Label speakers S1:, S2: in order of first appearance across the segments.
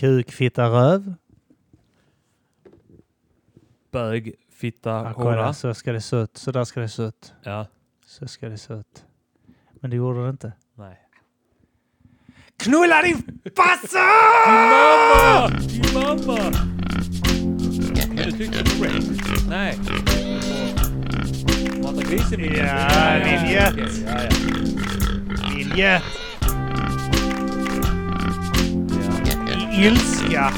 S1: Kuk, fitta, röv.
S2: Bög, fitta,
S1: Ja,
S2: hora.
S1: kolla, så ska det se ut. Så där ska det se ut.
S2: Ja.
S1: Så ska det se ut. Men det gjorde det inte.
S2: Nej.
S1: Knulla din farsa!
S2: Mamma! Mamma! Du tyckte Shrek? Nej. Mata grisen min
S1: Ja, din jätt.
S2: okej, Ja, ja.
S1: Vilje! I ilska!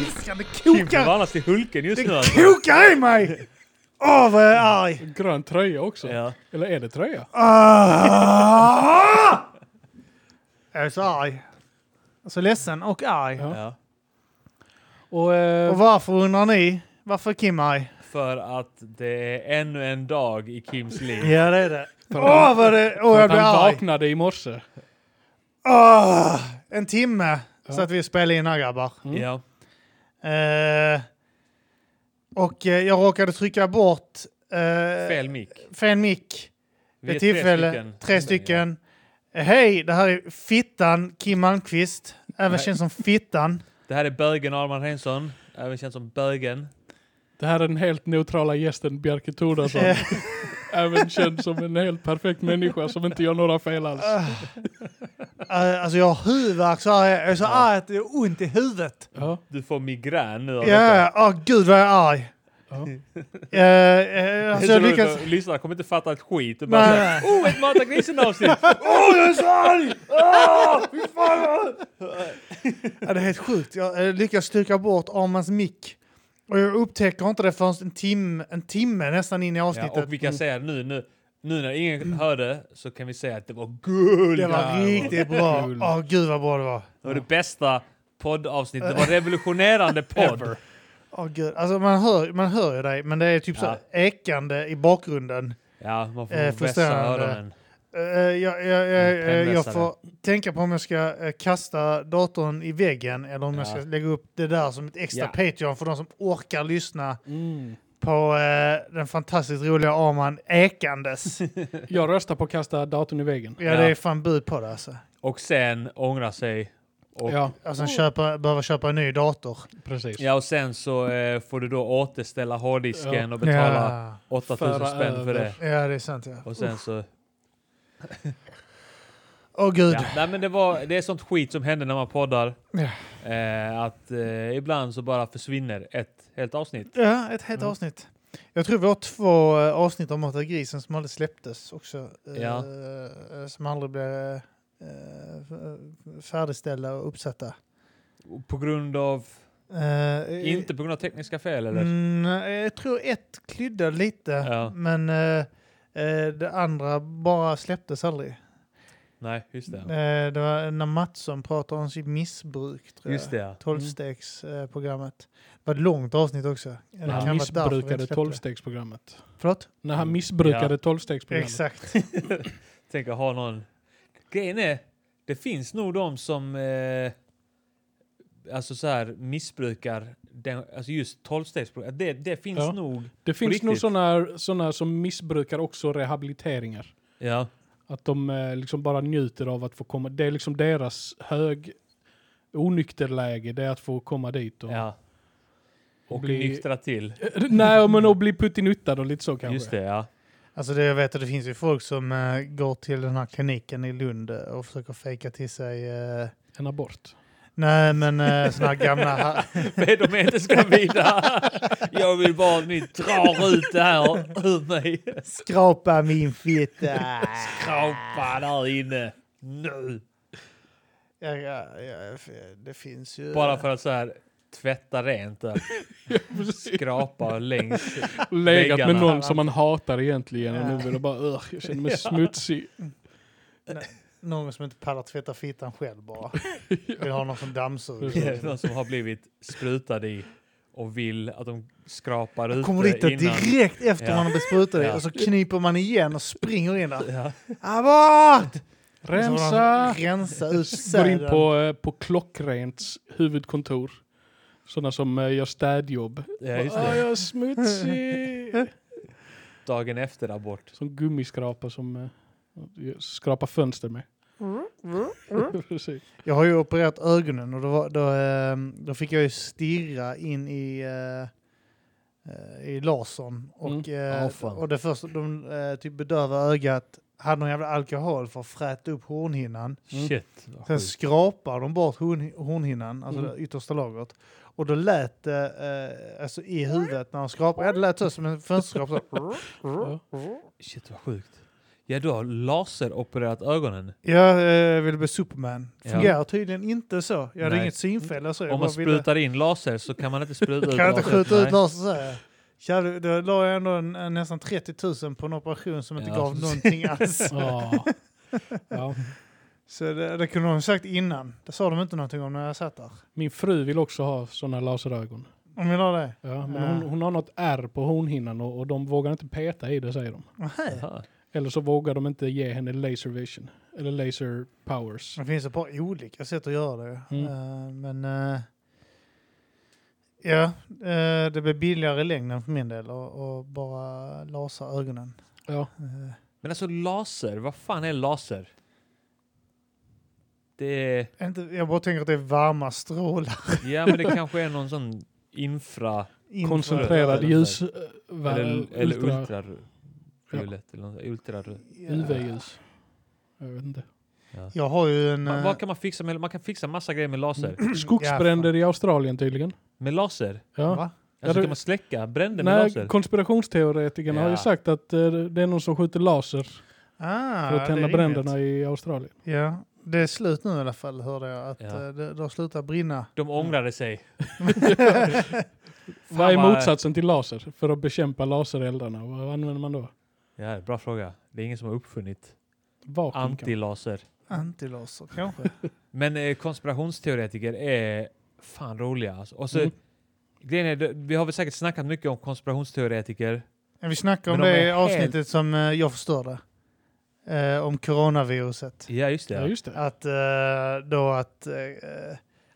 S1: Ilskan, det
S2: Kim förvandlas till Hulken just nu alltså.
S1: kokar i mig! Åh, vad jag är arg!
S3: Grön tröja också.
S2: Ja.
S3: Eller är det tröja?
S1: Ah! Jag är så arg. Så ledsen och arg.
S3: Ja.
S2: ja.
S3: Och, eh,
S1: Och varför undrar ni? Varför är Kim arg?
S2: För att det är ännu en dag i Kims liv.
S1: Ja, det är det.
S3: för
S1: Åh,
S3: att han-
S1: vad det... Åh,
S3: för
S1: jag
S3: att
S1: blir
S3: han
S1: arg.
S3: vaknade i morse.
S1: Åh, en timme så att vi spelade in här, grabbar.
S2: Mm. Ja.
S1: Eh, och eh, jag råkade trycka bort eh,
S2: Fel mick.
S1: fel mick vid
S2: Vi är
S1: ett
S2: tre
S1: tillfälle. Tre stycken.
S2: stycken.
S1: Eh, Hej, det här är Fittan, Kim Malmqvist. Även
S2: Nej.
S1: känd som Fittan.
S2: Det här är bögen Arman Henson, även känd som bögen.
S3: Det här är den helt neutrala gästen Bjarke Thordarson.
S1: Eh,
S3: Även känd som en helt perfekt människa som inte gör några fel alls.
S1: Ah. eh, alltså jag har huvudvärk så arg. Jag är så arg att det är ont i huvudet.
S3: Ja.
S2: Du får migrän nu av detta.
S1: Ja, åh gud vad jag är arg.
S3: Ja.
S1: Eh, eh, alltså jag lyckas...
S2: lyckas... Lyssnarna kommer inte fatta ett skit. Du bara
S1: Nej.
S2: såhär, oh ett Mata grisen-avsnitt!
S1: Åh, jag är så arg!
S2: Ah,
S1: Åh, fy fan! ja, det är helt sjukt. Jag eh, lyckas styrka bort Armans mick. Och jag upptäcker inte det förrän en timme, en timme nästan in i avsnittet. Mm.
S2: ja, och vi kan säga nu, nu, nu när ingen hörde så kan vi säga att det var guld!
S1: det var riktigt bra.
S3: Kul.
S1: Åh, gud vad bra det var.
S2: Det var det bästa poddavsnittet. Det var revolutionerande podd.
S1: Åh, gud. Alltså, man, hör, man hör ju dig, men det är typ
S2: Ja.
S1: så ekande i bakgrunden.
S2: ja, man får
S1: Eh,
S2: vässa
S1: frustrerande.
S2: öronen.
S1: Eh, jag, jag, jag,
S2: En
S1: jag, jag
S2: pennvässare.
S1: får tänka på om jag ska eh, kasta datorn i väggen eller om jag
S2: Ja.
S1: ska lägga upp det där som ett extra Patreon för de som orkar lyssna
S3: Mm.
S1: på eh, den fantastiskt roliga Arman Ekandes. ja,
S3: Jag röstar på att kasta datorn i väggen.
S1: det är fan bud på det alltså.
S2: Och sen ångra sig. Och, ja.
S3: Ja,
S1: Alltså köpa, behöva köpa en ny dator.
S3: precis.
S2: och sen så eh, får du då återställa hårddisken
S3: Ja.
S2: och betala 8000
S3: Föra
S2: spänn för
S3: över.
S2: det.
S1: Ja, ja det är sant ja.
S2: Och sen så...
S1: Åh gud.
S2: Ja. Nej, men det, var, det är sånt skit som händer när man poddar.
S1: Ja.
S2: Eh, att eh, ibland så bara försvinner ett helt avsnitt.
S1: Ja, ett helt
S3: Mm.
S1: avsnitt. Jag tror vi har två eh, avsnitt om Mata grisen som aldrig släpptes också. eh,
S2: Ja.
S1: eh, Som aldrig blev eh, f- färdigställda och uppsatta.
S2: På grund av...
S1: Eh,
S2: Inte på grund av tekniska fel eller?
S1: Mm, jag tror ett klydde lite,
S2: Ja.
S1: men eh, eh, det andra bara släpptes aldrig.
S2: Nej, just det.
S1: Eh, det var när Mattsson pratade om sitt missbruk, tror
S2: Just det,
S1: jag.
S2: ja.
S1: Tolvstegsprogrammet. Det var ett långt avsnitt också. Det
S3: När
S1: kan
S3: han
S1: ha varit därför vi inte
S3: missbrukade
S1: släppte det.
S3: tolvstegsprogrammet.
S1: Förlåt?
S3: När
S2: Mm.
S3: han missbrukade tolvstegsprogrammet.
S1: Exakt.
S2: Tänk att ha någon... Grejen är, det finns nog de som... Eh, alltså så här missbrukar den, alltså just tolvstegsprogrammet. Det, det finns
S3: Ja.
S2: nog.
S3: Det finns
S2: riktigt.
S3: nog sådana såna som missbrukar också rehabiliteringar.
S2: Ja.
S3: Att de eh, liksom bara njuter av att få komma. Det är liksom deras hög onykterläge, det är att få komma dit. Och,
S2: ja. Och
S3: Bli-
S2: nyktra till.
S3: Nej, men att bli puttinuttad och lite så kanske.
S2: Just det, ja.
S1: Alltså det jag vet att det finns ju folk som eh, går till den här kliniken i Lund eh, och försöker fejka till sig... eh,
S3: En abort.
S1: nej, men eh, såna här gamla... ha-
S2: Men de är inte skravida. Jag vill bara att ni drar ut det här ur mig.
S1: Skrapa min fitta!
S2: Skrapa där inne. Nu.
S1: Ja, ja, ja, f- det finns ju...
S2: Bara för att så här tvätta rent där. Skrapa längs.
S3: Legat med
S2: Väggarna.
S3: någon som man hatar egentligen och
S1: Ja.
S3: nu vill jag bara "Ugh, jag känner mig smutsig.
S1: Någon som inte pallar tvätta fittan själv bara. Vill ha någon som
S2: Det är
S1: dammsuger.
S2: någon som har blivit sprutad i och vill att de skrapar ut
S1: Kommer dit
S2: det
S1: där
S2: innan.
S1: direkt efter
S2: Ja.
S1: man har besprutat dig
S2: Ja.
S1: och så kniper man igen och springer in där.
S2: Ja.
S1: Abort! Så får
S3: Rensa!
S1: de Rensa ut
S3: Går in
S1: säden.
S3: på, eh, på Klockrents huvudkontor. Sådana som eh, gör städjobb.
S2: Ja, just
S3: "Ah,
S2: det.
S3: jag är smutsig!
S2: dagen efter abort.
S3: Som gummiskrapa som eh, skrapar fönster med. Precis.
S1: Jag har ju opererat ögonen och då, var, då, eh, då fick jag ju stirra in i, eh, eh, i lasern.
S3: Mm.
S1: Och, eh,
S4: Ja, fan.
S1: och det första, de eh, typ bedövade ögat, hade någon jävla alkohol för att fräta upp hornhinnan.
S3: Mm.
S2: Shit.
S1: Sen
S4: Sjukt.
S1: skrapar de bort horn, hornhinnan, alltså
S3: Mm.
S1: det yttersta lagret. Och då lät det eh, alltså i huvudet när de skrapade, ja, det lät så som en fönsterskrap. så.
S3: Ja.
S2: Shit vad sjukt. Ja, du har laseropererat ögonen.
S1: Jag eh, ville bli Superman.
S2: Ja.
S1: Fungerar tydligen inte så. Jag hade
S2: Nej.
S1: inget synfel. Alltså. Jag
S2: Om
S1: bara
S2: man
S1: ville-
S2: sprutar in laser så kan man inte spruta ut
S1: Kan jag inte
S2: laser.
S1: skjuta ut
S2: Nej.
S1: Lars och säga? Tja, du, då la jag ändå en, en, nästan 30 000 på en operation som inte
S2: Ja.
S1: gav någonting alls.
S3: Ja. Ja.
S1: Så det, det kunde de sagt innan. Det sa de inte någonting om när jag satt där.
S3: Min fru vill också ha sådana laserögon.
S1: Om vi la det?
S3: Ja, men
S1: Ja.
S3: Hon, hon har något ärr på hornhinnan och, och de vågar inte peta i det säger de.
S1: Nej.
S2: Jaha.
S3: Eller så vågar de inte ge henne laser vision. Eller laser powers.
S1: Det finns ett par olika sätt att göra det.
S3: Mm.
S1: Eh, men eh, ja, eh, det blir billigare i längden för min del och, och bara lasa ögonen.
S3: Ja.
S1: Eh,
S2: Men alltså laser, vad fan är laser? Det är...
S1: inte, jag bara tänker att det är varma strålar.
S2: Ja, men det kanske är någon sån infra...
S1: in för-
S3: Koncentrerad
S2: Infraröd.
S3: ljus... eh,
S2: Eller, eller ultraviolett.
S3: Ja.
S2: Eller något, ultraröd.
S1: Ja.
S3: UV-ljus. Jag vet inte.
S1: Jag har ju en...
S2: Man,
S1: eh,
S2: vad kan man fixa med? Man kan fixa massa grejer med laser.
S3: Skogsbränder i Australien tydligen.
S2: Med laser?
S3: Ja.
S1: va?
S2: Alltså
S3: det-
S2: kan man släcka bränder med
S3: Nej,
S2: laser?
S3: konspirationsteoretikerna har ju
S2: Ja.
S3: sagt att eh, det är någon som skjuter laser
S1: Ah,
S3: för att
S1: det är
S3: tända
S1: rimligt.
S3: bränderna i Australien.
S1: Ja, det är slut nu i alla fall hörde jag. Att
S2: Ja.
S1: eh, det, det har slutat brinna.
S2: De ångrade sig.
S3: Vad är
S2: vad-
S3: motsatsen till laser? För att bekämpa lasereldarna, vad använder man då?
S2: Ja, bra fråga. Det är ingen som har uppfunnit
S3: Vakuum kanske?
S2: antilaser.
S1: Antilaser kanske.
S2: Men eh, konspirationsteoretiker är fan roliga. Alltså. Och så,
S3: Mm.
S2: grejen är, det- vi har väl säkert snackat mycket om konspirationsteoretiker.
S1: Men Vi snackade om
S2: Men de
S1: det i
S2: är
S1: avsnittet som eh, jag förstörde. Eh, om coronaviruset.
S2: Ja, just det.
S3: Ja, just det.
S1: Att eh, då att eh,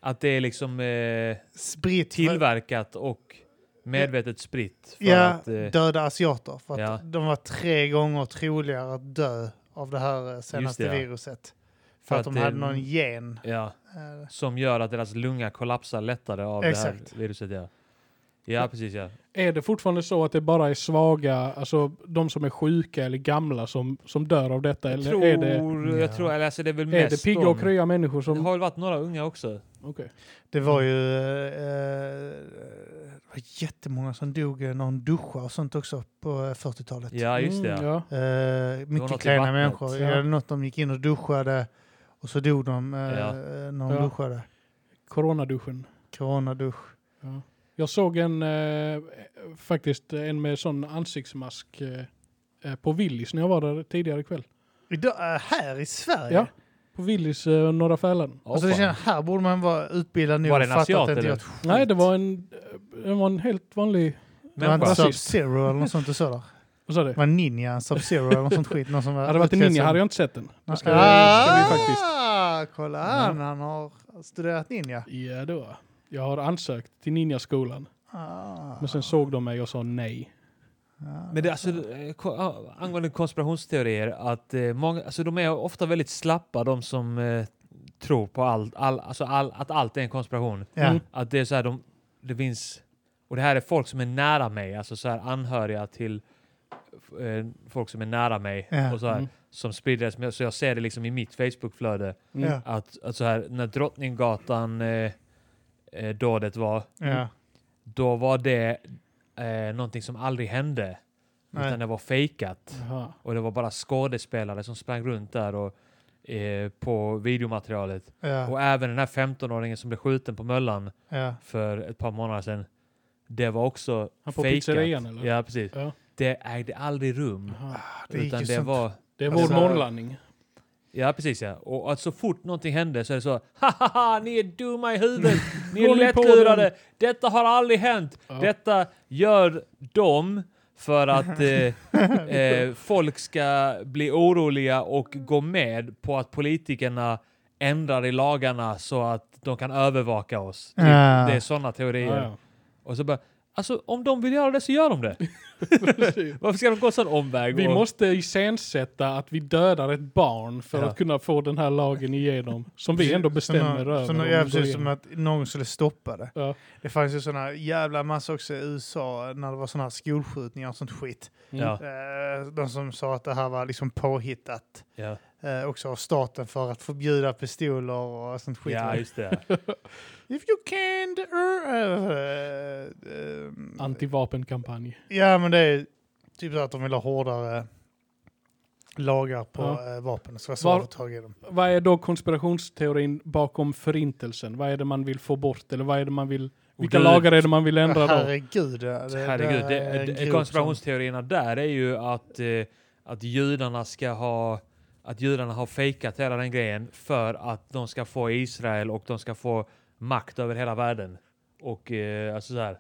S2: Att det är liksom eh,
S1: sprit...
S2: tillverkat och medvetet spritt. För
S1: Ja,
S2: att, eh,
S1: döda asiater. För att
S2: Ja.
S1: de var tre gånger troligare att dö av det här eh, senaste
S2: ja.
S1: viruset. För, att, de
S2: det-
S1: hade någon gen.
S2: ja,
S1: Eh,
S2: som gör att deras lunga kollapsar lättare av det
S1: Exakt.
S2: här viruset. Ja, ja precis. Ja.
S3: Är det fortfarande så att det bara är svaga, alltså de som är sjuka eller gamla som, som dör av detta?
S2: Jag
S3: eller är det,
S2: tror, jag tror, eller alltså det är väl
S3: är
S2: mest
S3: det pigga och
S2: de-
S3: krya människor som...
S2: Det har väl varit några unga också.
S3: Okej.
S1: Det var ju eh, eh, det var jättemånga som dog när de duschade och sånt också på eh, 40-talet.
S2: Ja, just det.
S3: Mm,
S2: ja.
S3: ja.
S1: Eh,
S2: något i
S1: mycket klena
S2: vattnet.
S1: människor.
S3: Ja.
S1: Ja. Något de gick in och duschade och så dog de eh,
S2: Ja.
S1: när de
S3: Ja.
S1: duschade.
S3: Coronaduschen.
S1: Coronadusch.
S3: Ja. Jag såg en, eh, faktiskt en med sån ansiktsmask eh, eh, på Willys när jag var där tidigare ikväll.
S1: Idag, eh, här i Sverige?
S3: Ja. På Willys eh, Norra Fälaren.
S2: Åh,
S1: Alltså, det
S2: fan.
S1: känns, här borde man vara utbildad nu
S2: Var
S1: och
S2: det en
S1: fatta att
S2: asiat,
S1: det inte
S2: eller?
S1: gör ett skit.
S3: Nej, det var en, eh, det var en helt vanlig...
S1: Det var inte
S2: Människa.
S3: Rasist.
S1: Sub-Zero eller något sånt du sa där.
S3: Vad sa du?
S1: Det var Ninja, Sub-Zero eller något sånt skit. Någon som var
S3: Hade det varit en
S1: utklädd
S3: ninja
S1: som-
S3: hade jag inte sett den. Det ska,
S1: ah,
S3: ska vi faktiskt...
S1: Kolla han, han har studerat Ninja.
S3: Ja då. Jag har ansökt till ninjaskolan.
S1: Ah.
S3: Men sen såg de mig och sa nej. Mm.
S2: Men det, alltså, eh, ko- ah, angående konspirationsteorier, att eh, många, alltså, de är ofta väldigt slappa, de som eh, tror på allt, all, alltså, all, att allt är en konspiration.
S1: Ja.
S3: Mm.
S2: Att det är så här, de, det finns, och det här är folk som är nära mig, alltså så här anhöriga till eh, folk som är nära mig,
S1: Ja.
S2: och så här,
S3: Mm.
S2: som sprider det, som jag- så jag ser det liksom i mitt Facebookflöde,
S3: Mm.
S1: Ja.
S2: att, att så här, när Drottninggatan-dådet eh, dådet var,
S3: Mm.
S1: Ja.
S2: då var det eh, någonting som aldrig hände.
S1: Nej.
S2: Utan det var fejkat.
S3: Jaha.
S2: Och det var bara skådespelare som sprang runt där och, eh, på videomaterialet.
S1: Ja.
S2: Och även den här 15-åringen som blev skjuten på Möllan
S1: Ja.
S2: för ett par månader sedan. Det var också
S3: Han på
S2: fejkat.
S3: pizzerian, eller?
S2: Ja, precis.
S3: Ja.
S2: Det ägde aldrig rum.
S3: Jaha.
S1: Det gick
S2: utan
S1: ju
S2: det
S1: sånt.
S2: var...
S3: Ah, Det är vår
S1: Alltså-
S3: månlandning.
S2: Ja, precis ja. Och att så fort någonting hände så är det så Hahaha, ni är dumma i huvudet! Ni
S3: Går
S2: är
S3: ni på
S2: lättlurade! Detta har aldrig hänt!
S3: Ja.
S2: Detta gör de för att eh, eh, folk ska bli oroliga och gå med på att politikerna ändrar i lagarna så att de kan övervaka oss. Typ,
S1: Ja.
S2: Det är sådana teorier.
S3: Ja, ja.
S2: Och så bara, Alltså om de vill göra det så gör de det. Varför ska de gå en sån omväg?
S3: Vi
S2: och-
S3: måste iscensätta att vi dödar ett barn för
S2: Ja.
S3: att kunna få den här lagen igenom. Som vi ändå bestämmer
S1: som,
S3: över.
S1: Som,
S3: om
S1: ja,
S3: vi går
S1: precis, som
S3: igenom.
S1: att någon skulle stoppa det.
S3: Ja.
S1: Det fanns ju sådana jävla massa också i USA när det var sådana här skolskjutningar och sånt skit.
S3: Mm.
S2: Ja,
S1: Eh, De som sa att det här var liksom påhittat
S2: ja.
S1: eh, också av staten för att förbjuda pistoler och sånt skit.
S2: ja, just det.
S1: If you can't... eh, eh, eh,
S3: Mm. Antivapenkampanj.
S1: ja, men det är typ så att de vill ha hårdare lagar på
S3: Ja.
S1: eh, vapen. Så det var svårt
S3: Var-
S1: att få tag i dem.
S3: Vad är då konspirationsteorin bakom förintelsen? Vad är det man vill få bort? Eller vad är det man vill... Vilka
S2: du-
S3: lagar är det man vill ändra då?
S1: Herregud. ja, Det,
S2: Herregud,
S1: det är
S2: det,
S1: en
S2: det,
S1: grupp
S2: konspirationsteorierna där är ju att, eh, att judarna ska ha att judarna har fejkat hela den grejen för att de ska få Israel och de ska få makt över hela världen. Och eh, alltså så här,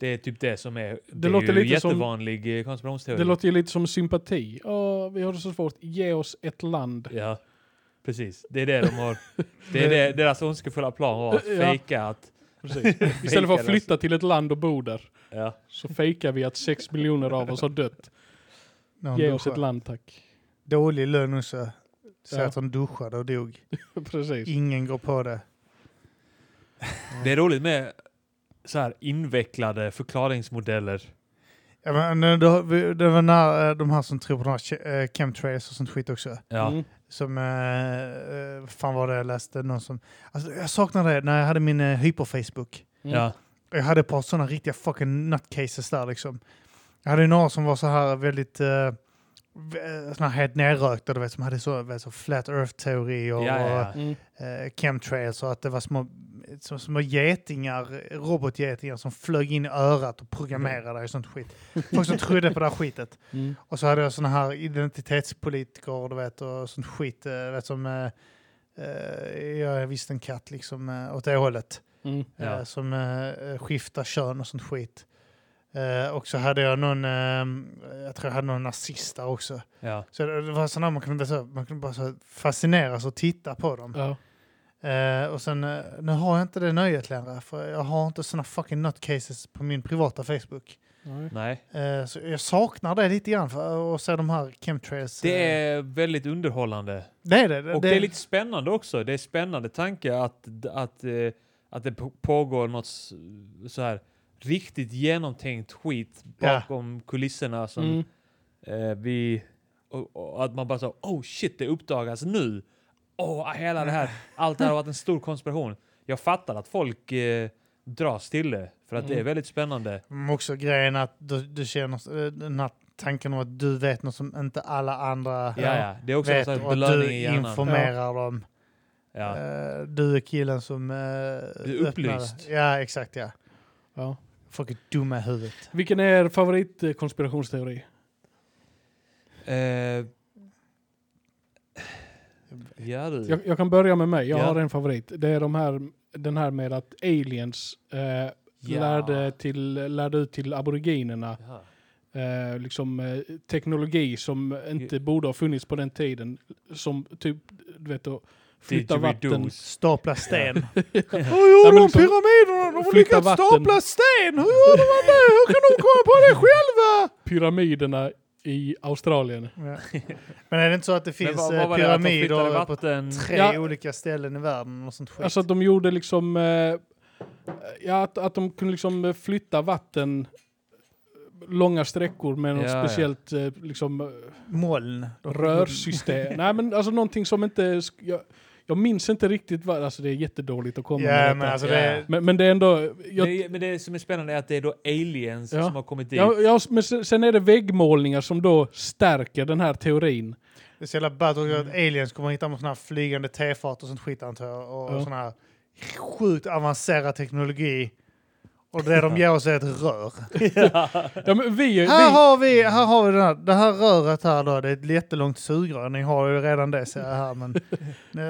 S2: det är typ det som är, det
S3: låter
S2: är ju
S3: lite som-
S2: jättevanlig eh, konspirationsteori.
S3: Det låter ju lite som sympati. Åh, vi har det så svårt. Ge oss ett land.
S2: Ja, precis. Det är det de har. Det är det, deras ondskefulla plan var att
S3: Ja.
S2: fejka att...
S3: Precis. Istället för att
S2: alltså.
S3: flytta till ett land och bo där
S2: Ja,
S3: så fejkar vi att sex miljoner av oss har dött.
S1: när de
S3: Ge oss
S1: duschar.
S3: ett land tack.
S1: Dålig lögn också. Säg
S3: Ja. Typ.
S1: att hon duschade och dog.
S3: Precis.
S1: Ingen går på det.
S2: det är roligt med så här invecklade förklaringsmodeller.
S1: Ja, men, eh, då, vi- det var när eh, de här som tror på de här ke- eh, chemtrails och sånt skit också.
S2: Ja.
S3: Mm.
S1: Som, eh, eh, vad fan var det jag läste? Någon som, alltså, jag saknar det när jag hade min eh, hyper-Facebook.
S3: Mm.
S2: Ja.
S1: Jag hade ett par sådana riktiga fucking nutcases där liksom. Jag hade ju några som var så här väldigt, eh, v- eh, såna här helt nerrökta, du vet, som hade så, vet, så flat earth-teori och,
S2: Ja, ja, ja.
S3: Mm.
S1: eh, chemtrails och att det var små, som små getingar, robotgetingar som flög in i örat och programmerade och sånt skit. Folk som trodde på det här skitet.
S3: Mm.
S1: Och så hade jag såna här identitetspolitiker du vet, och sånt skit eh, vet, som eh, eh, jag är visst en katt liksom eh, åt det hållet.
S3: Mm.
S1: Eh,
S2: Ja.
S1: Som eh, skiftar kön och sånt skit. Eh, och så hade jag någon, eh, jag tror jag hade någon nazist där också.
S2: Ja.
S1: Så det det var sådana man kunde, så, man kunde bara så fascineras och titta på dem.
S3: Ja.
S1: Eh, och sen, eh, nu har jag inte det nöjet längre, för jag har inte såna fucking nutcases på min privata Facebook.
S3: Nej.
S2: Nej.
S1: Eh, så jag saknar det lite grann, för att se de här chemtrails.
S2: Det
S1: eh,
S2: är väldigt underhållande.
S1: det, är det, det,
S2: Och det är lite spännande också. Det är spännande tanke att, att, eh, att det på- pågår något s- så här riktigt genomtänkt skit
S1: Ja.
S2: bakom kulisserna som
S3: Mm.
S2: eh, vi... Och, och att man bara så oh shit, det uppdagas nu. Åh, hela det här. Allt det här har varit en stor konspiration. Jag fattar att folk eh, dras till det, för att det är
S3: Mm.
S2: väldigt spännande.
S1: Mm, också grejen att du, du känner eh, den här tanken om att du vet något som inte alla andra
S2: Ja, ja. Det är också en
S1: vet
S2: sån här
S1: och att du
S2: belöning i hjärnan.
S1: informerar dem.
S2: Ja.
S1: Eh, du är killen som... Eh,
S2: är
S1: du
S2: upplyst.
S1: Ja, exakt ja.
S3: Ja.
S1: Folk är dumma i huvudet.
S3: Vilken är er favoritkonspirationsteori?
S2: Eh, ja du.
S3: Jag, jag kan börja med mig. Jag
S2: Ja.
S3: har en favorit. Det är de här, den här med att aliens eh,
S2: Ja.
S3: lärde, till, lärde ut till aboriginerna
S2: Jaha.
S3: eh, liksom, eh, teknologi som inte borde ha funnits på den tiden. Som typ, du vet, att flytta vatten.
S2: Didgeridoos.
S1: Stapla sten.
S2: Ja.
S1: Hur gjorde
S3: Nej, men
S1: de
S3: liksom-
S1: pyramiderna? De har
S3: flytta
S1: lyckats
S3: vatten.
S1: stapla sten! Hur gjorde man det? Hur kan de komma på det själva?
S3: Pyramiderna i Australien.
S1: Men är det inte så att det finns
S2: Men vad- vad
S1: eh,
S2: var det? Att de flyttade
S1: pyramider på
S2: vatten?
S1: tre
S3: Ja.
S1: olika ställen i världen och sånt skit?
S3: Alltså att de gjorde liksom... Eh, ja, att, att de kunde liksom eh, flytta vatten långa sträckor med något
S2: Ja, ja.
S3: speciellt eh, liksom, eh,
S1: Moln. De-
S3: rörsystem. Nej, men alltså någonting som inte... sk- Jag, jag minns inte riktigt vad... Alltså det är jättedåligt att komma med
S1: Ja,
S3: detta.
S1: men alltså
S2: Ja.
S1: det...
S3: men, men det är ändå... Jag,
S2: Det är- men det som är spännande är att det är då aliens
S3: Ja.
S2: som har kommit dit.
S3: jag, jag, men sen sen är det väggmålningar som då stärker den här teorin.
S1: Det är så jävla ballt också att aliens kommer hit med såna här flygande tefat och sånt skit antar jag. Och
S3: Ja.
S1: sån här sjukt avancerad teknologi. Och det de ger oss är ett rör.
S3: Ja, men vi, vi,
S1: Här har vi, här har vi den här, det här röret här då. Det är ett jättelångt sugrör. Ni har ju redan det ser jag här. Men,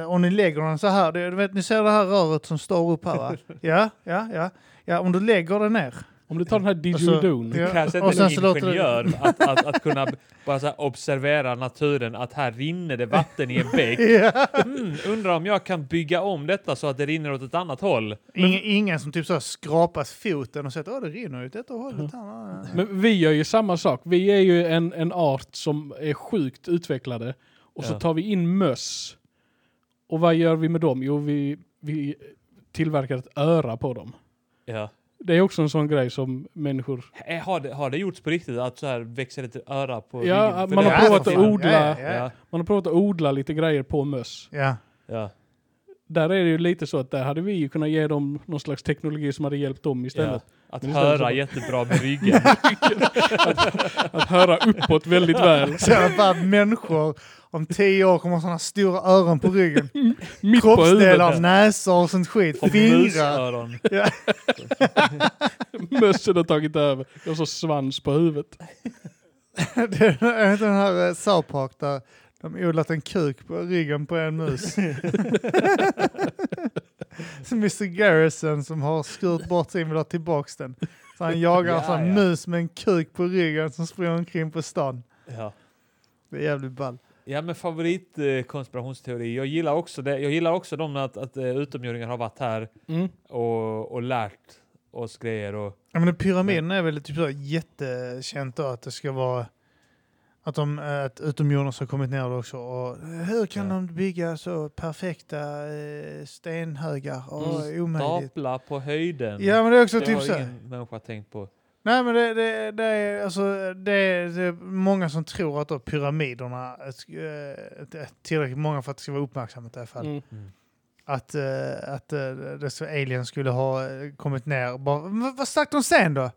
S1: eh, om ni lägger den så här. Det, du vet, ni ser det här röret som står upp här va? Ja, ja, ja. ja om du lägger den ner.
S3: Om du tar den här
S2: Alltså,
S3: didgeridoo.
S1: Ja,
S2: krävs
S1: och
S2: inte
S1: sen
S2: en
S1: så låter det-
S2: ingenjör att, att, att kunna bara så här observera naturen, att här rinner det vatten i en bäck.
S1: Ja.
S2: Mm, undrar om jag kan bygga om detta så att det rinner åt ett annat håll.
S1: Ingen, ingen som typ så här skrapas foten och säger att "Åh, det rinner ut åt detta hållet. här."
S3: Mm. Men vi gör ju samma sak. Vi är ju en, en art som är sjukt utvecklade. Och så
S2: Ja.
S3: tar vi in möss. Och vad gör vi med dem? Jo, vi, vi tillverkar ett öra på dem.
S2: Ja.
S3: Det är också en sån grej som människor...
S2: Eh, Har, det, har det gjorts på riktigt att så här växer ett öra på
S3: Ja,
S2: ryggen? För
S3: man
S2: det
S3: har
S2: är
S3: provat
S2: så
S3: att
S2: fan-
S3: odla-
S1: Ja, ja, ja.
S2: Ja,
S3: Man har provat att odla lite grejer på möss.
S1: ja.
S2: ja,
S3: Där är det ju lite så att där hade vi ju kunnat ge dem någon slags teknologi som hade hjälpt dem
S2: ja.
S3: istället.
S2: Att
S3: Men istället
S2: höra
S3: så-
S2: jättebra med ryggen.
S3: Att höra uppåt väldigt väl.
S1: Så att bara människor om tio år kommer ha sådana stora öron på ryggen.
S3: Mitt på huvudet.
S1: Kroppsdelar, näsor och sånt skit.
S2: Och
S1: Fingrar.
S2: musöron.
S3: Mössen har tagit över. Och så svans på huvudet.
S1: Det är inte den här eh, South Park där de odlat en kuk på ryggen på en mus. Som Mr Garrison som har skurit bort sin vill ha tillbaks den. Så han jagar alltså en
S2: Ja,
S1: sån
S2: ja.
S1: mus med en kuk på ryggen som springer omkring på stan.
S2: Ja.
S1: Det är jävligt ball.
S2: Ja men favoritkonspirationsteori. Eh, konspirationsteori. jag gillar också det. Jag gillar också de att, att eh, utomjordingar har varit här
S3: Mm.
S2: och, och lärt oss grejer och
S1: Ja, men pyramiden är väl typ så jättekänt då att det ska vara att, de, eh, att utomjordingar har kommit ner också. Och hur kan
S2: Ja.
S1: de bygga så perfekta eh, stenhögar? Och
S2: Mm.
S1: omöjligt.
S2: stapla på höjden.
S1: Ja men det är också
S2: det
S1: typ
S2: har
S1: så. här-
S2: ingen människa tänkt på.
S1: Nej men det, det, det, är, alltså, det, är, det är många som tror att då pyramiderna, eh, det är tillräckligt många för att det ska vara uppmärksamhet i alla fall,
S3: Mm.
S1: att, eh, att eh, det så alien skulle ha eh, kommit ner. och Bara, "Men vad stack de sen då?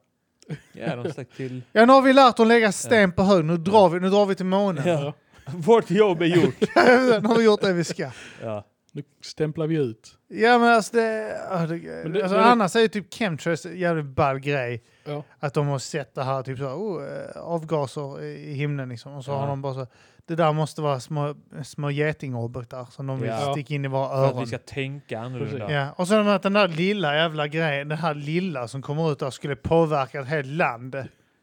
S2: Ja, de stack till...
S1: Ja nu har vi lärt dem att lägga sten på hög, nu drar vi, nu drar vi till månen.
S2: Ja. Vårt jobb är gjort.
S1: nu har vi gjort det vi ska.
S2: Ja.
S3: Nu stämplar vi ut.
S1: Ja men alltså det... ja, det,
S3: Men det-
S1: alltså,
S3: men det-
S1: annars är ju typ chemtrails en jävligt ball grej.
S3: Ja.
S1: Att de har sett det här, typ så här, oh, eh, avgaser i i himlen liksom. Och så
S2: Ja.
S1: har de bara så, det där måste vara små, små getingorbitar som de vill
S2: Ja.
S1: sticka in i våra
S2: För att
S1: öron.
S2: vi ska tänka annorlunda.
S1: Ja. Och sen att den där lilla jävla grejen, den här lilla som kommer ut där skulle påverka ett helt land.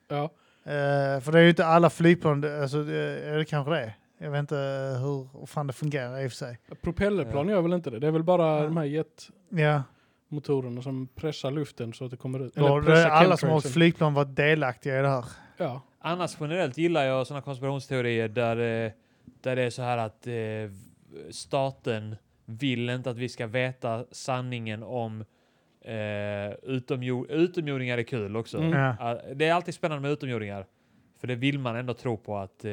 S3: Ja.
S1: Eh, för det är ju inte alla flygplan, det- alltså, eh, är det kanske det? Jag vet inte hur vad fan det fungerar i och för sig.
S3: Propellerplan gör väl inte det? Det är väl bara de här jetmotorerna
S1: Ja.
S3: som pressar luften så att det kommer ut.
S1: Då har det- alla som har åkt
S2: liksom.
S3: chemtrailsen.
S1: flygplan varit delaktiga i det här.
S3: Ja.
S2: Annars generellt gillar jag sådana konspirationsteorier där, eh, där det är så här att eh, staten vill inte att vi ska veta sanningen om eh, utomjord, utomjordingar är kul också.
S3: Mm.
S1: Ja.
S2: Ah, Det är alltid spännande med utomjordingar. För det vill man ändå tro på att, eh,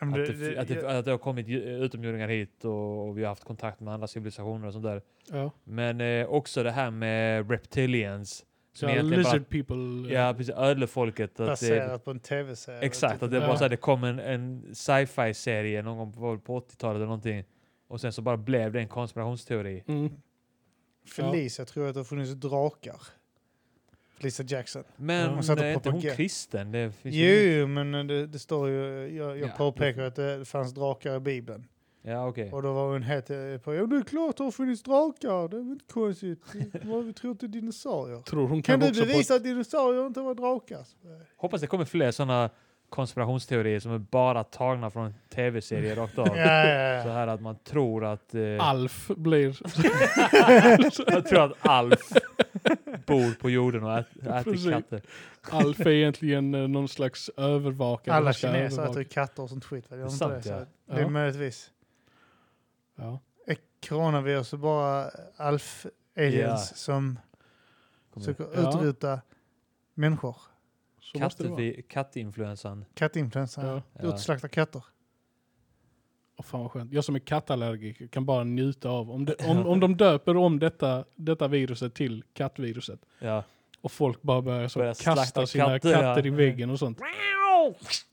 S1: Ja, men
S2: att, det,
S1: det- det-
S2: att, det,
S1: ja.
S2: att det har kommit ju- eh, utomjordingar hit och, och vi har haft kontakt med andra civilisationer och sånt där.
S3: ja.
S2: Men eh, också det här med reptilians. Som
S3: ja
S2: egentligen bara,
S3: lizard people. eh,
S2: ja, precis, ödlefolket. Att eh, det,
S1: Mm. baserat på en tv-serie.
S2: Exakt,
S1: typ.
S2: att det,
S3: Ja.
S2: bara så här, det kom en, en sci-fi serie någon gång på, på 80-talet eller någonting. Och sen så bara blev det en konspirationsteori.
S3: Mm.
S1: Felicia tror jag att det har funnits drakar. Felicia Jackson.
S2: Men
S1: Och satt och
S2: är inte hon
S1: propagera.
S2: kristen? Det finns ju ingen-
S1: Jo, men eh, det, det står ju, eh, jag, jag
S2: Ja.
S1: påpekar att det fanns drakar i Bibeln.
S2: Ja, okej.
S1: Och då var hon helt eh, på, ja det är klart det har funnits drakar, det är väl inte konstigt. Vad vi tror inte dinosaurier.
S3: Tror hon
S1: Kan
S3: kan
S1: du
S3: också på
S1: bevisa att dinosaurier inte var drakar?
S2: Hoppas det kommer fler sådana konspirationsteorier som är bara tagna från en tv-serie rakt av.
S1: Ja, ja,
S2: Så
S1: ja.
S2: här att man tror att... Eh,
S3: Alf blir...
S2: jag tror att Alf bor på jorden och ät, äter
S3: Precis.
S2: katter.
S3: Alf är egentligen eh, någon slags övervakare.
S1: Alla
S3: som ska
S1: kineser äter
S3: övervaka.
S1: ju katter och sånt skit. va? Gör de inte
S2: Sant,
S1: det, så
S2: ja.
S1: det är
S3: Ja.
S1: möjligtvis.
S3: Ja.
S1: Är coronavirus bara alf-aliens
S2: Ja.
S1: som
S2: Kommer-
S1: försöker
S3: Ja.
S1: utrota människor?
S3: Så måste det vara.
S2: Kattfi- Kattinfluensan.
S1: Kattinfluensa.
S3: Ja.
S1: Du utslaktar katter.
S3: Åh, fan vad skönt. Jag som är kattallergiker kan bara njuta av. Om, det, om, om de döper om detta, detta viruset till kattviruset
S2: Ja.
S3: och folk bara börjar, så
S2: Börjar slakta
S3: kasta sina
S2: katter,
S3: katter,
S2: ja.
S3: i väggen och sånt.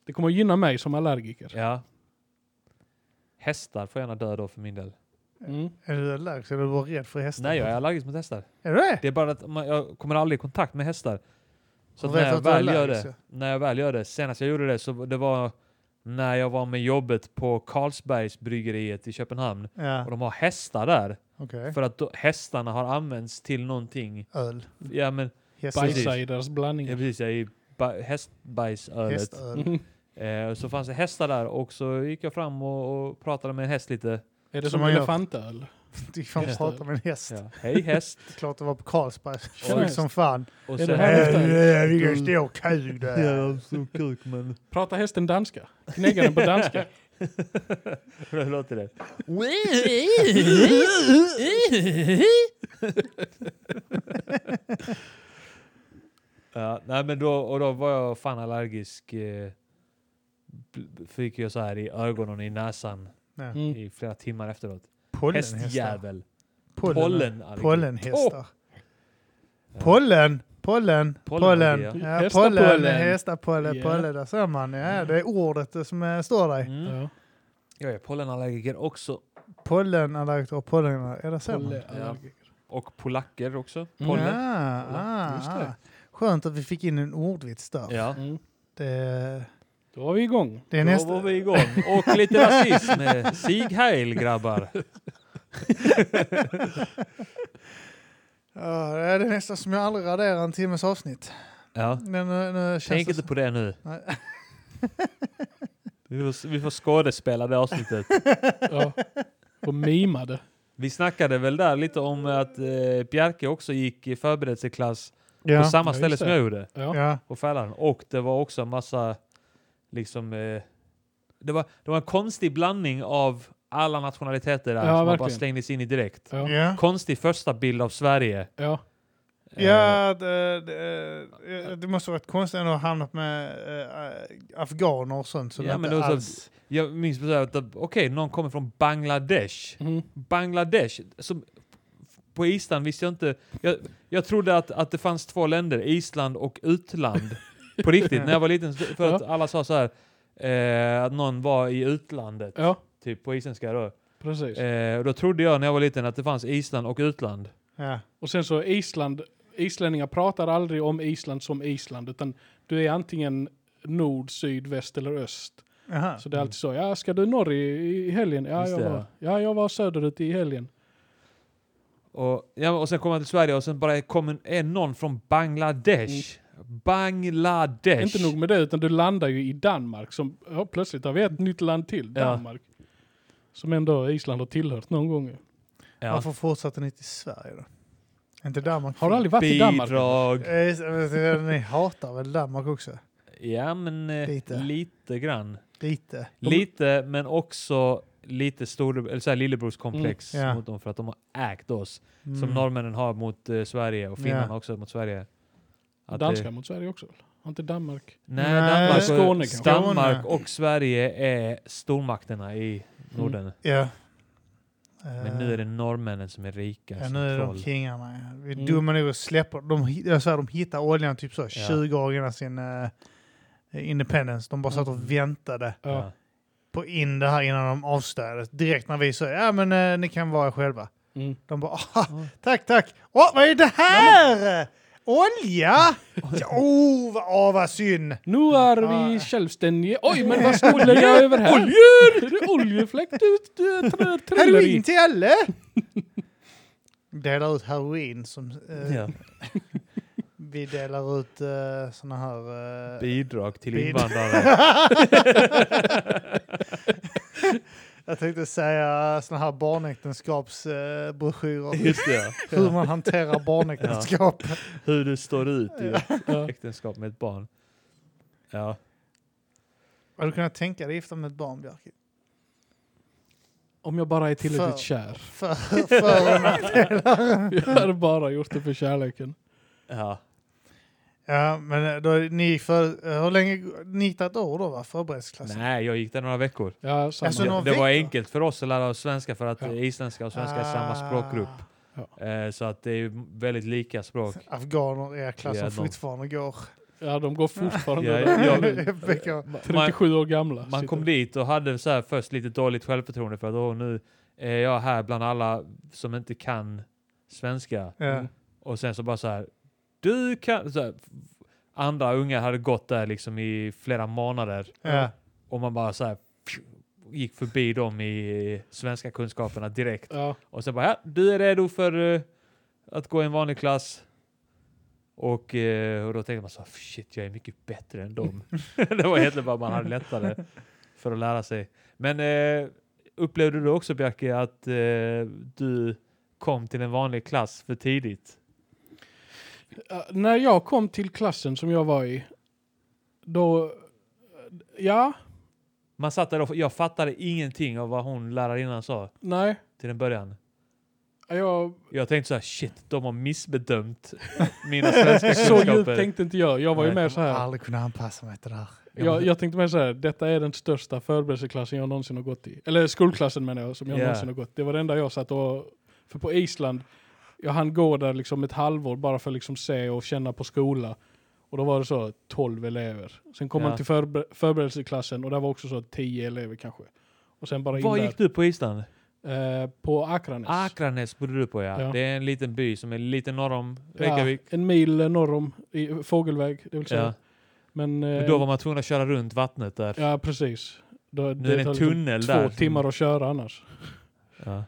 S3: Det kommer att gynna mig som allergiker.
S2: ja. Hästar får gärna dö då för min del.
S3: Mm.
S1: Är du allergisk? Är du bara rädd för hästar?
S2: Nej, jag är allergisk mot hästar.
S1: Är du det?
S2: Det är bara att man, jag kommer aldrig i kontakt med hästar. Så
S1: Och
S2: att
S1: vet
S2: när jag
S1: att du är
S2: väl gör
S1: allergisk,
S2: det, när jag väl gör det, senast jag gjorde det så det var när jag var med jobbet på Carlsbergs bryggeriet i Köpenhamn. Och
S1: Ja,
S2: de har hästar där.
S1: okej.
S2: För att då, hästarna har använts till någonting.
S1: Öl.
S2: Ja men
S1: Häst-
S3: Bajsa i deras
S1: Mm.
S3: blandning.
S2: Ja, precis, jag är i ba- hästbajsölet.
S1: Hästöl.
S3: Mm.
S2: Eh, så fanns det hästar där och så gick jag fram och, och pratade med en häst lite.
S3: Är det
S1: Som
S3: som,
S1: man gör.
S3: elefantöl?
S1: Du kan
S3: Hästöl.
S1: prata med en häst.
S2: Ja. Hej häst!
S1: Klart det var på Carlsberg. Sjuk
S3: häst.
S1: som fan.
S2: Och
S3: Är
S2: sen,
S3: det här
S1: Äh,
S3: hästen?
S1: äh, Vilken stor kuk det är.
S2: stor kuk men...
S3: Pratar hästen danska? Knäggar den på danska?
S2: Hur låter det? ja, nej men då, och då var jag fan allergisk. Eh, b- fick jag så här i ögonen och i näsan
S1: Ja.
S3: Mm.
S2: i flera timmar efteråt.
S1: Pollenhästar.
S2: Hästjävel.
S1: Pollen.
S2: Pollenallergi.
S1: Pollenhästar.
S2: Ja.
S1: Pollen, pollen, pollen.
S2: Pollenallergi,
S3: ja.
S1: Ja,
S3: Hästapollen.
S1: pollen, hästapollen,
S3: Ja.
S1: pollen. Där ser man. Ja, det är ordet eh, som eh, står där.
S2: Mm.
S3: Ja.
S2: Jag är pollenallergiker också.
S1: Pollenallergiker och pollen. Ja, där ser man.
S3: Pollenallergiker.
S2: Och polacker också.
S3: Mm.
S2: Pollen.
S1: Ah,
S3: Pollen. Just
S1: ah,
S3: det.
S1: ah. Skönt att vi fick in en ordvits där.
S2: Ja.
S3: Mm.
S1: Det,
S3: Då var vi igång.
S1: det är
S2: Då
S1: nästa...
S2: var vi igång. Och lite rasism. Eh, Sieg heil grabbar.
S1: Ja, det är det nästa som jag aldrig raderar en timmes avsnitt.
S2: Ja.
S1: Men nu, nu känns
S2: Tänk
S1: det...
S2: inte på det nu.
S1: Nej.
S2: Vi får, vi får skådespela det avsnittet.
S3: Ja. Och mimade.
S2: Vi snackade väl där lite om att eh, Bjerke också gick i förberedelseklass
S1: ja.
S2: på samma
S3: Ja,
S2: ställe
S3: just
S2: som
S3: det.
S2: jag gjorde,
S3: Ja.
S1: Ja.
S2: på Fälaren. Och det var också en massa, liksom, eh, det, var, det var en konstig blandning av alla nationaliteter där
S3: Ja,
S2: som man bara
S3: verkligen.
S2: slängdes in i direkt.
S3: Ja. Ja.
S1: Ja.
S2: Konstig första bild av Sverige.
S3: Ja.
S2: Eh,
S1: Ja, det, det, det måste varit konstigt ändå att ha hamnat med äh, afghaner och sånt som
S2: Ja, men
S1: inte
S2: det var så-
S1: alls...
S2: jag minns precis att, okej, någon kommer från Bangladesh.
S3: Mm.
S2: Bangladesh. Som, på Island visste jag inte. Jag, jag trodde att, att det fanns två länder, Island och utland. på riktigt, när jag var liten. För att alla sa så här, eh, att någon var i utlandet,
S3: ja.
S2: typ på isländska då.
S3: Precis.
S2: Eh, och då trodde jag när jag var liten att det fanns Island och utland.
S1: Ja.
S3: Och sen så Island, islänningar pratar aldrig om Island som Island utan du är antingen nord, syd, väst eller öst.
S1: Aha.
S3: Så det är alltid så, ja ska du norr i, i helgen? Ja
S2: Just
S3: jag,
S2: det,
S3: var, ja, jag var söderut i helgen.
S2: Och, ja, och sen kom jag till Sverige och sen bara kom en, är någon från Bangladesh. Bangladesh.
S3: Mm. Inte nog med det, utan du landar ju i Danmark som ja, plötsligt har vi ett nytt land till,
S2: Ja.
S3: Danmark. Som ändå Island har tillhört någon gång. ju.
S2: ja.
S1: Varför fortsatte ni till Sverige då? Inte Danmark?
S3: Har du aldrig varit i Danmark?
S2: Bidrag.
S1: Eh, just- eh, Ni hatar väl Danmark också?
S2: Ja, men eh,
S1: Lite.
S2: lite grann.
S1: Lite.
S3: De-
S2: Lite, men också lite store, eller så här lillebrorskomplex
S1: Mm, ja.
S2: mot dem för att de har ägt oss.
S1: Mm.
S2: Som norrmännen har mot eh, Sverige och finnarna
S1: Ja.
S2: också mot Sverige. Att det-
S3: Danskar mot Sverige också. väl? Har inte Danmark?
S2: nej,
S1: Nej.
S2: Danmark,
S3: Skåne
S2: och,
S3: kanske.
S2: Danmark
S1: Skåne. Mm.
S2: och Sverige är stormakterna i Norden.
S1: Ja.
S2: Men nu är det norrmännen som är rika.
S1: Ja,
S2: som
S1: Eh, nu är de
S2: troll.
S1: kingarna. ja. Vi är
S3: Mm.
S1: dumma nog att släppa... De, hi- jag säger, de hittar oljan typ så
S2: Ja.
S1: 20 år innan sin eh, independence. De bara satt och väntade
S3: Ja.
S2: Ja.
S1: på in det här innan de avslöjades. Direkt när vi sa ja men eh, ni kan vara själva.
S3: Mm.
S1: De bara "Ah, tack tack. Åh vad är det här? Olja? Ja, oh, vad, åh, vad synd.
S3: Nu är
S1: Mm. Ja.
S3: vi självständiga. Oj, men vad snubblar jag över här? Oljor! Det är oljefläkt ut, eh, trä- trillar
S1: Heroin
S3: i.
S1: till alla. Delar ut heroin som eh,
S2: Ja.
S1: vi delar ut eh, såna här... eh,
S2: Bidrag till
S1: Bid-
S2: invandrare.
S1: jag tänkte säga såna här barnäktenskapsbroschyrer. Eh, broschyrer.
S2: Just det.
S1: hur man hanterar barnäktenskap.
S2: Hur du står ut i ett
S3: Ja.
S2: äktenskap med ett barn. Ja.
S1: Har du kunnat tänka dig gifta med ett barn, Björk?
S3: Om jag bara är tillräckligt
S1: För-
S3: kär.
S1: För, för och nackdelar.
S3: Jag hade bara gjort det för kärleken.
S2: ja.
S1: Ja, men eh, då, är ni för, eh, hur länge, ni hittade ett år då va? Förberedelseklassen?
S2: Nej, jag gick där några veckor.
S3: Ja, samma.
S1: Alltså,
S2: Ja,
S1: någon
S2: det var
S1: veckor?
S2: enkelt för oss att lära oss svenska för att
S3: Ja.
S2: eh, isländska och svenska är
S1: Ah.
S2: samma språkgrupp. Eh, så att det är ju väldigt lika språk.
S1: Afghaner är klassen
S2: Ja, de-
S1: fortfarande går.
S3: ja, de går fortfarande
S2: Ja,
S3: där.
S2: ja,
S1: Veckor.
S2: Man,
S3: 37 år gamla.
S2: man kom
S3: sitter.
S2: dit och hade så här först lite dåligt självförtroende för att åh, nu är jag här bland alla som inte kan svenska.
S1: Ja.
S2: Och sen så bara så här, du kan... Så här, f- andra unga hade gått där liksom i flera månader
S1: Ja.
S2: och man bara så här pju, gick förbi dem i svenska kunskaperna direkt.
S3: Ja,
S2: Och sen bara, ja, du är redo för eh, att gå i en vanlig klass. Och, eh, och då tänkte man så här, shit jag är mycket bättre än dem. det var egentligen bara man hade lättare för att lära sig. Men eh, upplevde du också Bjarke att eh, du kom till en vanlig klass för tidigt?
S3: Eh, när jag kom till klassen som jag var i, då... Ja,
S2: Man satt där och jag fattade ingenting av vad hon lärarinnan sa
S3: nej.
S2: till en början.
S3: Jag,
S2: Jag tänkte så här, shit de har missbedömt mina svenska
S3: så djupt
S2: kunskaper.
S3: tänkte inte jag. Jag var ju
S2: Nej,
S3: mer så
S1: Jag
S3: här.
S1: kommer aldrig kunna anpassa mig till det här.
S3: Jag, jag tänkte mer så här, detta är den största förberedelseklassen jag någonsin har gått i. Eller skolklassen menar jag, som jag
S2: Ja.
S3: någonsin har gått. Det var det enda jag satt och... För på Island, jag hann gå där liksom ett halvår bara för att liksom se och känna på skola. Och då var det så 12 elever. Sen kom
S2: Ja.
S3: man till förber- förberedelseklassen och där var också så 10 elever kanske. Och sen bara in
S2: Var
S3: där.
S2: gick Ah, du på Island?
S3: Eh, på Akranes.
S2: Akranes bodde du på ja.
S3: Ja.
S2: Det är en liten by som är lite norr om Reykjavik.
S3: Ja, en mil norr om, i, fågelväg, det vill säga.
S2: Ja.
S3: Men, eh,
S2: Men då var man tvungen att köra runt vattnet där.
S3: Ja, precis. Då,
S2: Nu är det
S3: tar
S2: en
S3: liksom
S2: tunnel
S3: två
S2: där. som-
S3: timmar att köra annars.
S2: Ja.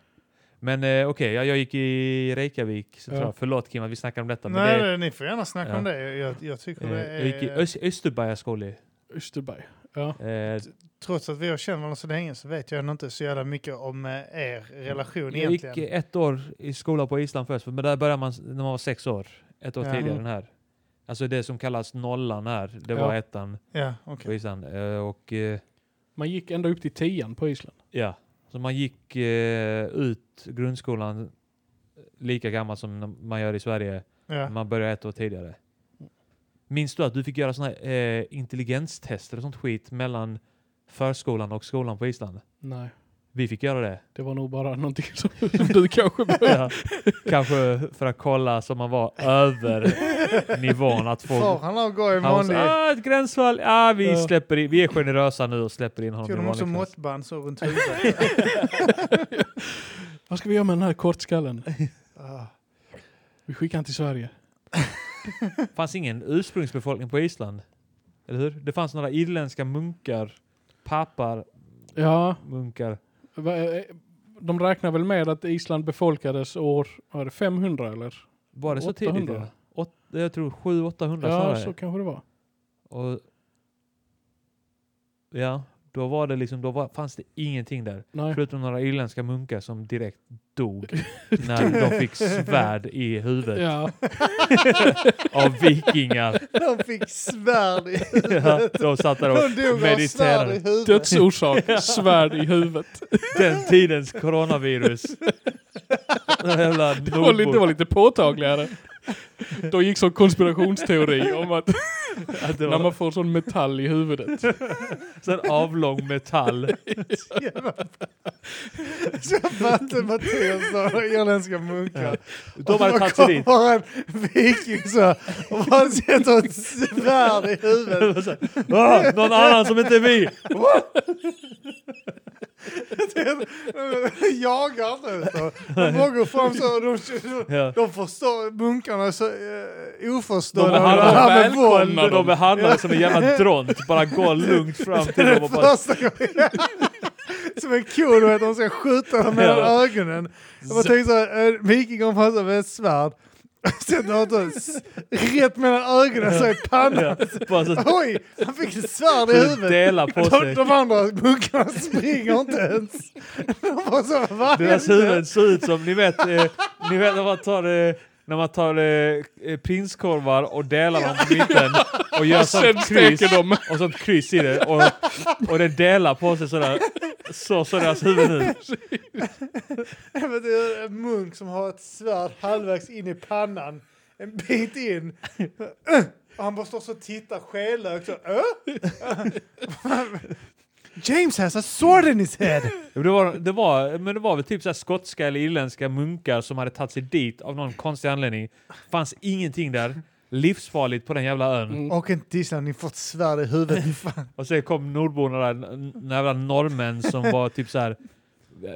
S2: Men eh, okej, ja, jag gick i Reykjavik. Så
S3: Ja.
S2: tror jag. Förlåt Kim att vi snackar om detta. Men
S1: Nej,
S2: det,
S1: ni får gärna snacka
S2: Ja.
S1: om det. Jag, jag tycker
S2: eh,
S1: det
S2: jag gick i
S1: är...
S2: Öst, Österberga skoli.
S3: Österberg.
S2: Eh,
S1: Trots att vi har känt varandra så länge så vet jag ändå inte så jävla mycket om eh, er relation
S2: jag gick
S1: egentligen.
S2: eh, ett år i skola på Island först, men där började man s- när man var sex år. Ett år
S1: Ja.
S2: tidigare
S3: Mm.
S2: än här. Alltså det som kallas nollan här, det
S3: Ja.
S2: var ettan
S1: Ja, okej.
S2: på Island. Eh, och eh,
S3: Man gick ända upp till tian på Island.
S2: ja, så man gick eh, ut grundskolan eh, lika gammal som när man gör i Sverige.
S1: Ja.
S2: Man börjar ett år tidigare. Minns du att du fick göra såna här, eh, intelligenstester och sånt skit mellan förskolan och skolan på Island?
S3: Nej,
S2: Vi fick göra det.
S3: det var nog bara någonting som du kanske började.
S2: Ja. Kanske för att kolla så man var över nivån. Att folk,
S1: Far, han har gå i
S2: han var så,
S1: vanlig...
S2: ah, ett gränsfall. Ah, vi,
S3: Ja.
S2: släpper in, vi är generösa nu och släpper in honom
S1: Tog
S2: i
S1: de också
S2: vanlig klass.
S1: måttband så runt huvudet?
S3: Vad ska vi göra med den här kortskallen?
S1: Ah.
S3: Vi skickar han till Sverige.
S2: fanns ingen ursprungsbefolkning på Island. Eller hur? Det fanns några irländska munkar, pappar,
S3: Ja,
S2: munkar.
S3: va- eh, de räknar väl med att Island befolkades år vad är det 500 eller?
S2: Var det så tidigt?
S3: 800?
S2: Ja? Åt, jag tror 700-800
S3: Ja,
S2: snarare.
S3: så kanske det var.
S2: Och, ja, då var det liksom, då var, fanns det ingenting där.
S3: Nej.
S2: Förutom några irländska munkar som direkt dog när de fick svärd i huvudet
S3: Ja,
S2: av vikingar.
S1: De fick svärd i
S2: Ja, de satt där
S1: De
S2: och
S1: dog av svärd i
S2: mediterade.
S1: huvudet.
S3: dödsorsak, svärd i huvudet.
S2: Den tidens coronavirus. Den jävla
S3: Det var, lite, det
S2: nordbor-
S3: var lite påtagligare. Då gick som konspirationsteori om att
S2: att det
S3: när
S2: var
S3: man får sån metall i huvudet.
S2: sån avlång metall.
S1: Så jag fattar Mattias sa irländska munkar.
S2: De hade
S1: Och
S2: tagit sig
S1: kom
S2: dit.
S1: bara en viking så här och bara sätter ett svärd i
S2: Det
S1: huvudet.
S2: var så här, "Ah, Någon annan som inte är vi!
S1: De jagar inte utan de bara går fram så och de,
S2: Ja.
S1: de förstår, munkarna är så uh, oförstådda.
S2: De
S1: och
S2: behandlar-
S1: det här med våld.
S2: Välkomna dem. De behandlade som en jävla dront. Bara gå lugnt fram till dem och bara
S1: Första gången. Som en ko, du vet, de ska skjuta dem mellan
S2: Ja.
S1: ögonen. Jag bara tänkte såhär, Mikael kom fram så här eh, med ett svärd. Sen har han så s- rätt mellan ögonen, så i
S2: Ja,
S1: pannan.
S2: bara så
S1: Oj, han fick ett svärd i
S2: att
S1: huvudet.
S2: dela på
S1: De,
S2: sig.
S1: de andra munkarna springer inte ens. De bara så, här, vad
S2: Deras
S1: hände?"
S2: huvuden ser ut som, ni vet, eh, ni vet när man tar, eh, när man tar eh, eh, prinskorvar och delar dem på mitten och gör
S3: Sen
S2: sånt kryss,
S3: steker de.
S2: och sånt kryss i det och, och den delar på sig sådär. Så ser deras huvuden ut.
S1: Jag vet, Det är en munk som har ett svärd halvvägs in i pannan, en bit in. Och han bara står så och tittar skelögt. så, "Äh?" James has a sword in his head!
S2: Men Det var, det var, men det var väl typ såhär skotska eller irländska munkar som hade tagit sig dit av någon konstig anledning. Fanns ingenting där. Livsfarligt på den jävla ön.
S1: Och inte till Island, ni får ett svärd i huvudet. Fan.
S2: Och sen kom nordborna där, n- n- jävla norrmän som var typ så här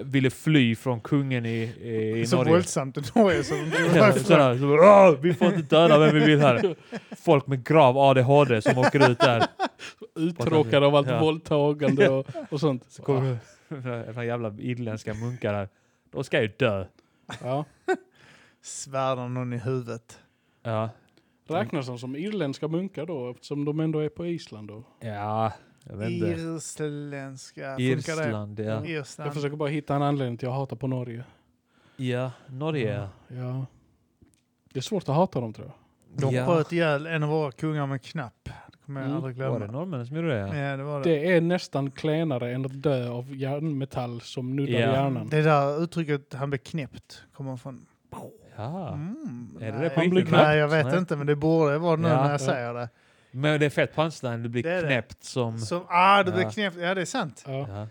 S2: ville fly från kungen i, i, i
S1: Så
S2: Norge.
S1: våldsamt i Norge som de drog
S2: Ja,
S1: därifrån.
S2: sådär, så, bara, "Åh, vi får inte döda vem vi vill här. Folk med grav ADHD som åker ut där.
S3: Uttråkade av allt
S2: Ja.
S3: våldtagande och, och sånt.
S2: Så kommer några jävla irländska munkar här. De ska ju dö.
S3: Ja.
S1: Svärdar någon i huvudet.
S2: Ja.
S3: Räknas de som irländska munkar då eftersom de ändå är på Island då?
S2: Ja, jag vet inte.
S1: Irländska. Funkar det?
S2: Irland, ja.
S3: Jag
S1: Irland.
S3: försöker bara hitta en anledning till att jag hatar på Norge.
S2: Ja,
S1: Mm.
S2: Norge.
S3: Ja. Det är svårt att hata dem tror jag.
S1: De
S2: ja. Mm.
S1: sköt ihjäl en av våra kungar med knapp. Det kommer jag aldrig glömma. Mm.
S2: Var det norrmännen som gjorde det?
S1: Ja, det var det.
S3: Det är nästan klenare än att dö av järnmetall som
S2: Ja.
S3: nuddar hjärnan.
S1: Det där uttrycket han blev knäppt kommer från...
S2: Ja.
S1: Mm,
S2: Är det
S1: nej.
S2: det på
S3: Han blir
S2: riktigt?
S1: Nej, jag vet
S2: Nej.
S1: inte, men det borde vara nu
S2: Ja.
S1: när jag säger det.
S2: Men det är fett punchline, du blir
S1: Det är det.
S2: knäppt som...
S1: Som, ah, du
S2: Mm. Ja.
S1: blev knäppt. Ja, det är sant.
S3: Ja.
S2: Ja.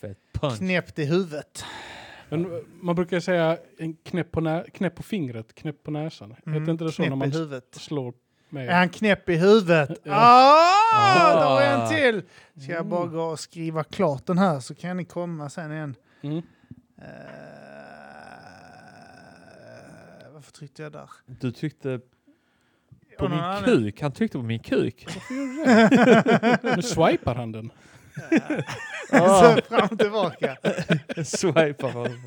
S2: Fett punch.
S1: Knäppt i huvudet.
S3: Men man brukar säga en knäpp på, nä- knäpp på fingret, knäpp på näsan.
S1: Mm,
S3: Heter inte det så när
S1: knäpp i
S3: man
S1: huvudet.
S3: slår med?
S1: Är han knäpp i huvudet?
S3: Ja.
S1: Ah,
S2: Ah.
S1: då är en till! Ska jag
S3: Mm.
S1: bara gå och skriva klart den här så kan ni komma sen igen.
S3: Mm.
S1: Eh, varför tryckte jag där?
S2: Du tryckte på
S1: Och någon
S2: min
S1: annan-
S2: kuk. Han tryckte på min kuk.
S3: Varför gör du det? nu swipar han den.
S2: Ah,
S1: Så fram och tillbaka.
S2: swipar honom.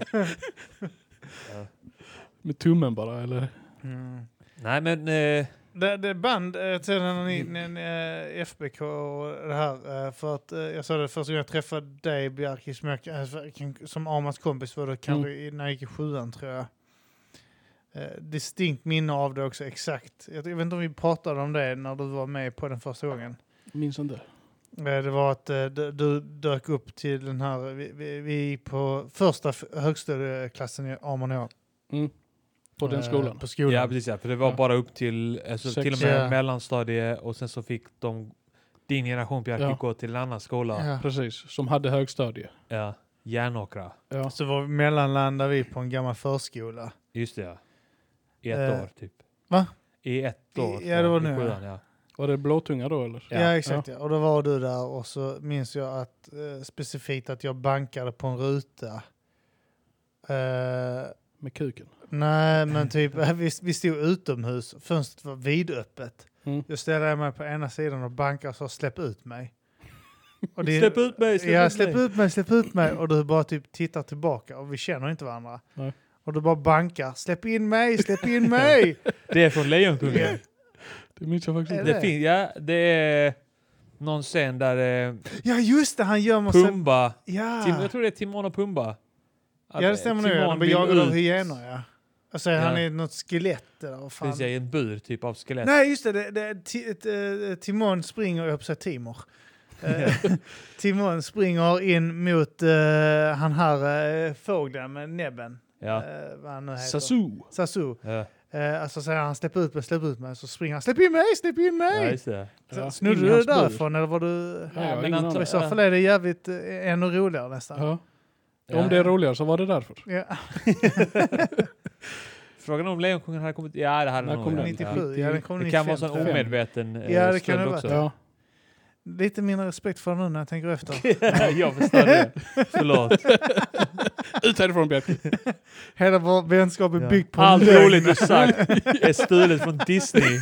S3: Med tummen bara eller?
S1: Mm.
S2: Nej men... Eh,
S1: Det, det band eh, till när ni, när ni, eh, FBK och det här. eh, För att eh, jag sa det första gången jag träffade dig Bjarki som, jag, eh, för- kan- som Amas kompis var det kanske
S2: Mm.
S1: i- när jag gick i sjuan tror jag. Eh, Distinkt minne av det också exakt. Jag, jag vet inte om vi pratade om det när du var med på den första gången.
S3: Minns inte.
S1: Eh, Det var att eh, du, du dök upp till den här, vi, vi, vi gick på första f- högstadieklassen i Amon och jag.
S3: Mm. På den
S1: Eh,
S3: skolan.
S1: På skolan.
S2: ja precis ja, för det var
S3: Ja.
S2: bara upp till... Alltså,
S3: Sex.
S2: till och med
S1: Ja.
S2: mellanstadie och sen så fick de... Din generation Bjarke
S3: Ja.
S2: gå till en annan skola.
S1: Ja.
S3: Precis, som hade högstadie.
S2: Ja. Järnåkra.
S3: Ja.
S1: Så var, mellanlandade vi på en gammal förskola.
S2: Just det ja. I ett
S1: Eh,
S2: år typ.
S1: va?
S2: I ett
S1: I-
S2: år.
S1: ja, det var nu, ja.
S2: I sjuan, ja.
S3: Var det blåtunga då eller?
S1: Ja, exakt. Ja. Och då var du där och så minns jag att eh, specifikt att jag bankade på en ruta. Eh,
S3: Med kuken.
S1: nej, men typ vi, vi stod utomhus. Fönstret var vidöppet.
S3: Mm.
S1: Jag ställde mig på ena sidan och bankade och sa släpp ut mig. Och det-
S2: Släpp ut mig! Släpp
S1: ja,
S2: ut
S1: släpp
S2: mig!
S1: ut mig, släpp ut mig. Och du bara typ tittar tillbaka och vi känner inte varandra.
S3: Nej.
S1: Och du bara bankar, släpp in mig, släpp in mig!
S2: Det är från Lejonkungen.
S3: Det minns jag faktiskt
S1: Är
S3: inte.
S1: det?
S2: Det finns, ja, det är någon scen där eh,
S1: ja just det, han gömmer sig.
S2: Pumba,
S1: Ja.
S2: Tim, jag tror det är Timon och Pumba. Att,
S1: Ah. Ja, det stämmer nog.
S2: Timon
S1: Han blir
S2: vill
S1: jagad av
S2: ut.
S1: hyenor, ja. Alltså,
S2: Ja.
S1: han är något skelett eller vad fan.
S2: Precis, ja, i en bur typ av skelett.
S1: Nej, just det. det, det ti, ett, eh, Timon springer, jag på sig Timor. Eh, Timon springer in mot eh, han här eh, fågeln med näbben.
S2: Ja.
S1: Eh, vad han nu heter.
S3: Sasu.
S1: Sasu.
S2: Ja,
S1: Eh, alltså säger han släpp ut mig, släpp ut mig. Så springer han, släpp in mig, släpp in
S2: ja,
S1: mig!
S2: just det.
S1: Ja,
S3: Ja,
S1: Snodde
S3: in i
S1: du det
S3: hans bur.
S1: därifrån eller var du...
S3: Ja, jag har
S2: men
S3: ingen
S2: antar-
S3: aning.
S1: I så fall är det jävligt eh, ännu roligare nästan.
S3: Ja.
S2: Ja.
S3: Om det är roligare så var det därför.
S1: Ja,
S2: Frågan om Lejonkungen hade kommit... Ja, det hade
S3: När
S2: nog
S3: kom
S2: hänt,
S3: den?
S1: 97. Ja, den kom
S2: Ja. Det kan vara
S1: 95,
S2: sån
S1: tror jag.
S2: omedveten eh,
S1: Ja, det kan
S2: stöld
S1: det vara.
S2: också.
S3: Ja.
S1: Lite mindre respekt för honom nu när jag tänker efter.
S2: jag förstår det. Förlåt.
S3: Ut härifrån Bjarke.
S1: Hela vår vänskap är
S2: Ja.
S1: byggd på
S2: Allt
S1: lögn.
S2: roligt du sagt är stulet från Disney.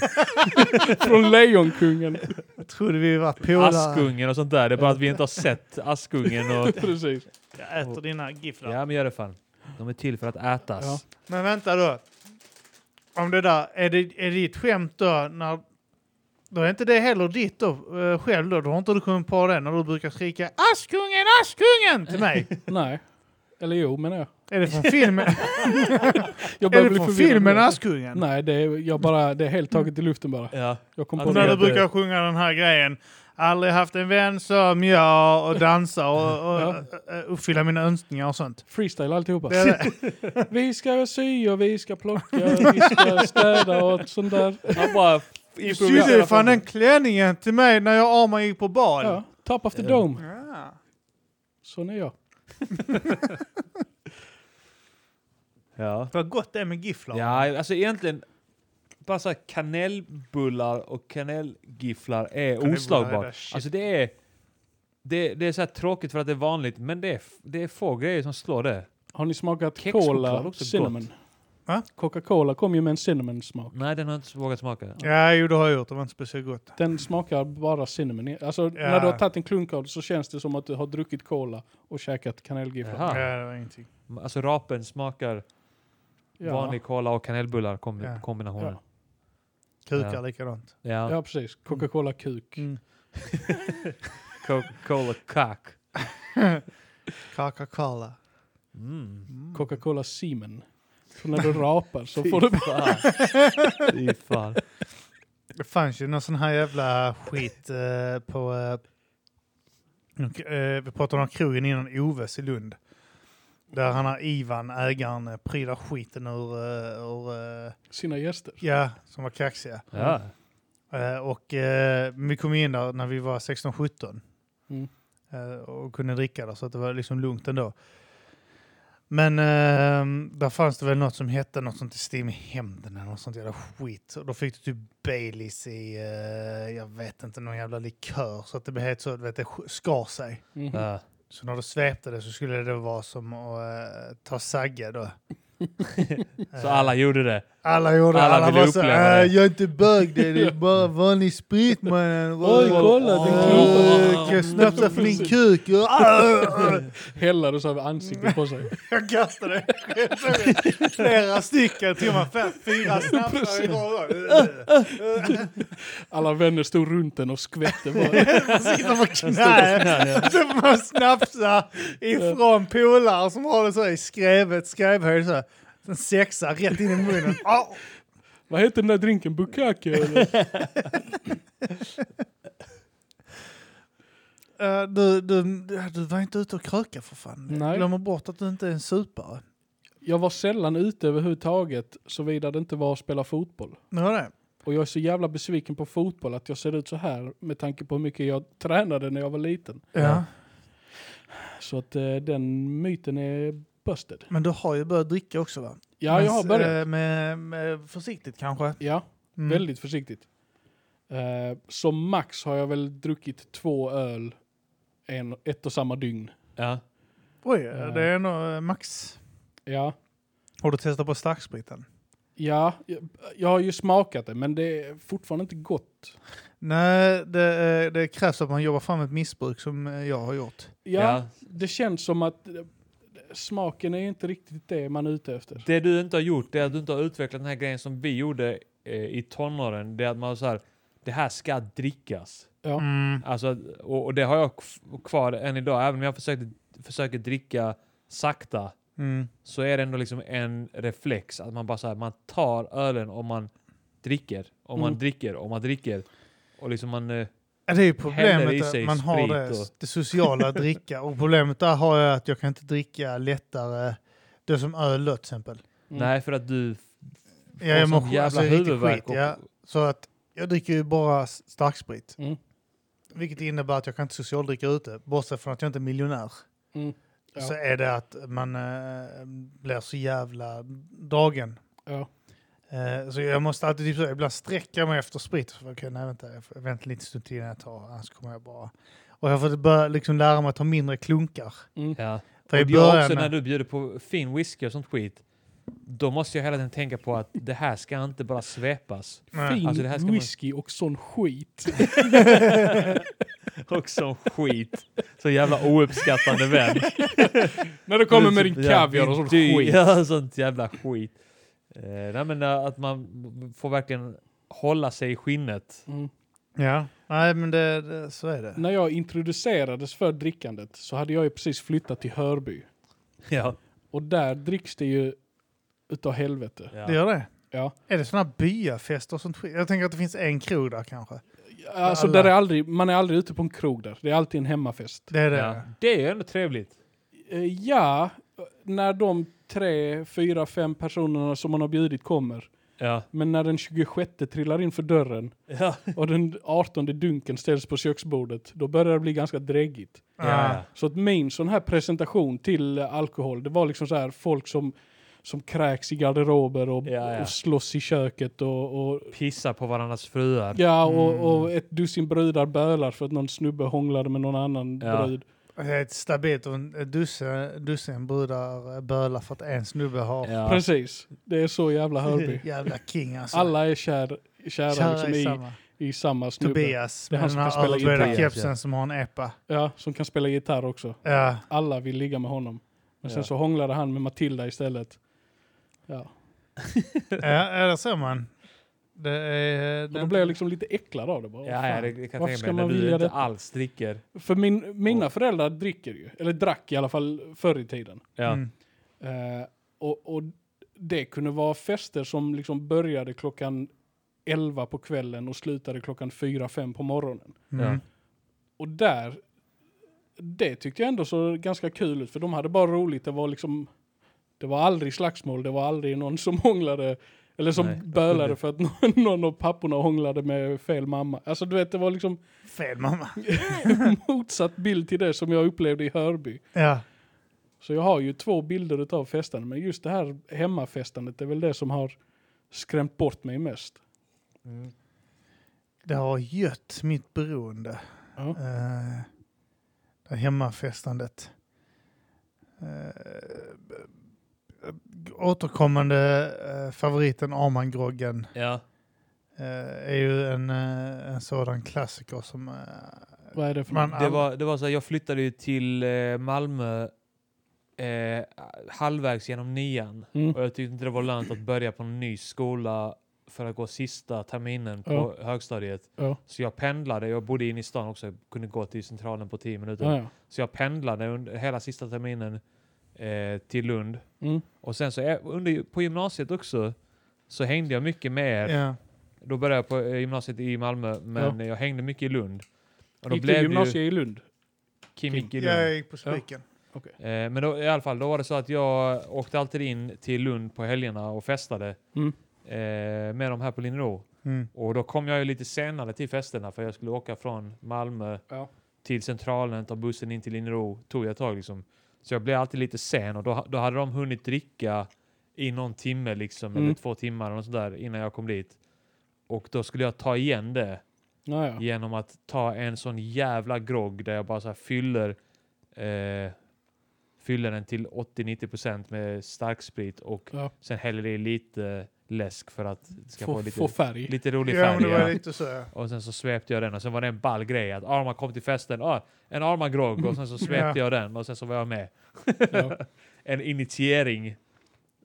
S3: Från Lejonkungen.
S1: Jag trodde vi var polare.
S2: Askungen och sånt där. Det är bara att vi inte har sett Askungen och...
S3: Precis.
S1: Jag äter dina gifflar.
S2: Ja, men gör det fan. De är till för att ätas.
S3: Ja.
S1: Men vänta då. Om det där, är det, är det ditt skämt då? När, då är inte det heller ditt då, eh, själv då? Då har inte du kommit på det när du brukar skrika Askungen, Askungen till mig?
S3: Nej. Eller jo menar jag.
S1: är det från filmen,
S3: Jag
S1: är
S3: börjar
S1: det
S3: bli
S1: från
S3: förvirrad.
S1: filmen Askungen?
S3: Nej, det är, jag bara, det är helt taget i luften bara.
S2: Ja.
S3: Jag kom
S2: Ja,
S3: på
S1: När
S2: det
S1: du
S2: heter-
S1: brukar sjunga den här grejen. Aldrig haft en vän som jag och dansa och, och,
S3: Ja.
S1: eh, uppfylla mina önskningar och sånt.
S3: Freestyle alltihopa.
S1: Det är det.
S3: Vi ska sy och vi ska plocka och vi ska städa och sånt där.
S2: Han bara...
S1: Du sydde fan den klänningen till mig när jag och Arman gick på bal.
S3: Ja, top of the
S2: Ja.
S3: dome.
S1: Ja.
S3: Sån är jag.
S2: Ja.
S1: Vad gott det är med gifflar.
S2: ja, alltså egentligen... Bara så här, kanelbullar och kanelgifflar är
S1: Kanelbullar är
S2: oslagbart.
S1: det shit.
S2: alltså det är... Det, det är så här tråkigt för att det är vanligt, men det är, f- det är få grejer som slår det.
S3: Har ni smakat
S2: Kexchoklad är
S3: cola
S2: också
S3: cinnamon?
S1: Va?
S3: Coca-Cola kom ju med en cinnamon smak.
S2: Nej, den har jag inte vågat smaka.
S1: Ja, jo det har jag gjort. Det var inte speciellt gott.
S3: Den smakar bara cinnamon. i- Alltså
S1: Ja.
S3: när du har tagit en klunk av det så känns det som att du har druckit cola och käkat kanelgifflar.
S2: Jaha. Ah.
S1: Ja, det var ingenting.
S2: Alltså rapen smakar
S3: Ja.
S2: vanlig cola och kanelbullar kom,
S1: Ja.
S2: kombinationen.
S3: Ja.
S1: Kukar
S2: Ja.
S1: likadant.
S2: Ja.
S3: Ja, precis. Coca-Cola kuk.
S1: Mm.
S2: Coca-Cola kack.
S1: Coca-Cola.
S2: Mm.
S1: Mm.
S3: Coca-Cola semen. Så när du rapar så får du...
S2: fan. Fy fan.
S1: Det fanns ju någon sån här jävla skit eh, på... Eh, eh, vi pratade om krogen innan Oves i Lund. Där han har Ivan, ägaren, eh, prylar skiten ur... eh, ur eh,
S3: Sina gäster.
S1: ja, som var kaxiga.
S2: Ja.
S1: Eh, och eh, vi kom in där när vi var 16-17
S3: Mm.
S1: eh, och kunde dricka där så att det var liksom lugnt ändå. Men eh, där fanns det väl något som hette något sånt i Steam i hämnden eller något sånt jävla skit. Och då fick du typ Baileys i, eh, jag vet inte, någon jävla likör så att det blev helt så, du vet, det sk- skar sig.
S3: Mhm.
S2: Ja.
S1: Så när du svepte det så skulle det vara som att eh, ta sagge då. Eh,
S2: Så alla gjorde det.
S1: Alla gjorde
S2: Alla
S1: alla, alla
S2: ville
S1: var så
S2: uppleva
S1: här,
S2: det."
S1: "Äh, jag är inte bög, det är- det är bara vanlig sprit mannen.
S3: Oj, kolla,
S2: den
S1: Åh,
S2: knoppar.
S1: Kan jag snapsa för din kuk? Äh, äh.
S3: Hällar och så över ansiktet på sig.
S1: Jag kastade flera stycken, tog man fem, fyra snapsar i rad.
S3: Alla vänner stod runt den och skvätte bara.
S1: Sitter på knä, så får man snapsa ifrån polare som håller så i skrevet, skrevhöjd så här. En sexa rätt in i munnen. Au!
S3: Vad heter den där drinken? Bukake eller?
S1: Eh, du, du, du var inte ute och kröka för fan.
S3: Nej.
S1: Glömmer bort att du inte är en supare.
S3: Jag var sällan ute överhuvudtaget såvida det inte var att spela fotboll.
S1: Nu var det.
S3: Och jag är så jävla besviken på fotboll att jag ser ut så här med tanke på hur mycket jag tränade när jag var liten.
S1: Ja.
S3: Så att eh, den myten är busted.
S1: Men du har ju börjat dricka också va?
S3: Ja,
S1: Men
S3: jag har
S1: s- eh,
S3: börjat.
S1: Med, med försiktigt kanske?
S3: Ja,
S1: Mm.
S3: väldigt försiktigt. Eh, som max har jag väl druckit två öl en, ett och samma dygn.
S2: Ja.
S1: Oj,
S3: Mm.
S1: det är nog eh, max.
S3: Ja,
S1: Har du testat på starkspriten?
S3: ja jag, jag har ju smakat det men det är fortfarande inte gott.
S1: Nej, det, eh, det krävs att man jobbar fram ett missbruk som eh, jag har gjort.
S3: Ja,
S2: Ja.
S3: det känns som att eh, smaken är inte riktigt det man är ute efter.
S2: Det du inte har gjort det är att du inte har utvecklat den här grejen som vi gjorde eh, i tonåren. Det är att man så här, det här ska drickas.
S3: Ja.
S1: Mm.
S2: Alltså, att- och, och det har jag k- kvar än idag. Även om jag försökte, försöker dricka sakta
S1: Mm.
S2: så är det ändå liksom en reflex att man bara så här, man tar ölen och man dricker och man
S3: Mm.
S2: dricker och man dricker. Och liksom man...
S1: Mm.
S2: eh,
S1: Ja, Det är ju
S2: Häller i
S1: problemet
S2: sig
S1: att man har
S2: sprit
S1: det,
S2: och-
S1: det sociala att dricka. Och problemet där har jag att jag kan inte dricka lättare, det som öl då till exempel.
S3: Mm.
S2: Nej, för att du
S1: Ja, jag
S2: sån
S1: mår sk-
S2: jävla
S1: alltså, riktig
S2: huvudvärk
S1: skit,
S2: och-
S1: ja. Så att jag dricker ju bara s- starksprit.
S3: Mm.
S1: Vilket innebär att jag kan inte socialdricka ute. Bortsett från att jag inte är miljonär.
S3: Mm. Ja.
S1: Så är det att man eh, blir så jävla dragen.
S3: Ja.
S1: Eh, så jag måste alltid typ så, ibland sträcka jag mig efter sprit. Så Okej, nej vänta, jag får vänta lite stund till innan jag tar, annars kommer jag bara... Och jag har fått börja liksom lära mig att ta mindre klunkar.
S3: Mm.
S2: Ja.
S1: För i
S2: och jag också
S1: början...
S2: när du bjuder på fin whisky och sånt skit, då måste jag hela tiden tänka på att det här ska inte bara svepas.
S1: Nej.
S3: Fin
S2: Alltså, det här ska man-
S3: whisky och sån skit.
S2: Och sån skit. Så jävla ouppskattande vän. typ-
S3: När du kommer med din
S2: Ja,
S3: kaviar och sån
S2: dyr-
S3: skit.
S2: Ja, sånt jävla skit. Eh, nej men eh, att man får verkligen hålla sig i skinnet.
S3: Mm.
S1: Ja, nej men det, det, så är det.
S3: När jag introducerades för drickandet så hade jag ju precis flyttat till Hörby.
S2: Ja.
S3: Och där dricks det ju utav helvete.
S1: Det
S2: Ja.
S1: gör det.
S3: Ja.
S1: Är det sådana byafester och sånt skit? Jag tänker att det finns en krog där kanske.
S3: Alltså,
S1: Alla.
S3: där är aldrig, man är aldrig ute på en krog där. Det är alltid en hemmafest.
S1: Det är det.
S2: Ja. Det är ju ändå trevligt.
S3: Eh, Ja, när de tre, fyra, fem personerna som man har bjudit kommer.
S2: Ja.
S3: Men när den 26 trillar in för dörren
S2: Ja.
S3: och den 18 dunken ställs på köksbordet, då börjar det bli ganska dräggigt.
S1: Ja.
S2: Ja.
S3: Så att min sån här presentation till eh, alkohol, det var liksom så här folk som, som kräks i garderober och,
S2: Ja, ja.
S3: och slåss i köket och, och
S2: Pissa på varandras fruar.
S3: Ja,
S2: Mm.
S3: och, och ett dussin brudar bölar för att någon snubbe hånglade med någon annan
S2: Ja.
S3: brud.
S1: Det är ett stabilt och en dussin, dussin brudar eh, bölar för att en snubbe har
S2: Ja.
S3: Precis. Det är så jävla Hörby.
S1: jävla king alltså.
S3: Alla är kär, kära,
S1: Kära
S3: liksom,
S1: i
S3: i,
S1: samma.
S3: i samma snubbe.
S1: Tobias
S3: Det är
S1: med
S3: han
S1: den
S3: som
S1: här
S3: kan spela
S1: överbreda
S2: gitarr.
S1: kepsen som har en epa.
S3: Ja, som kan spela gitarr också.
S1: Ja.
S3: Alla vill ligga med honom. Men sen
S2: Ja.
S3: så hånglade han med Matilda istället. Ja.
S1: ja, ja, där ser man. Det är... eh,
S3: Och då blir jag liksom lite äcklad av det bara.
S2: Ja, ja, det det kan jag
S3: Varför ska
S2: tänka mig.
S3: man
S2: När du
S3: vilja
S2: inte
S3: detta?
S2: alls dricker.
S3: För min, mina föräldrar dricker ju, eller drack i alla fall förr i tiden.
S2: Ja.
S1: Mm.
S3: Eh, och, och det kunde vara fester som liksom började klockan 11 på kvällen och slutade klockan 4-5 på morgonen.
S1: Mm.
S3: Och där, det tyckte jag ändå så ganska kul ut för de hade bara roligt. Det var liksom, det var aldrig slagsmål, det var aldrig någon som hånglade eller som
S2: Nej, jag kunde-
S3: bölade för att någon, någon av papporna hånglade med fel mamma. Alltså du vet, det var liksom
S1: Fel mamma.
S3: motsatt bild till det som jag upplevde i Hörby.
S1: Ja.
S3: Så jag har ju två bilder utav festandet, men just det här hemmafestandet är väl det som har skrämt bort mig mest.
S1: Det har gött mitt beroende.
S3: Ja.
S1: Eh, det här hemmafestandet. Uh, återkommande eh, favoriten Armangroggen
S2: Ja.
S1: eh, är ju en, eh, en sådan klassiker som... eh,
S3: Vad är det för
S1: Man-
S3: något?
S2: Det var, det var så här, jag flyttade ju till eh, Malmö eh, halvvägs genom nian.
S3: Mm.
S2: Och jag tyckte inte det var lönt att börja på en ny skola för att gå sista terminen på högstadiet.
S3: Ja.
S2: Så jag pendlade, jag bodde inne i stan också, jag kunde gå till centralen på 10 minuter.
S3: Ja, ja.
S2: Så jag pendlade under hela sista terminen eh, till Lund.
S3: Mm.
S2: Och sen så eh, under, på gymnasiet också så hängde jag mycket med er.
S1: ja.
S2: Då började jag på eh, gymnasiet i Malmö, men jag hängde mycket i Lund. Och då
S3: Gick du
S2: blev
S3: gymnasiet
S2: ju
S3: i Lund?
S2: Kim gick i Lund.
S1: Jag gick på spiken.
S2: Eh, men då, i alla fall, då var det så att jag åkte alltid in till Lund på helgerna och festade
S3: Mm.
S2: eh, med dem här på Linnero.
S1: Mm.
S2: Och då kom jag ju lite senare till festerna för jag skulle åka från Malmö
S3: Ja.
S2: till Centralen, ta bussen in till Linnero, tog jag ett tag liksom. Så jag blev alltid lite sen och då, då hade de hunnit dricka i någon timme liksom, eller
S3: Mm.
S2: två timmar och sådär innan jag kom dit. Och då skulle jag ta igen det
S3: Ja, ja.
S2: genom att ta en sån jävla grogg där jag bara så här fyller, eh, fyller den till 80-90% med starksprit och
S3: Ja.
S2: sen häller i lite läsk för att det ska få,
S3: Få,
S2: lite,
S3: få färg.
S2: lite rolig
S1: Ja, men
S2: färg.
S1: det var
S2: Ja.
S1: lite så. ja.
S2: Och sen så svepte jag den och sen var det en ball grej att Arma kom till festen, ah, en Arma grogg och sen så svepte jag den och sen så var jag med.
S3: Ja.
S2: En initiering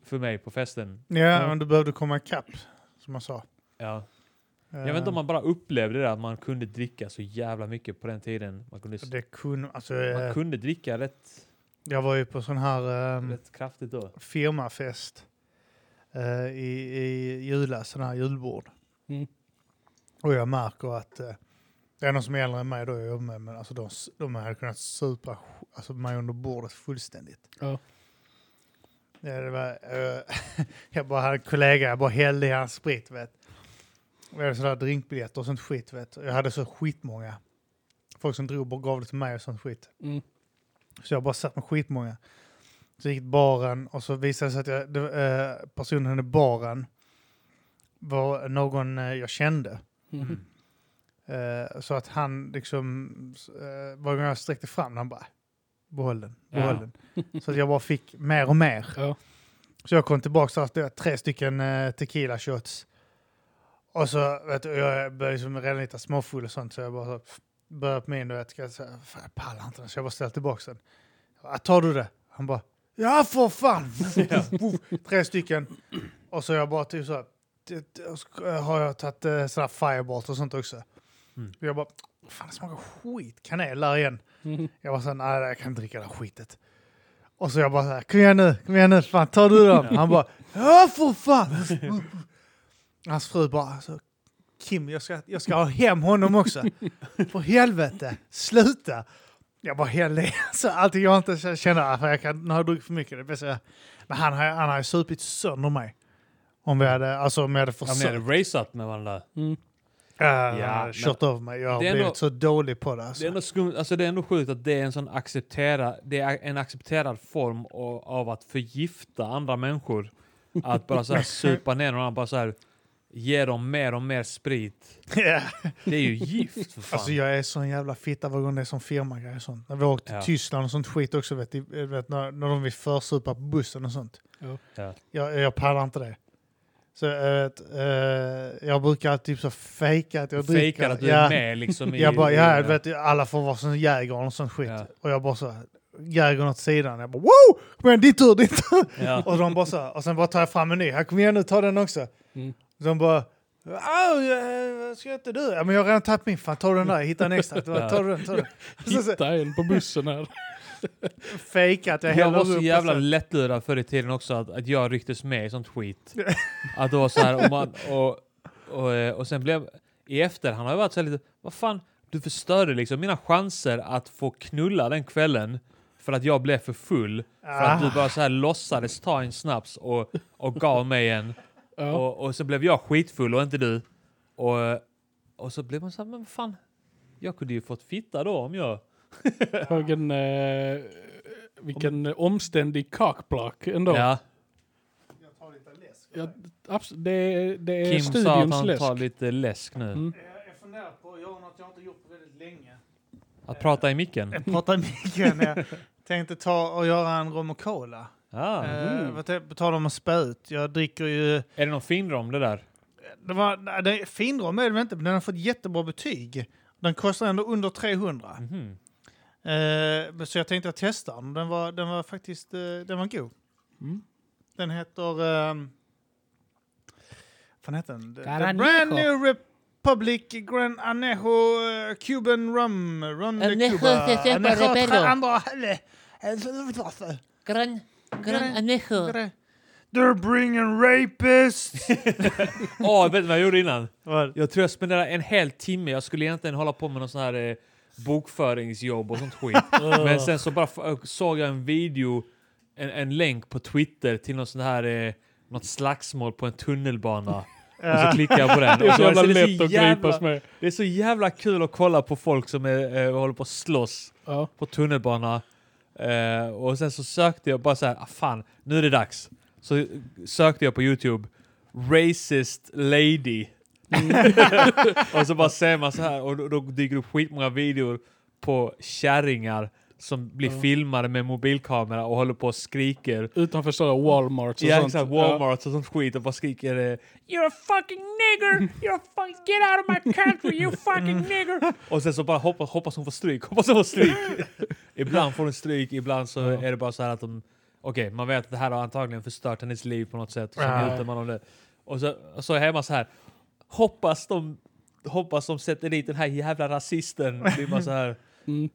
S2: för mig på festen.
S1: Ja, men du behövde komma ikapp, som man sa.
S2: Ja. Jag vet inte om man bara upplevde det att man kunde dricka så jävla mycket på den tiden. Man kunde,
S1: Det kunde, alltså, eh,
S2: man kunde dricka rätt
S1: Jag var ju på sån här eh,
S2: Rätt kraftigt då.
S1: firmafest eh, i, i julas, sån här julbord.
S3: Mm.
S1: Och jag märker att eh, det är någon som är äldre än mig då jag jobbar med, men alltså de, s- de hade kunnat supa sk- alltså, mig under bordet fullständigt.
S3: Ja.
S1: Ja, det var, eh, jag bara hade en kollega, jag bara hällde i hans sprit vet. Och jag hade sådär drinkbiljetter och sånt skit vet. Och Jag hade så skitmånga. Folk som drog och gav det till mig och sånt skit.
S3: Mm.
S1: Så jag bara satt med skitmånga. Så gick till baren och så visade det sig att jag, det, var, eh, personen i baren var någon eh, jag kände.
S3: Mm.
S1: Eh, så att han liksom, eh, varje gång jag sträckte fram den, han bara behåll den, behåll
S2: Ja.
S1: den. Så att jag bara fick mer och mer.
S3: Ja.
S1: Så jag kom tillbaka så att det var tre stycken eh, tequila shots. Och så vet du, jag började liksom redan lite småfull och sånt så jag bara så, började på min och jag tänkte så här, fan jag pallar inte den så jag bara ställde tillbaka den. Jag bara, tar du det? Han bara, ja för fan! tre stycken. Och så jag bara typ så här, det- det- och så har jag tagit eh, sån här fireballs och sånt också.
S2: Mm.
S1: Och jag bara, fan det smakar skit, kanel där igen.
S3: Mm.
S1: Jag var så här, nej jag kan inte dricka det här skitet. Och så jag bara så här, kom igen nu, kom igen nu, fan tar du dem? Han bara, ja för fan! Hans fru bara, alltså, Kim jag ska, jag ska ha hem honom också. För helvete, sluta! Jag bara hällde så allting jag inte känner, för jag kan, nu har jag druckit för mycket. Det är bäst jag, men han har han har ju supit sönder mig. Om vi hade, alltså om jag hade
S2: Ja, men
S1: försökt,
S2: hade raceat med varandra.
S3: Mm.
S1: ja,
S2: Ja, men-
S1: kört över mig. Jag har
S2: Det är
S1: blivit
S2: ändå-
S1: så dålig på det. Alltså.
S2: Det är, ändå skumt, alltså det är ändå sjukt att det är en sån acceptera, det är en accepterad form av, av att förgifta andra människor. Att bara så här supa ner någon annan, bara så här ge dem mer och mer sprit.
S1: Ja.
S2: Det är ju gift för fan.
S1: Alltså jag är sån jävla fitta varje gång det är sån firmagrej och sånt. När vi åkte
S2: Ja.
S1: till Tyskland och sånt skit också, vet, du, eh, vet, när, när de vill försupa på bussen och sånt.
S3: Ja.
S2: Ja.
S1: Jag, jag pallar inte det. Så jag, vet, eh, jag brukar typ så fejka att jag dricker.
S2: Fejkar att du
S1: ja,
S2: är med liksom i...
S1: Jag bara,
S2: i-
S1: ja, du vet, alla får vara som Jägern och sånt skit.
S2: Ja.
S1: Och jag bara så, här, Jägern åt sidan. Jag bara wow! Kom igen, din tur, din tur!
S2: Ja.
S1: Och de bara så, här, och sen bara tar jag fram en ny. Här, kom igen nu, ta den också.
S3: Mm.
S1: De bara, Au, jag- Ska inte du? Ja, men jag har redan tagit min. Fan, ta den där. Hitta en extra. Ta ta den, ta den. Så- så-
S3: Hitta en på bussen här.
S1: Fejka att jag
S2: Jag
S1: häller
S2: var
S1: upp.
S2: så
S1: och
S2: jävla
S3: alltså.
S1: sen-
S2: lättlurad förr i tiden också att, att jag rycktes med i sånt skit. att det var så här, och, man, och, och, eh, och sen blev i efterhand har jag varit så här lite, vad fan, du förstörde liksom mina chanser att få knulla den kvällen för att jag blev för full. För
S1: Ah.
S2: att
S3: Ah.
S2: du bara så här låtsades ta en snaps och, och gav mig en.
S3: Ja.
S2: Och, och sen blev jag skitfull och inte du. Och, och så blev man så här, men vad fan, jag kunde ju fått fitta då om jag...
S3: Vilken, eh, vilken eh, omständig cockblock ändå.
S2: Ja,
S1: Jag tar lite läsk.
S3: Ja, abs- det, är- det är
S2: Kim sa att
S3: studions
S2: han
S3: läsk.
S2: tar lite läsk nu.
S3: Mm.
S1: Jag funderar på att göra något jag inte gjort på väldigt länge.
S2: Att prata i micken?
S3: Eh,
S1: Jag pratar i micken. Jag tänkte ta och göra en rom och cola.
S2: Ah.
S1: Eh, vad tänkte- På tal om att spä ut. Jag dricker ju...
S2: Är det någon finrom det där?
S1: Det var, nej, det, finrom är det väl inte, men den har fått jättebra betyg. Den kostar ändå under 300.
S2: Mhm.
S1: Eh, så jag tänkte jag testar den. Den var, den var faktiskt eh, den var god.
S3: Mm.
S1: Den heter... ehm, Vad fan heter den? The- The
S3: Garanejo.
S1: Brand New Republic Gran Anejo eh, Cuban Rum. Ron de
S4: Anejo
S1: Cuba.
S4: se sepa
S1: tre
S4: rebello.
S1: andra hälle. Eh,
S4: Gran,
S1: Gran-
S4: gran anejo.
S1: They're bringing rapists!
S2: Åh, vet du vad jag gjorde innan?
S1: Vad?
S2: Jag tror jag spenderade en hel timme. Jag skulle egentligen hålla på med någon sån här eh, bokföringsjobb och sånt skit. Men sen så bara f- ö- såg jag en video, en, en länk på Twitter till någon sån här, eh, något slagsmål på en tunnelbana. Och så klickade jag på den.
S3: Det är
S2: Och
S3: så
S2: var
S3: jävla
S2: det
S3: lätt att gripas
S2: jävla,
S3: med.
S2: Det är så jävla kul att kolla på folk som är, eh, håller på att slåss.
S3: Ja.
S2: på tunnelbana. Eh, och sen så sökte jag bara så här, ah, fan, nu är det dags. Så sökte jag på YouTube, racist lady. och så bara ser man så här och då, då dyker det upp skitmånga videor på kärringar som blir filmade med mobilkamera och håller på och skriker.
S3: Utanför sådana Walmarts och
S2: Ja,
S3: sånt.
S2: exakt.
S3: Ja.
S2: Walmart och sånt skit och bara skriker eh, You're a fucking nigger! You're a fuck Get out of my country you fucking nigger! Och sen så bara hoppas, hoppas hon får stryk, hoppas hon får stryk. ibland får hon stryk, ibland så är det bara så här att de... Okej, man vet att det här har antagligen förstört hennes liv på något sätt och så
S1: Ja.
S2: njuter man av det. Och så, och så är hemma så här. Hoppas de, hoppas de sätter dit den här jävla rasisten. Det är bara så här.
S3: Mm.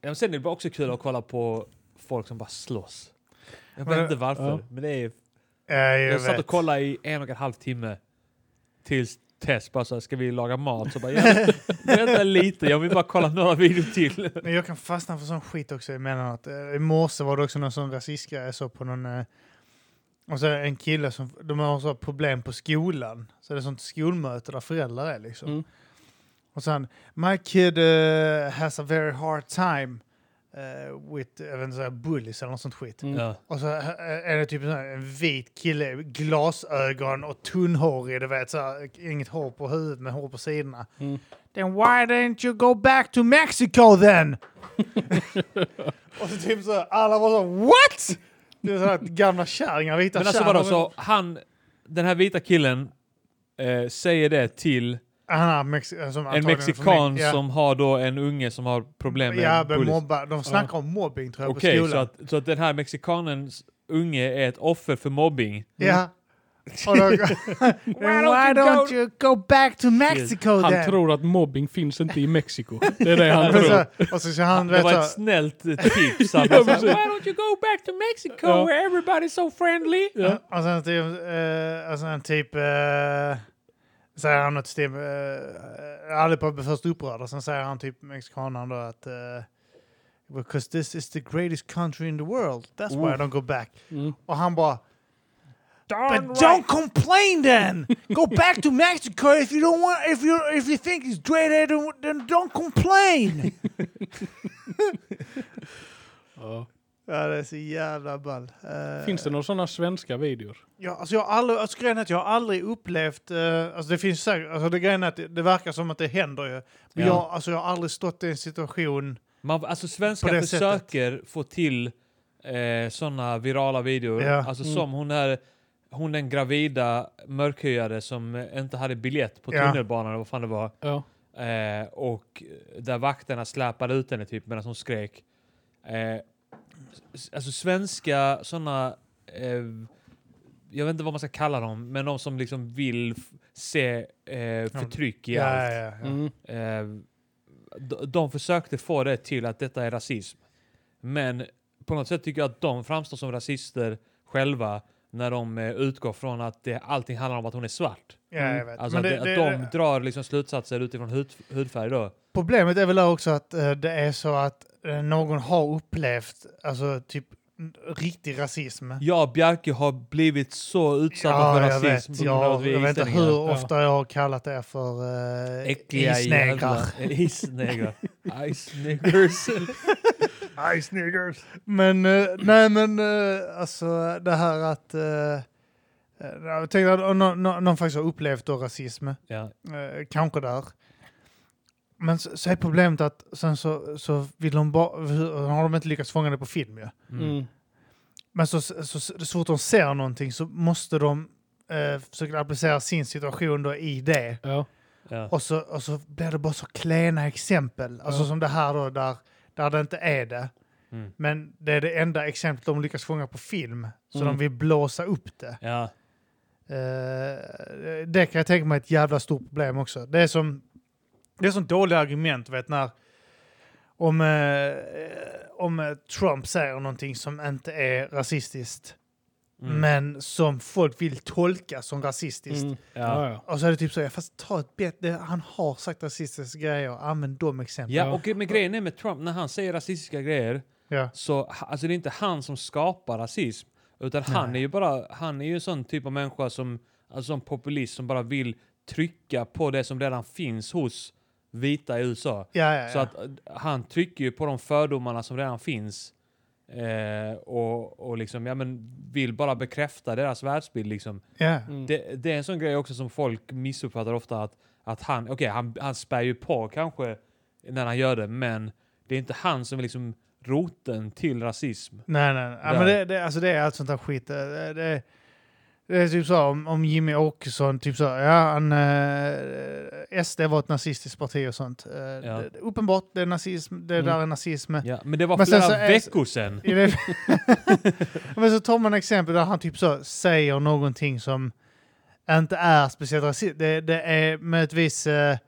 S2: Ja, men sen är det bara också kul att kolla på folk som bara slåss. Jag
S1: Men-
S2: vet inte varför,
S3: Ja.
S2: men det är
S1: Ja, jag
S2: jag satt
S1: vet.
S2: och kollade i en och en halv timme tills Tess bara såhär, ska vi laga mat? Så bara, "Ja, men vänta lite, jag vill bara kolla några videor till.
S1: Men jag kan fastna för sån skit också emellanåt. Eh, I morse var det också någon sån rasistgrej jag såg på någon... eh, Och så en kille som... De har så här problem på skolan. Så det är sånt skolmöte där föräldrar är liksom.
S3: Mm.
S1: Och sen... My kid eh, has a very hard time eh, with, jag vet inte, så här bullies eller något sånt skit.
S3: Mm.
S2: Ja.
S1: Och så eh, är det typ en sån här, en vit kille, glasögon och tunnhårig, du vet, så här, inget hår på huvudet men hår på sidorna.
S3: Mm.
S1: Then why didn't you go back to Mexico then? och så typ så här, alla var så what? Det är så här att gamla kärringar, vita
S2: Men alltså
S1: kärringar.
S2: vadå, så han, den här vita killen eh, säger det till
S1: Han är Mexi- som
S2: en
S1: antagligen är från
S2: mexikan
S1: Mex- ja.
S2: som har då en unge som har problem med
S1: Ja, blir
S2: bullis.
S1: mobbad. De snackar om mobbing tror jag
S2: Okej,
S1: på
S2: så,
S1: skolan.
S2: att, så att den här mexikanens unge är ett offer för mobbing.
S1: Ja. Och då, then why don't you go back to Mexico
S3: Han
S1: then?
S3: tror att mobbing finns inte i Mexiko. Det är det han
S1: Men
S3: tror.
S1: så- Alltså, Och så ska han,
S2: Det
S1: vet,
S2: var
S1: så,
S2: ett snällt eh, tips. Han bara, så här,
S3: precis.
S2: Why don't you go back to Mexico
S3: Ja.
S2: where everybody's so friendly?
S1: och sen typ, eh, och sen typ eh, säger han något stim, eh, allihopa blir först upprörda, sen säger han typ mexikanaren då att eh, Because this is the greatest country in the world, that's why I don't go back.
S3: Mm.
S1: Och han bara But
S2: Darn
S1: don't complain then! Go back to Mexico if you don't want, if you, if you think it's greater than, then don't complain!
S3: Ja.
S1: ja, det är så jävla ball. Eh,
S3: Finns det några sådana svenska videor?
S1: Ja, alltså jag har aldrig, alltså grejen är att jag har aldrig upplevt, eh, alltså det finns säkert, alltså det grejen är att det, det verkar som att det händer ju. Men
S2: Ja.
S1: jag, alltså jag har aldrig stått i en situation,
S2: Man, alltså svenskar
S1: På det
S2: försöker få till eh, sådana virala videor.
S1: Ja.
S2: Alltså
S3: Mm.
S2: som hon här, hon den gravida mörkhyade som eh, inte hade biljett på
S1: Ja.
S2: tunnelbanan eller vad fan det var.
S3: Ja.
S2: Eh, och där vakterna släpade ut henne typ medan hon skrek. Eh, s- alltså svenska sådana eh, jag vet inte vad man ska kalla dem, men de som liksom vill f- se eh, förtryck i allt.
S1: Ja, ja, ja.
S3: Mm.
S2: Eh, d- de försökte få det till att detta är rasism. Men på något sätt tycker jag att de framstår som rasister själva när de eh, utgår från att det, allting handlar om att hon är svart.
S1: ja, jag vet.
S2: Alltså
S1: Men
S2: att,
S1: det,
S2: att
S1: det,
S2: de drar liksom slutsatser utifrån hud, hudfärg då.
S1: Problemet är väl där också att eh, det är så att eh, någon har upplevt alltså typ n- riktig rasism.
S2: Jag och Bjarke har blivit så utsatta för
S1: jag
S2: rasism
S1: vet.
S2: på grund av att
S1: Jag,
S2: vi
S1: jag
S2: är
S1: vet inte
S2: islänningar.
S1: hur ofta jag har kallat er för eh,
S2: Äckliga
S1: isnegrar.
S2: jävla- eh, Isnegrar. Isneggers.
S1: Ice niggers. Men eh, nej men eh, alltså det här att eh, eh, jag tänkte att nå- nå- någon faktiskt har upplevt då rasism.
S2: ja.
S1: Eh, kanske där. Men så, så är problemet att sen så, så vill de bara, har de inte lyckats fånga det på film ju.
S2: Mm.
S3: Mm.
S1: Men så, så, så, så fort de ser någonting så måste de eh, försöka applicera sin situation då i det.
S3: Ja. Mm.
S2: Ja.
S1: Och så, och så blir det bara så klena exempel. Alltså
S3: Ja.
S1: som det här då där, där det inte är det.
S2: Mm.
S1: Men det är det enda exemplet de lyckas fånga på film. Så
S3: Mm.
S1: de vill blåsa upp det.
S2: Ja.
S1: Eh, det kan jag tänka mig är ett jävla stort problem också. Det är som, det är som dåliga argument, vet när om, eh, om eh, Trump säger någonting som inte är rasistiskt,
S2: Mm.
S1: men som folk vill tolka som rasistiskt.
S3: Mm.
S2: ja.
S3: Ja, ja.
S1: Och så är det typ så, ja, fast ta ett bet, det, han har sagt rasistiska grejer, använd de exemplen.
S2: Ja, och med grejen är med Trump, när han säger rasistiska grejer,
S1: Ja.
S2: så ha- alltså det är inte han som skapar rasism. Utan han är ju bara, han är ju en sån typ av människa som, alltså en populist som bara vill trycka på det som redan finns hos vita i USA.
S1: Ja, ja, ja.
S2: Så att eh, han trycker ju på de fördomarna som redan finns. Eh, och, och liksom, ja men vill bara bekräfta deras världsbild liksom.
S1: ja.
S3: Mm.
S2: Det, det är en sån grej också som folk missuppfattar ofta att, att han, okej han, han spär ju på kanske när han gör det, men det är inte han som är liksom roten till rasism.
S1: Nej, nej, nej. Ja,
S2: Där.
S1: men det, det, alltså det är allt sånt där skit. Det, det, det är typ så om, om Jimmy Åkesson, typ så, ja, han, eh, SD var ett nazistiskt parti och sånt. Eh, det, det- uppenbart, det är nazism, det
S3: Mm.
S1: där är nazism.
S2: Ja, men det var
S1: Men sen
S2: flera
S1: så är-
S2: veckor sedan.
S1: I det- men så tar man exempel där han typ så säger någonting som inte är speciellt rasistiskt. Det, det är möjligtvis, eh, eh,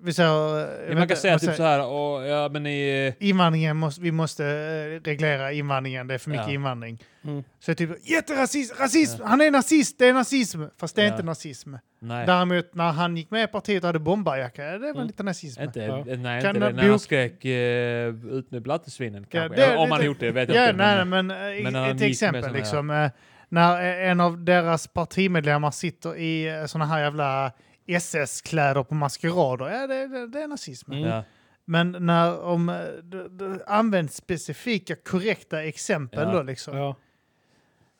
S1: vi säger... jag vet
S2: Man
S1: inte,
S2: kan säga
S1: vad
S2: typ
S1: säger-
S2: så här, och, ja men i,
S1: Invandringen måste, vi måste eh, reglera invandringen, det är för mycket
S2: Ja.
S1: invandring.
S3: Mm.
S1: Så jag typ jätterasism, rasism, han är nazist, det är nazism. Fast det är
S2: Ja.
S1: inte nazism.
S2: nej,
S1: Däremot när han gick med i partiet och hade bombarjacka, det var
S3: Mm.
S1: lite nazism.
S2: inte,
S3: Ja.
S2: nej
S1: Kan
S2: inte det.
S1: det
S2: När han
S1: bok-
S2: skrek eh, ut med blattesvinen kanske.
S1: det-
S2: Eller Om
S1: det-
S2: han
S1: det-
S2: gjort det vet jag
S1: Ja, nej,
S2: inte.
S1: nej,
S2: men,
S1: men, eh,
S2: men när
S1: i-
S2: han
S1: till
S2: gick med
S1: exempel
S2: såna
S1: liksom. eh, När eh, en av deras partimedlemmar sitter i sådana här jävla SS-kläder på maskerader, ja det, det, det är nazism.
S3: Mm.
S2: ja,
S1: Men när om, eh, d- d- används specifika korrekta exempel
S2: Ja.
S1: då liksom.
S3: Ja.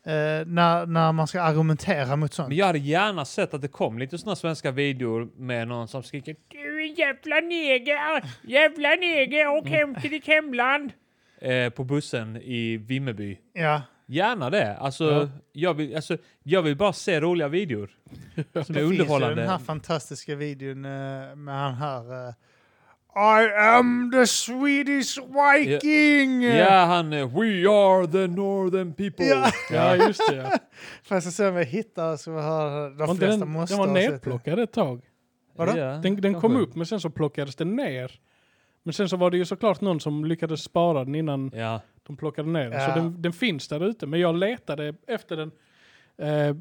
S1: Eh, när, när man ska argumentera mot sånt.
S2: Men jag hade gärna sett att det kom lite sådana svenska videor med någon som skriker Du är en jävla neger! Jävla neger! Åk hem till ditt hemland! Eh, på bussen i Vimmerby.
S1: Ja.
S2: Gärna det. Alltså,
S3: Ja.
S2: jag vill, alltså, jag vill bara se roliga videor. Som är
S1: Det finns ju den här
S2: underhållande.
S1: fantastiska videon eh, med han här. eh, I am the Swedish Viking!
S2: Ja, han... eh, We are the northern people!
S1: Ja.
S3: ja,
S2: Ja.
S3: just det. Ja.
S1: Fast jag ser om jag hittar så vi har de
S3: Var inte
S1: flesta
S3: Den,
S1: måste
S3: den var
S1: ha sett det.
S3: nerplockad ett tag.
S1: Vadå?
S2: Ja,
S3: Den, den kom
S2: kanske.
S3: upp men sen så plockades den ner. Men sen så var det ju såklart någon som lyckades spara den innan
S2: Ja.
S3: de plockade ner den.
S1: Ja.
S3: Så den, den finns där ute. Men jag letade efter den eh,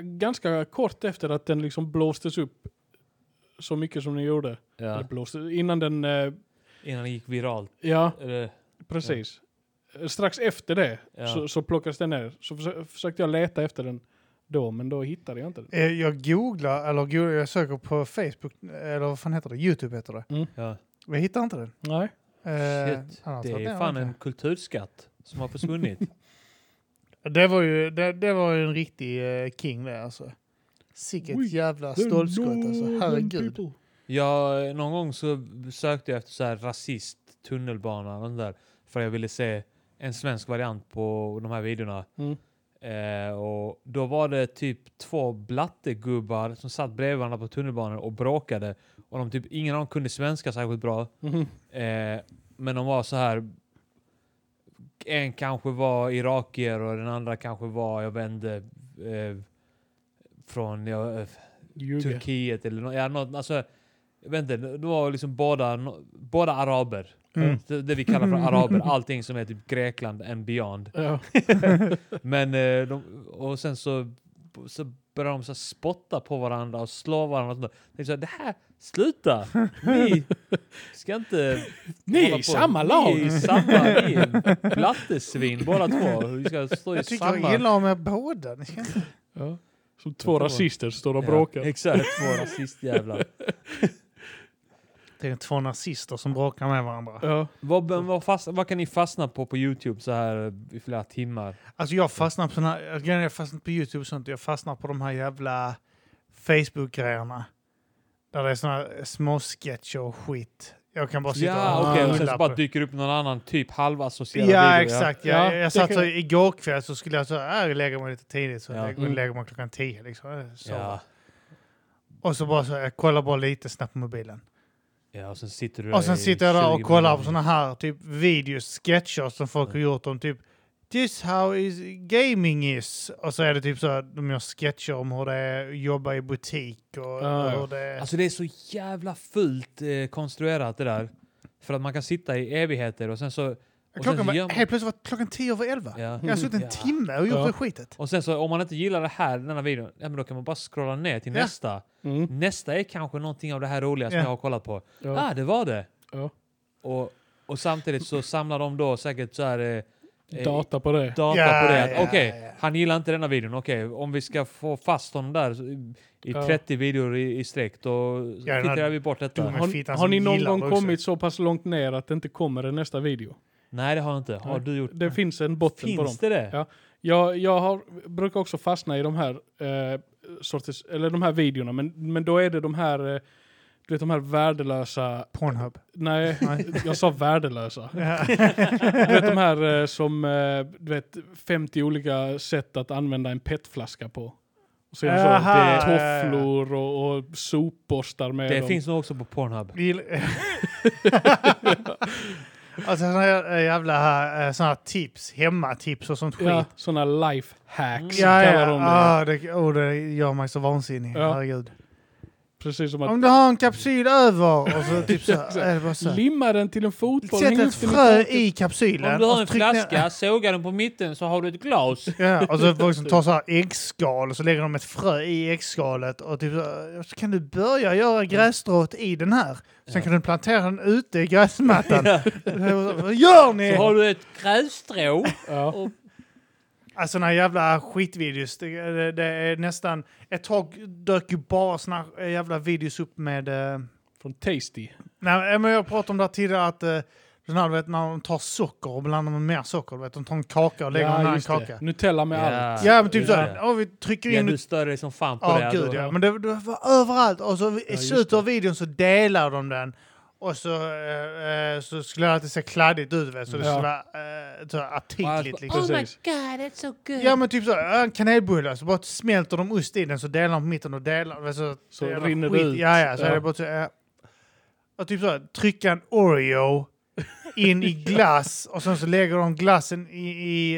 S3: ganska kort efter att den liksom blåstes upp så mycket som den gjorde. Eller
S2: ja.
S3: blåste, innan den, eh,
S2: Innan det gick viralt.
S3: ja
S2: Eller,
S3: precis. Eh, Strax efter det
S2: Ja.
S3: så, så plockades den ner. Så försö- försökte jag leta efter den då men då hittade jag inte den.
S1: Eh, Jag googlar, eller googlar, jag söker på Facebook, eller vad fan heter det? Youtube heter det.
S2: ja.
S1: Men jag hittar inte den.
S3: Nej.
S1: Eh,
S2: Shit.
S1: annars
S2: Det
S1: hade
S2: är
S1: jag
S2: fan
S1: varit
S2: en kulturskatt som har försvunnit.
S1: med. det var ju det, det var ju en riktig eh, king det alltså. Sicket
S3: We
S1: jävla stolpskott alltså, herregud.
S2: Jag, någon gång så sökte jag efter så här rasist tunnelbana och sånt där, för jag ville se en svensk variant på de här videorna.
S3: Mm.
S2: Eh, och då var det typ två blattegubbar som satt bredvid varandra på tunnelbanan och bråkade. Och de typ, ingen av dem Eh, kunde svenska särskilt bra.
S3: Mhm.
S2: Eh, men de var så här en kanske var irakier och den andra kanske var, jag vände eh, från ja, eh,
S3: Ljuga.
S2: Turkiet eller något. Ja, något alltså, jag vet inte, det var liksom båda, no- båda araber.
S1: Mm.
S2: Det, det vi kallar för araber, allting som är typ Grekland and beyond.
S3: Ja.
S2: Men, eh, de, och sen så, så började de så här spotta på varandra och slå varandra. Och sånt där. Jag tänkte så här, det här, sluta! Ni ska inte
S3: Ni är
S2: hålla
S3: i samma lag.
S2: Ni är i samma, ni är blattesvin båda två. Vi ska stå i
S1: Jag tycker
S2: samma...
S1: jag gillar om er båda. Ni ska inte-
S3: Ja. Som två
S2: tror-
S3: rasister står och
S2: Ja,
S3: bråkar.
S2: Exakt, två rasistjävlar.
S1: Det är två nazister som bråkar med varandra.
S3: Ja.
S2: Vad, men vad, fast, vad kan ni fastna på på Youtube så här i flera timmar?
S1: Alltså jag fastnar på såna här, jag- jag fastnar inte på Youtube och sånt. Jag fastnar på de här jävla Facebook-grejerna. Där det är såna här små sketcher och skit. Jag kan bara sitta
S2: Ja,
S1: och
S2: okej. och sen
S1: rulla
S2: så
S1: på
S2: bara
S1: det.
S2: dyker upp någon annan typ halvassocierad
S1: Ja,
S2: video.
S1: exakt.
S3: Ja,
S1: Jag,
S3: det
S1: jag satt
S3: kan-
S1: så igår kväll så skulle jag så här, lägga mig lite tidigt. Så
S2: Ja.
S1: jag går och
S3: Mm.
S1: lägger mig klockan tio liksom. Så.
S2: Ja,
S1: Och så bara så, här, jag kollar bara lite snabbt på mobilen.
S2: ja, och sen sitter du
S1: Och sen
S2: i
S1: sitter jag där
S2: 20
S1: och kollar på
S2: minuter.
S1: såna här typ videos, sketcher som folk har gjort om typ This how is gaming is. Och så är det typ så här, de gör sketcher om hur det är att jobba i butik och
S3: Ja.
S1: hur det är...
S2: Alltså det är så jävla fult eh, konstruerat det där. För att man kan sitta i evigheter och sen så... Och sen,
S1: klockan
S2: så
S1: var,
S2: gör man-
S1: helt plötsligt var klockan tio över elva.
S2: Ja.
S1: Jag har suttit en
S2: Ja.
S1: timme och gjort
S3: Ja.
S1: det skitet.
S2: och sen så om man inte gillar det här, den här videon, ja, men då kan man bara scrolla ner till
S1: Ja.
S2: nästa.
S3: Mm.
S2: Nästa är kanske någonting av det här roliga som
S1: Ja.
S2: jag har kollat på.
S3: Ja.
S2: Ah, det var det!
S3: Ja.
S2: Och, och samtidigt så samlar de då säkert så här... eh, Eh,
S3: Data på det.
S2: data
S1: Ja,
S2: på det. att
S1: ja,
S2: Okej,
S1: ja.
S2: han gillar inte denna videon. Okej, om vi ska få fast honom där så- i, i
S3: Ja.
S2: 30 videor i, i sträck, då
S1: Ja, den här
S2: filtrerar vi bort detta.
S1: dumma- Men
S3: Har,
S1: fittan
S3: har
S1: som
S3: ni någon
S1: alltså gillar
S3: gång
S1: det också.
S3: kommit så pass långt ner att det inte kommer en nästa video?
S2: Nej, det har jag inte. Har
S3: Nej.
S2: du gjort?
S3: Det finns en botten på dem.
S2: Finns det det?
S3: Ja. Jag, jag har, brukar också fastna i de här eh, sorters, eller de här videorna, men, men då är det de här, eh, du vet de här värdelösa,
S1: Pornhub.
S3: nej,
S1: Nej.
S3: jag sa värdelösa.
S1: Ja.
S3: Du vet de här eh, som, eh, du vet, 50 olika sätt att använda en petflaska på. Och så är det så,
S1: Aha,
S2: det-
S3: tofflor och, och sopborstar med
S2: Det
S3: dem.
S2: finns nog också på Pornhub.
S1: Bil- alltså såna här jävla eh, såna här tips, hemmatips och sånt skit.
S3: Ja, sådana life hacks
S1: Ja,
S3: kallar
S1: ja.
S3: de det.
S1: Ah, det, oh, det gör mig så vansinnig.
S3: Ja.
S1: Herregud.
S3: Precis som att
S1: Om du har en kapsyl över och så typ så är det bara så. här.
S3: limma den till en fotboll.
S1: Sätt
S3: häng
S1: ett
S3: upp den i
S1: frö
S3: taket.
S1: i kapsylen.
S2: Om du
S1: och
S2: har
S1: så
S2: en
S1: tryck ner-
S2: flaska, såga den på mitten så har du ett glas.
S1: Ja, och så folk som tar så här äggskal och så lägger de ett frö i äggskalet och typ så, här, så kan du börja göra grässtrået i den här. Sen
S2: Mm. Ja.
S1: kan du plantera den ute i gräsmattan. Vad gör ni?
S2: Så har du ett grässtrå.
S3: Ja.
S1: Alltså såna här jävla skitvideos. Det, det, det är nästan... Ett tag dök ju bara såna här jävla videos upp med... Eh,
S3: Från Tasty.
S1: nej, men jag pratade om det här tidigare att... Eh, den här, du vet, när de tar socker och blandar med mer socker. Du vet, de tar en kaka och lägger en annan
S3: just
S1: kaka.
S3: Det. Nutella med allt.
S1: Ja, men typ
S2: just
S1: så
S2: det.
S1: här. åh, vi trycker
S2: Ja,
S1: in...
S2: du stör dig som fan på
S1: Ja,
S2: det. här
S1: gud
S2: då.
S1: ja. Men det, det var överallt. Och så i
S3: just
S1: slutet
S3: det.
S1: av videon så delar de den. Och så, eh, eh, så skulle det alltid se kladdigt ut, vet, så det
S3: Ja.
S1: skulle vara eh, så här aptitligt. Liksom.
S4: Oh my
S3: Precis.
S4: god, that's so good.
S1: Ja men typ så, ja, en kanelbulle, så bara smälter de ost i den så delar de på mitten och delar. Så,
S3: Så
S1: jävla
S3: rinner det
S1: skit.
S3: ut.
S1: Ja, ja. Så
S3: Ja.
S1: Är det bara så, ja. Och typ så, trycka en Oreo in i glass och sen så lägger de glassen i, i,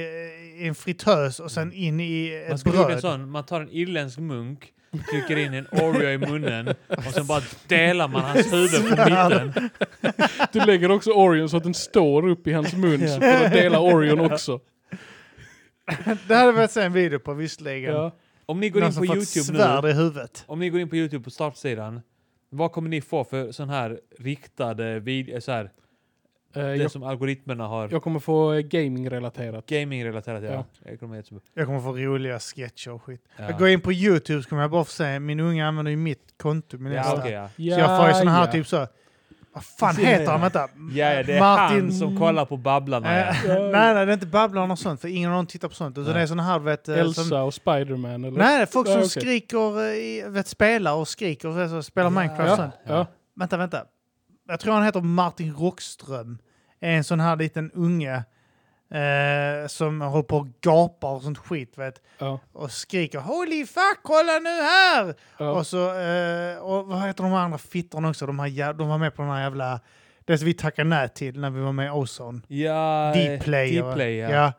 S1: i en fritös och sen in i
S2: Man
S1: ett
S2: skulle gjort en
S1: bröd.
S2: sån, man tar en irländsk munk, trycker in en Oreo i munnen och sen bara delar man hans huvud på mitten.
S3: Du lägger också Orion så att den står upp i hans mun så får du dela Orion också.
S1: Det hade varit en video på visserligen.
S3: Ja. Eh,
S2: Om ni går
S1: Någon
S2: in
S1: som
S2: på
S1: fått
S2: Youtube
S1: svärd
S2: nu,
S1: i huvudet.
S2: om ni går in på Youtube på startsidan, vad kommer ni få för sån här riktade video, så här,
S3: Eh,
S2: det
S3: jag,
S2: som algoritmerna har
S3: jag kommer få eh, gaming-relaterat.
S2: gaming-relaterat? Ja.
S3: Ja.
S2: Det kommer vara jättebra.
S1: Jag kommer få roliga sketcher och skit. Jag går
S2: Ja.
S1: in på Youtube så kommer jag bara få se, min unge använder ju mitt konto. Min
S2: Ja,
S1: nästa.
S2: okej, ja.
S1: Så jag får ju såna här typ så... Vad fan
S2: Precis.
S1: heter han? Vänta.
S2: Ja, ja, det är
S1: Martin- Eh.
S2: han som kollar på Babblarna. Ja.
S1: Nej, nej, nej, det är inte Babblarna och sånt, för ingen av dem tittar på sånt. Utan
S2: Nej.
S1: det är såna här, vet... eh, Som,
S3: Elsa och Spiderman eller?
S1: nej, det är folk som
S3: Ja, okej.
S1: skriker, eh, i- vet, spelar och skriker och så, så spelar Minecraft och
S3: Ja,
S1: sånt.
S3: ja.
S1: Vänta, vänta. Jag tror han heter Martin Rockström. Är en sån här liten unge eh, som håller på och gapar och sånt skit, vet.
S3: ja,
S1: Och skriker “Holy fuck, kolla nu här!”
S3: ja.
S1: Och så, eh, och vad heter de andra fittorna också? De, här, jä- de var med på den här jävla... Det Det som vi tackade nej till när vi var med i Ozone.
S2: Ja,
S1: D-play.
S2: eh, D-play, ja.
S1: ja. Eh,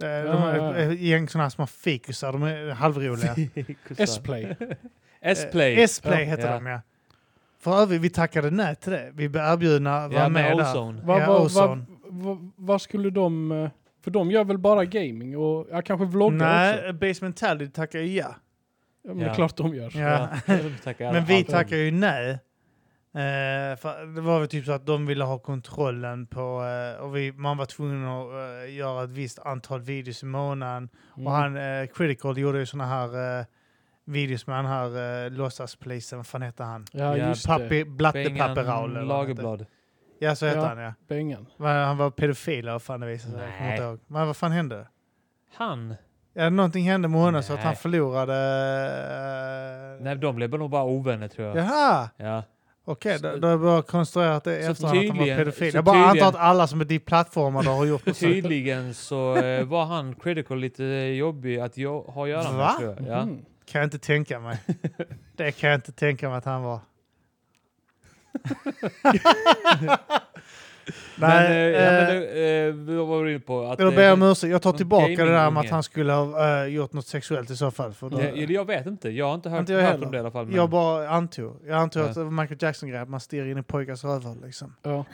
S1: De
S3: Ja, ja,
S1: här,
S3: ja.
S1: eh, gäng sådana här små fikusar, de är halvroliga.
S3: S-play.
S2: S-play.
S1: Eh, S-play
S3: Ja.
S1: heter
S2: Ja.
S1: de ja. För övrigt, vi tackade nej till det. Vi blev erbjudna att vara
S2: ja,
S1: med
S2: med
S1: där.
S2: Ozone.
S3: Vad
S1: Ja,
S3: vad-
S1: Ozone.
S3: vad- vad- vad skulle de... eh, För de gör väl bara gaming och ja, kanske vloggar också?
S1: Nej, Basementality tackade ju ja.
S3: Ja, men det är
S2: Ja.
S3: klart de gör.
S1: ja.
S2: tackar
S1: Men vi
S2: alltid.
S1: tackar ju nej. Eh, för det var väl typ så att de ville ha kontrollen på, eh, och vi, man var tvungen att eh, göra ett visst antal videos i månaden.
S3: Mm.
S2: Mm.
S1: Och han, eh, Critical, gjorde ju såna här eh, videos med den här eh, låtsaspolisen, vad fan hette han?
S3: Ja,
S2: Ja,
S3: just det.
S1: Pappi, Blatte
S2: Bengan
S1: Papperal. eller vad han hette.
S2: Lagerblad.
S1: Ja, så hette
S3: Ja.
S1: han ja.
S3: Bengan.
S1: Vad- Han var pedofil eller vad fan det visade sig. Jag kommer inte
S2: Nej.
S1: ihåg. Men vad fan hände?
S2: Han?
S1: Ja, någonting hände med honom så att
S2: Nej.
S1: han förlorade...
S2: Nej, de blev nog bara ovänner tror jag. Ja.
S1: Jaha! Okej,
S2: Så-
S1: då, då har jag bara konstruerat det
S2: så
S1: efterhand att han var
S2: tydligen-
S1: pedofil.
S2: så
S1: Jag bara antar
S2: tydligen-
S1: att alla som är deplattformade har gjort det. så.
S2: Tydligen så eh, var han critical lite jobbig att jo- ha att göra
S1: Va? Mm.
S2: med tror jag. Ja.
S3: Mhm.
S1: Kan jag inte tänka mig. Det kan jag inte tänka mig att han var.
S2: Men,
S1: Nej,
S2: eh, ja, men
S1: eh,
S2: du, eh, vad var du inne på? Att,
S1: jag
S2: eh,
S1: ber om ursäkt. Jag tar
S2: någon
S1: tillbaka det där med att
S2: gamingunge.
S1: han skulle ha eh, gjort något sexuellt i så fall. För då,
S2: det, eller jag vet inte. Jag har inte hört,
S1: Inte jag
S2: hört
S1: heller.
S2: om det i alla fall. Men,
S1: Jag bara antog. Jag antog
S2: Ja.
S1: att det var Michael Jackson-grej, att man stirrar in i pojkars rövhål liksom.
S3: Ja.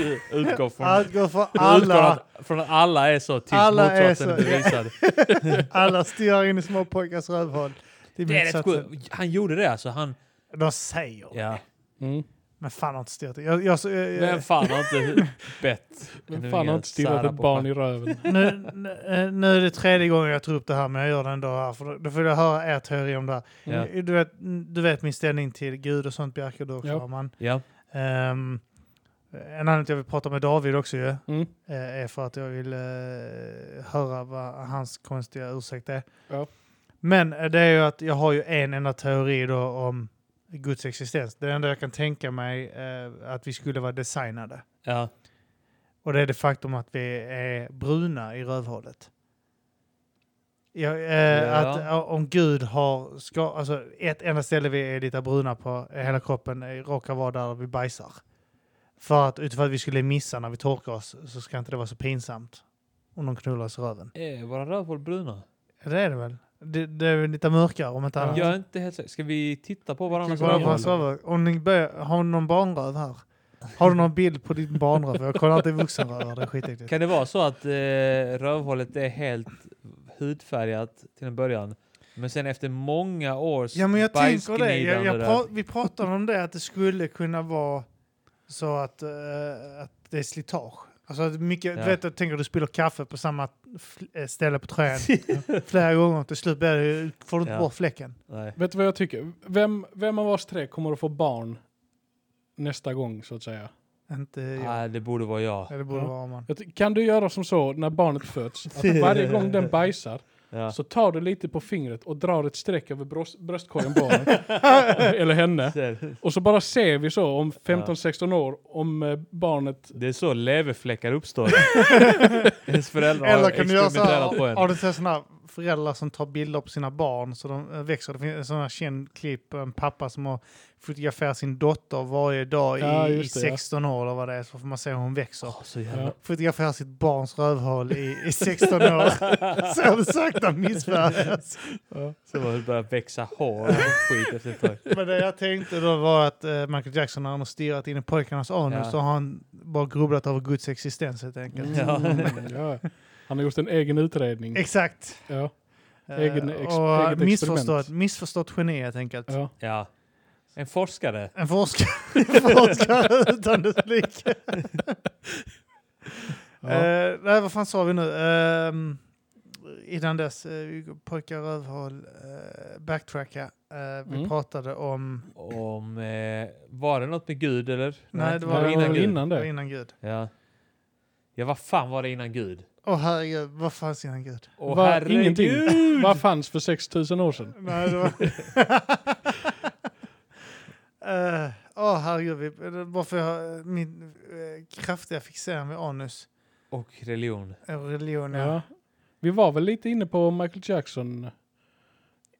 S2: utgår från,
S1: Allt går för
S2: jag utgår
S1: alla.
S2: att, från att alla är så tills
S1: Alla är
S2: motsatsen är,
S1: så, ja.
S2: bevisad.
S1: Alla stirrar in i små pojkars rövhål. Det är
S2: Det är rätt
S1: motsatsen.
S2: sjukt. Han gjorde det alltså. Han,
S1: De säger
S2: ja.
S3: Mm.
S1: Men fan har inte stirrat. Jag, jag, jag,
S2: Vem
S1: jag,
S2: fan har inte bett
S3: Men
S2: en
S3: fan
S2: unge
S3: har
S2: att
S3: inte stirrat
S2: sära
S3: ett
S2: på
S3: barn
S2: pappa?
S3: i röven.
S1: nu, nu- nu är det tredje gången jag tar upp det här, men jag gör det ändå här. För då, då får jag höra er teori om det här.
S2: Ja.
S1: Du, vet, du vet min ställning till Gud och sånt, Bjerke, du också,
S3: Ja.
S1: Arman.
S2: Ja.
S1: Ehm, en anledning till att jag vill prata med David också ju, eh,
S3: Mm.
S1: är för att jag vill eh, höra vad hans konstiga ursäkt är.
S3: Ja.
S1: Men eh, det är ju att jag har ju en enda teori då om Guds existens. Det enda jag kan tänka mig eh, att vi skulle vara designade.
S2: Ja.
S1: Och det är det faktum att vi är bruna i rövhålet. Ja, eh,
S2: Ja.
S1: Att eh, om Gud har ska, alltså ett enda ställe vi är lite bruna på eh, hela kroppen eh, råkar vara där vi bajsar. För att utifrån att vi skulle missa när vi torkar oss så ska inte det vara så pinsamt. Om de knullar oss i röven.
S2: Är Eh, våra rövhål bruna?
S1: Ja, Det är det väl? Det, det är väl lite mörkare om inte annat.
S2: Jag är inte helt säker. Ska vi titta på varandras
S1: Kolla på
S2: rövhål?
S1: hans röv. Om ni börjar, har ni någon barnröv här? Har du någon bild på din barnröv? Jag kollar inte vuxenrövar, det är skitäckligt.
S2: Kan det vara så att eh, rövhålet är helt hudfärgat till en början, men sen efter många års
S1: Ja men jag tänker det. Jag,
S2: bajsgnidande
S1: jag
S2: där-
S1: pra vi pratade om det att det skulle kunna vara så att, eh, att det är slitage. Alltså att mycket,
S2: Ja.
S1: du vet, jag tänker att du spiller kaffe på samma fl- eh, ställe på tröjan flera gånger. Till slut blir det, ju- får du inte
S2: Ja.
S1: bort fläcken.
S2: Nej.
S3: Vet du vad jag tycker? Vem, vem av oss tre kommer att få barn nästa gång så att säga?
S1: Inte jag.
S2: Nej, det borde vara jag.
S1: Ja, det borde
S3: Ja.
S1: vara man.
S3: Jag ty- Kan du göra som så när barnet föds? Att varje gång den bajsar
S2: Ja.
S3: så tar du lite på fingret och drar ett streck över bröst, bröstkorgen på honom. Eller henne.
S2: Ser.
S3: Och så bara ser vi så om 15-16 år om eh, barnet...
S2: Det är så leverfläckar uppstår. Ens föräldrar har
S1: Eller kan du göra så
S2: experimenterat på
S1: här,
S2: en.
S1: har du sett sådana föräldrar som tar bilder på sina barn så de eh, växer? Det finns sådana känd klipp, en pappa som har fotograferat sin dotter varje dag i,
S3: Ja,
S1: i
S3: just det, ja.
S1: 16 år eller vad det är, så får man se hur hon växer.
S2: Åh, så jävla...
S3: Ja.
S1: fotograferar sitt barns rövhål i, i 16 år. Så det sakta missfärgas.
S2: Så var det börjar växa hår och skit efter ett tag.
S1: Men det jag tänkte då var att eh, Michael Jackson när han har stirrat in i pojkarnas anus
S2: Ja.
S1: så har han bara grubblat över Guds existens helt enkelt.
S2: Ja.
S3: Mm, ja. Han har gjort en egen utredning.
S1: Exakt.
S3: Ja,
S1: Eh,
S3: Egen ex-
S1: och
S3: eget
S1: missförstått,
S3: experiment.
S1: missförstått geni helt enkelt.
S3: ja.
S2: Ja. En forskare.
S1: En forskare, en forskare utan dess like.
S3: Ja.
S1: Eh, nej, vad fan sa vi nu? Ehm, innan dess, uh, pojkar rövhål, eh, backtracka. Eh, vi
S3: Mm.
S1: pratade om...
S2: Om... Eh, var det något med Gud eller?
S1: Nej, det
S3: var
S1: var,
S3: väl
S1: innan,
S3: innan
S1: Gud.
S3: innan det.
S1: det. var innan Gud.
S2: Ja. Ja, vad fan var det innan Gud?
S1: Åh herregud, vad fanns innan Gud?
S2: Åh
S3: Vad-
S2: herregud!
S3: ingenting. Vad fanns för 6000 år sedan?
S1: Nej, det var... Eh, Åh herregud, vi, det var för jag, min eh, kraftiga fixering vid anus.
S2: Och religion.
S1: Eh, Religion, ja.
S3: Ja. Vi var väl lite inne på Michael Jackson. eh,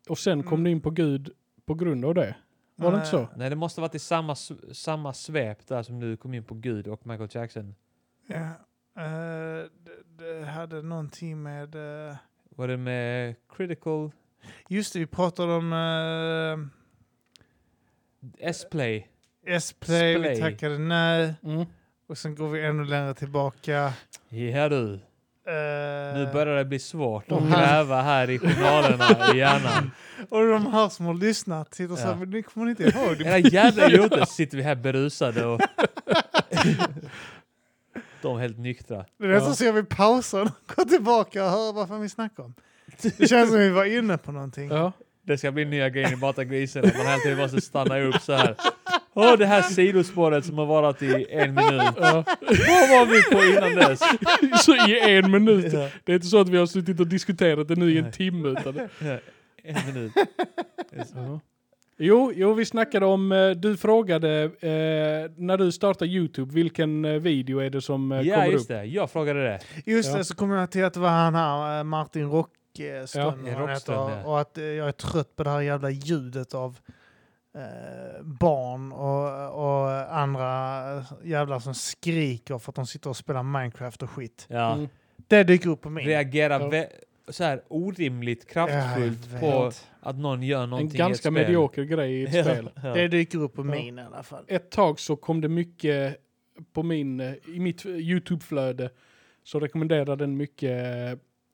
S3: Och sen kom
S1: Mm.
S3: du in på Gud på grund av det. Var det inte
S1: Eh,
S3: så?
S2: Nej, det måste ha varit i samma, s- samma svep där som du kom in på Gud och Michael Jackson.
S1: Ja. Eh, det, det hade någonting med... eh,
S2: Var det med critical
S1: just det, vi pratade om
S2: S-play?
S1: eh, S-play, vi
S2: Splay.
S1: tackade nej.
S3: Mm.
S1: Och sen går vi ännu längre tillbaka.
S2: Ja du,
S1: Eh,
S2: nu börjar det bli svårt
S1: Och
S2: att
S1: här-
S2: gräva här i journalerna i hjärnan.
S1: Och de här som har lyssnat sitter så här,
S2: Ja.
S1: men det kommer ni inte ihåg. Det
S2: Era jävla idioter sitter vi här berusade och... De är helt nyktra.
S1: det är nästan
S3: Ja.
S1: så jag vill pausa och gå tillbaka och höra vad fan vi snackar om. Det känns som vi var inne på någonting.
S3: Ja.
S2: Det ska bli nya grejer i Bata grisen, att man hela tiden måste stanna upp så här. Åh, det här sidospåret som har varit i en minut.
S3: Ja.
S2: Vad var vi på innan dess?
S3: Så i en minut.
S2: Ja.
S3: Det är inte så att vi har suttit och diskuterat det nu i en
S2: Nej.
S3: timme. Utan...
S2: Ja, En minut.
S3: Ja. Jo, jo, vi snackade om, eh, du frågade eh, när du startar YouTube, vilken eh, video är det som eh,
S2: Ja,
S3: kommer
S2: just
S3: upp?
S2: det. Jag frågade det.
S1: Just
S3: Ja.
S1: det, så kom jag till att det var han här, eh, Martin Rockström,
S2: Ja,
S1: vad han
S2: Rockström,
S1: heter,
S2: ja.
S1: och att eh, jag är trött på det här jävla ljudet av eh, barn och, och andra jävlar som skriker för att de sitter och spelar Minecraft och skit.
S2: Ja.
S3: Mm.
S1: Det dyker upp på min.
S2: Reagera
S3: Ja.
S2: vä- så här orimligt
S1: Ja, jag
S2: kraftfullt
S1: vet.
S2: på att någon gör
S3: En
S2: någonting i ett
S3: ganska
S2: spel.
S3: medioker grej i ett spel.
S2: Ja.
S1: Det dyker upp på
S3: Ja.
S1: min i alla fall.
S3: ett tag så kom det mycket på min, eh, i mitt eh, YouTube-flöde så rekommenderade den mycket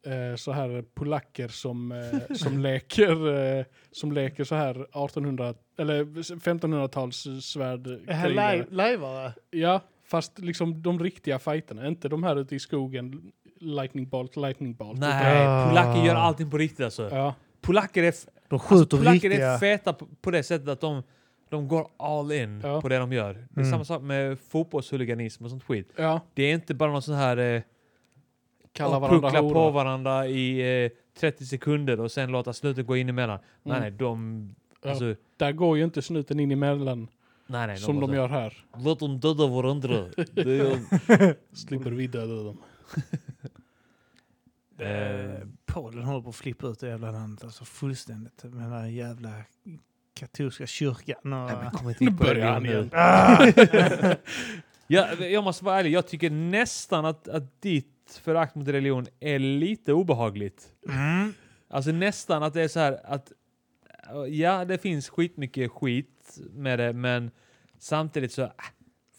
S3: eh, så här polacker som, eh, som leker eh, som leker så här 1800 eller 1500-tals
S1: Här
S3: svärdkrigare.
S1: live- Lajvare?
S3: Ja, fast liksom de riktiga fighterna, inte de här ute i skogen lightning bolt, lightning bolt.
S2: Nej,
S1: Ah.
S2: polacker gör allting på riktigt alltså.
S3: Ja,
S2: Polacker är, f-
S1: De skjuter
S2: polacker är
S1: riktiga...
S2: feta på, på det sättet att de, de går all in
S3: Ja.
S2: på det de gör. Det är
S1: Mm.
S2: samma sak med fotbollshuliganism och sånt skit.
S3: ja,
S2: Det är inte bara någon sån här eh,
S3: kalla
S2: och
S3: varandra
S2: puckla på
S3: horor.
S2: varandra i eh, 30 sekunder och sen låta slutet gå in emellan. Nej,
S3: Mm.
S2: nej, de...
S3: Ja.
S2: Alltså,
S3: Där går ju inte snuten in emellan
S2: nej, nej,
S3: som de
S2: måste-
S3: gör här.
S2: Låt dem döda varandra. Det är-
S3: Slipper vi döda dem.
S1: Eh, Polen håller på att flippa ut det jävla landet alltså fullständigt. Med den där jävla katolska kyrkan och...
S2: Nej, men kom inte
S3: Nu
S2: in på det
S3: börjar han
S2: nu.
S3: igen.
S1: Ah!
S2: Jag, jag måste vara ärlig, jag tycker nästan att, att ditt förakt mot religion är lite obehagligt.
S1: Mm.
S2: Alltså nästan att det är så här att ja, det finns skitmycket skit med det, men samtidigt så äh,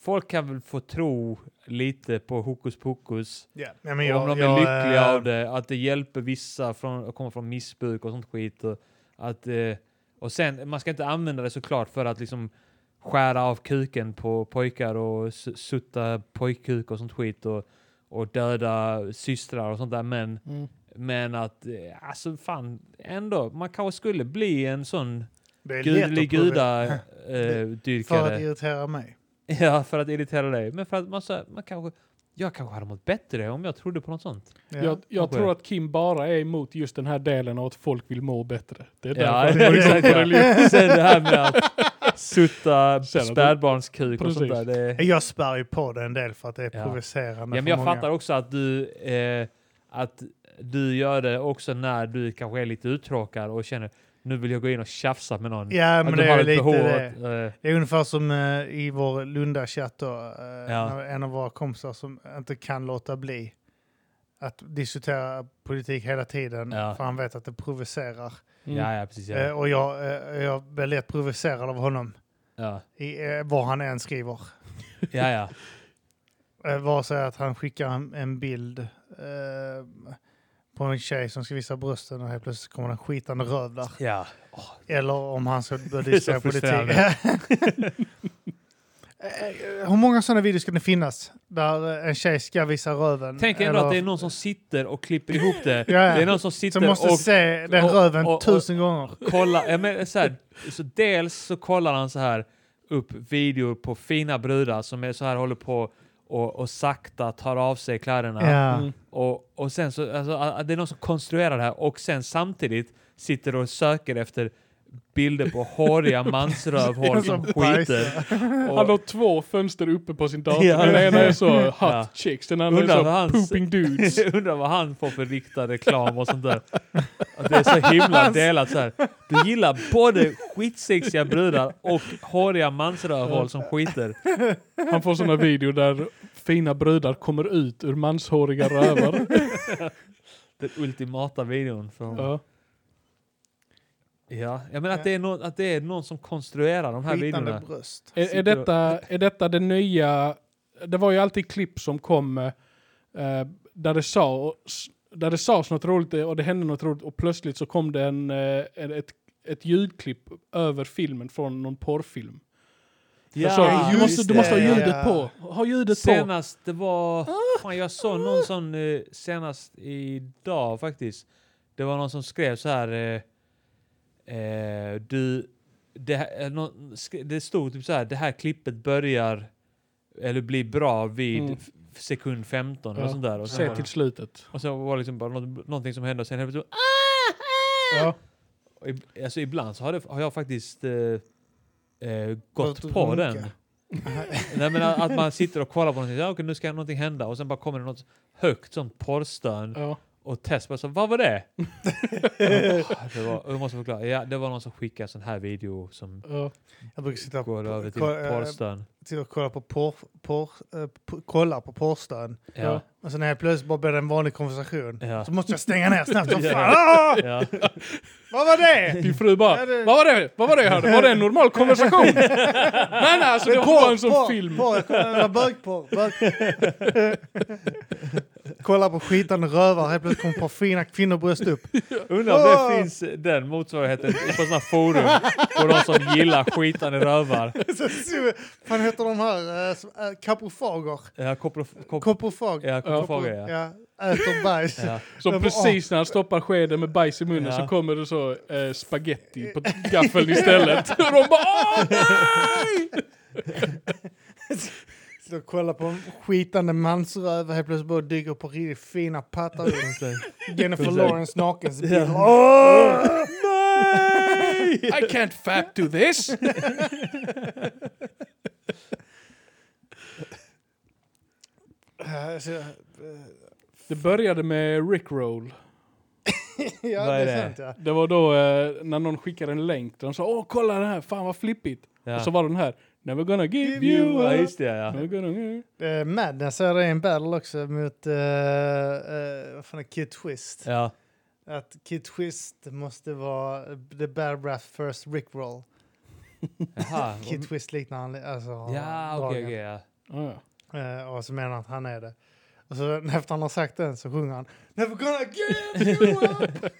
S2: folk kan väl få tro lite på hokus pokus.
S1: Ja, nej, men jag,
S2: om de
S1: jag,
S2: är lyckliga
S1: eh,
S2: av det, att det hjälper vissa från, att komma från missbruk och sånt skit. Och, att, eh, och sen, man ska inte använda det såklart för att liksom skära av kuken på pojkar och su- sutta pojkkuk och sånt skit och, och döda systrar och sånt där. Men,
S3: Mm.
S2: men att, eh, alltså fan, ändå, man kanske skulle bli en sån
S1: Det är lätt
S2: gudlig
S1: att prova- För att
S2: gudadyrkare.
S1: irritera mig.
S2: ja, för att irritera dig. Men för att man, så, här, man kanske, jag kanske hade mått bättre om jag trodde på något sånt.
S1: Ja.
S3: Jag, jag
S2: kanske.
S3: tror att Kim bara är emot just den här delen av att folk vill må bättre. Det är
S2: Ja,
S3: därför han går
S2: exakt.
S3: igång på religion.
S2: Sen det här med att sutta
S3: Sen att du-
S2: spädbarnskuk och
S3: Precis.
S2: sånt där. Det,
S1: Jag spär ju på det en del för att det är
S2: Ja.
S1: provocerande
S2: ja, men
S1: för
S2: jag
S1: många.
S2: fattar också att du, eh, att du gör det också när du kanske är lite uttråkad och känner nu vill jag gå in och tjafsa med någon.
S1: Ja,
S2: att
S1: men
S2: du
S1: det
S2: har
S1: är
S2: ett
S1: lite
S2: behov
S1: det.
S2: att, eh,
S1: Det är ungefär som eh, i vår Lunda-chatt då, eh, när en av våra kompisar som inte kan låta bli att diskutera politik hela tiden
S2: Ja.
S1: för han vet att det provocerar.
S2: ja, ja, precis. Ja.
S1: Eh, och jag, eh, jag blir lätt provocerad av honom
S2: ja.
S1: i eh, vad han än skriver.
S2: ja, ja.
S1: Eh, vare sig att han skickar en, en bild eh, på en tjej som ska visa brösten och helt plötsligt kommer den skitande röv där.
S2: ja.
S1: Eller om han ska börja
S2: Det är så
S1: diskutera politik.
S2: frustrerande.
S1: Eh, Hur många sådana videos ska det finnas? Där eh, en tjej ska visa röven.
S2: Tänk ändå
S1: eller-
S2: att det är någon som sitter och klipper ihop det.
S1: Ja, ja.
S2: Det är någon som
S1: som
S2: sitter
S1: måste
S2: och
S1: se den
S2: och-
S1: röven
S2: och- och-
S1: tusen gånger.
S2: kolla, ja, men, så här, så dels så kollar han så här upp videor på fina brudar som är så här håller på och, och sakta tar av sig kläderna.
S1: Ja.
S3: Mm.
S2: Och, och sen så, alltså, a- a- det är någon som konstruerar det här och sen samtidigt sitter och söker efter bilder på håriga mansrövhål som skiter.
S3: Han
S2: Och,
S3: har två fönster uppe på sin dator.
S2: Ja.
S3: Den ena är så hot
S2: Ja.
S3: chicks, den andra
S2: Undrar
S3: är så
S2: vad hans-
S3: pooping dudes.
S2: undrar vad han får för riktad reklam och sånt där. Att det är så himla delat så här. Du gillar både skitsexiga brudar och håriga mansrövhål som skiter.
S3: Han får såna video där fina brudar kommer ut ur manshåriga rövar.
S2: Den ultimata videon. Från,
S3: Ja.
S2: Ja, jag menar att det, är någon, att det är någon som konstruerar de här
S1: Mm. Skitande
S2: videorna.
S1: bröst.
S3: Är, är, detta, är detta det nya? Det var ju alltid klipp som kom eh, eh, där, det sa, där det sades något roligt och det hände något roligt och plötsligt så kom det en, eh, en- ett, ett ljudklipp över filmen från någon porrfilm.
S2: Ja,
S3: Jag sa, du,
S1: just
S3: måste, du måste ha
S1: det,
S3: ljudet
S1: ja.
S3: på. Ha ljudet på. Ah.
S2: Senast det var... Fan, jag såg någon sån eh, senast idag faktiskt. Det var någon som skrev så här... Eh, eh, du... Det, här- eh, någon, sk- det stod typ så här, det här klippet börjar eller blir bra vid
S3: Mm.
S2: f- sekund 15 eller
S3: Ja,
S2: sånt där. Och sen,
S3: Se
S2: var,
S3: till slutet.
S2: och sen var det liksom bara något, någonting som hände och sen helt plötsligt...
S4: Ah,
S3: Ja.
S2: Och ib- Alltså ibland så har, det, har jag faktiskt eh, eh, gått
S1: Gått
S2: på
S1: och
S2: den.
S1: runkat.
S2: Nej, men att att man sitter och kollar på någonting, ja, okej, nu ska någonting hända och sen bara kommer det något högt sånt porrstön
S3: Ja.
S2: och Tess bara så, vad var det? Och jag bara, "Ah, det var, jag måste förklara, ja det var någon som skickade sån här video som
S3: Ja.
S1: Jag brukar sitta
S2: går över till
S1: kolla- eh,
S2: porrstön.
S1: sitter och kollar på porr, porr, eh, p- kollar på porrstön.
S2: Ja,
S1: Och sen helt plötsligt bara blir det en vanlig konversation.
S2: Ja.
S1: Så Alltså, måste jag stänga ner snabbt som
S2: Ja.
S1: fan. Ah!
S2: ja.
S1: Vad var det?
S3: Din fru bara,
S1: Ja, det-
S3: vad var det? Vad var det jag hörde? Var det en normal konversation? nej, nej, alltså det var bara en sån film.
S1: Porr, jag kollar- det var bögporr. Bög. Kolla på skitande rövar, helt plötsligt kommer ett par fina kvinnobröst upp.
S2: Undrar om det
S1: Ah!
S2: finns den motsvarigheten på såna forum på de som gillar skitande rövar.
S1: Så- så- Fan heter de här? eh, som- eh, Kapofager?
S2: Ja, koprof- kop-
S1: Kopofag?
S2: ja, koprofager, ja.
S1: Ja, äter bajs.
S2: ja.
S1: Men
S3: Så
S1: vad-
S3: precis när han stoppar skeden med bajs i munnen
S2: Ja.
S3: så kommer det så eh, spaghetti på gaffeln istället. Och de bara åh nej!
S1: Sitter och kollar på en skitande mansröv och helt plötsligt bara dyker på riktigt fina pattar. upp. Jennifer
S2: Precis.
S1: Lawrence nakensbild.
S2: Nej!
S3: I can't fap to this!
S1: Ja, så- eh,
S3: Det började med Rickroll.
S1: Ja,
S2: Vad
S1: det
S2: är
S1: är
S2: det?
S1: sant ja.
S3: Det var då eh, när någon skickade en länk där de sa åh kolla det här, fan vad flippigt.
S2: Ja.
S3: Och så var det den här Never gonna give
S1: Give
S3: you
S1: you
S2: Ja,
S3: up.
S2: just det ja.
S3: Never gonna...
S1: Eh, Madness är det i en battle också mot, eh, eh, vad fan är Kid Twist?
S2: ja.
S1: Att Kid Twist måste vara the Bear Breath first Rickroll.
S2: Jaha.
S1: Kid Twist liknar han, li- alltså har
S2: Ja, okej,
S1: dragen.
S2: okej. ja.
S3: Ah, ja.
S1: Eh, och så menar han att han är det. Och så efter han har sagt den så sjunger han Never gonna give you up!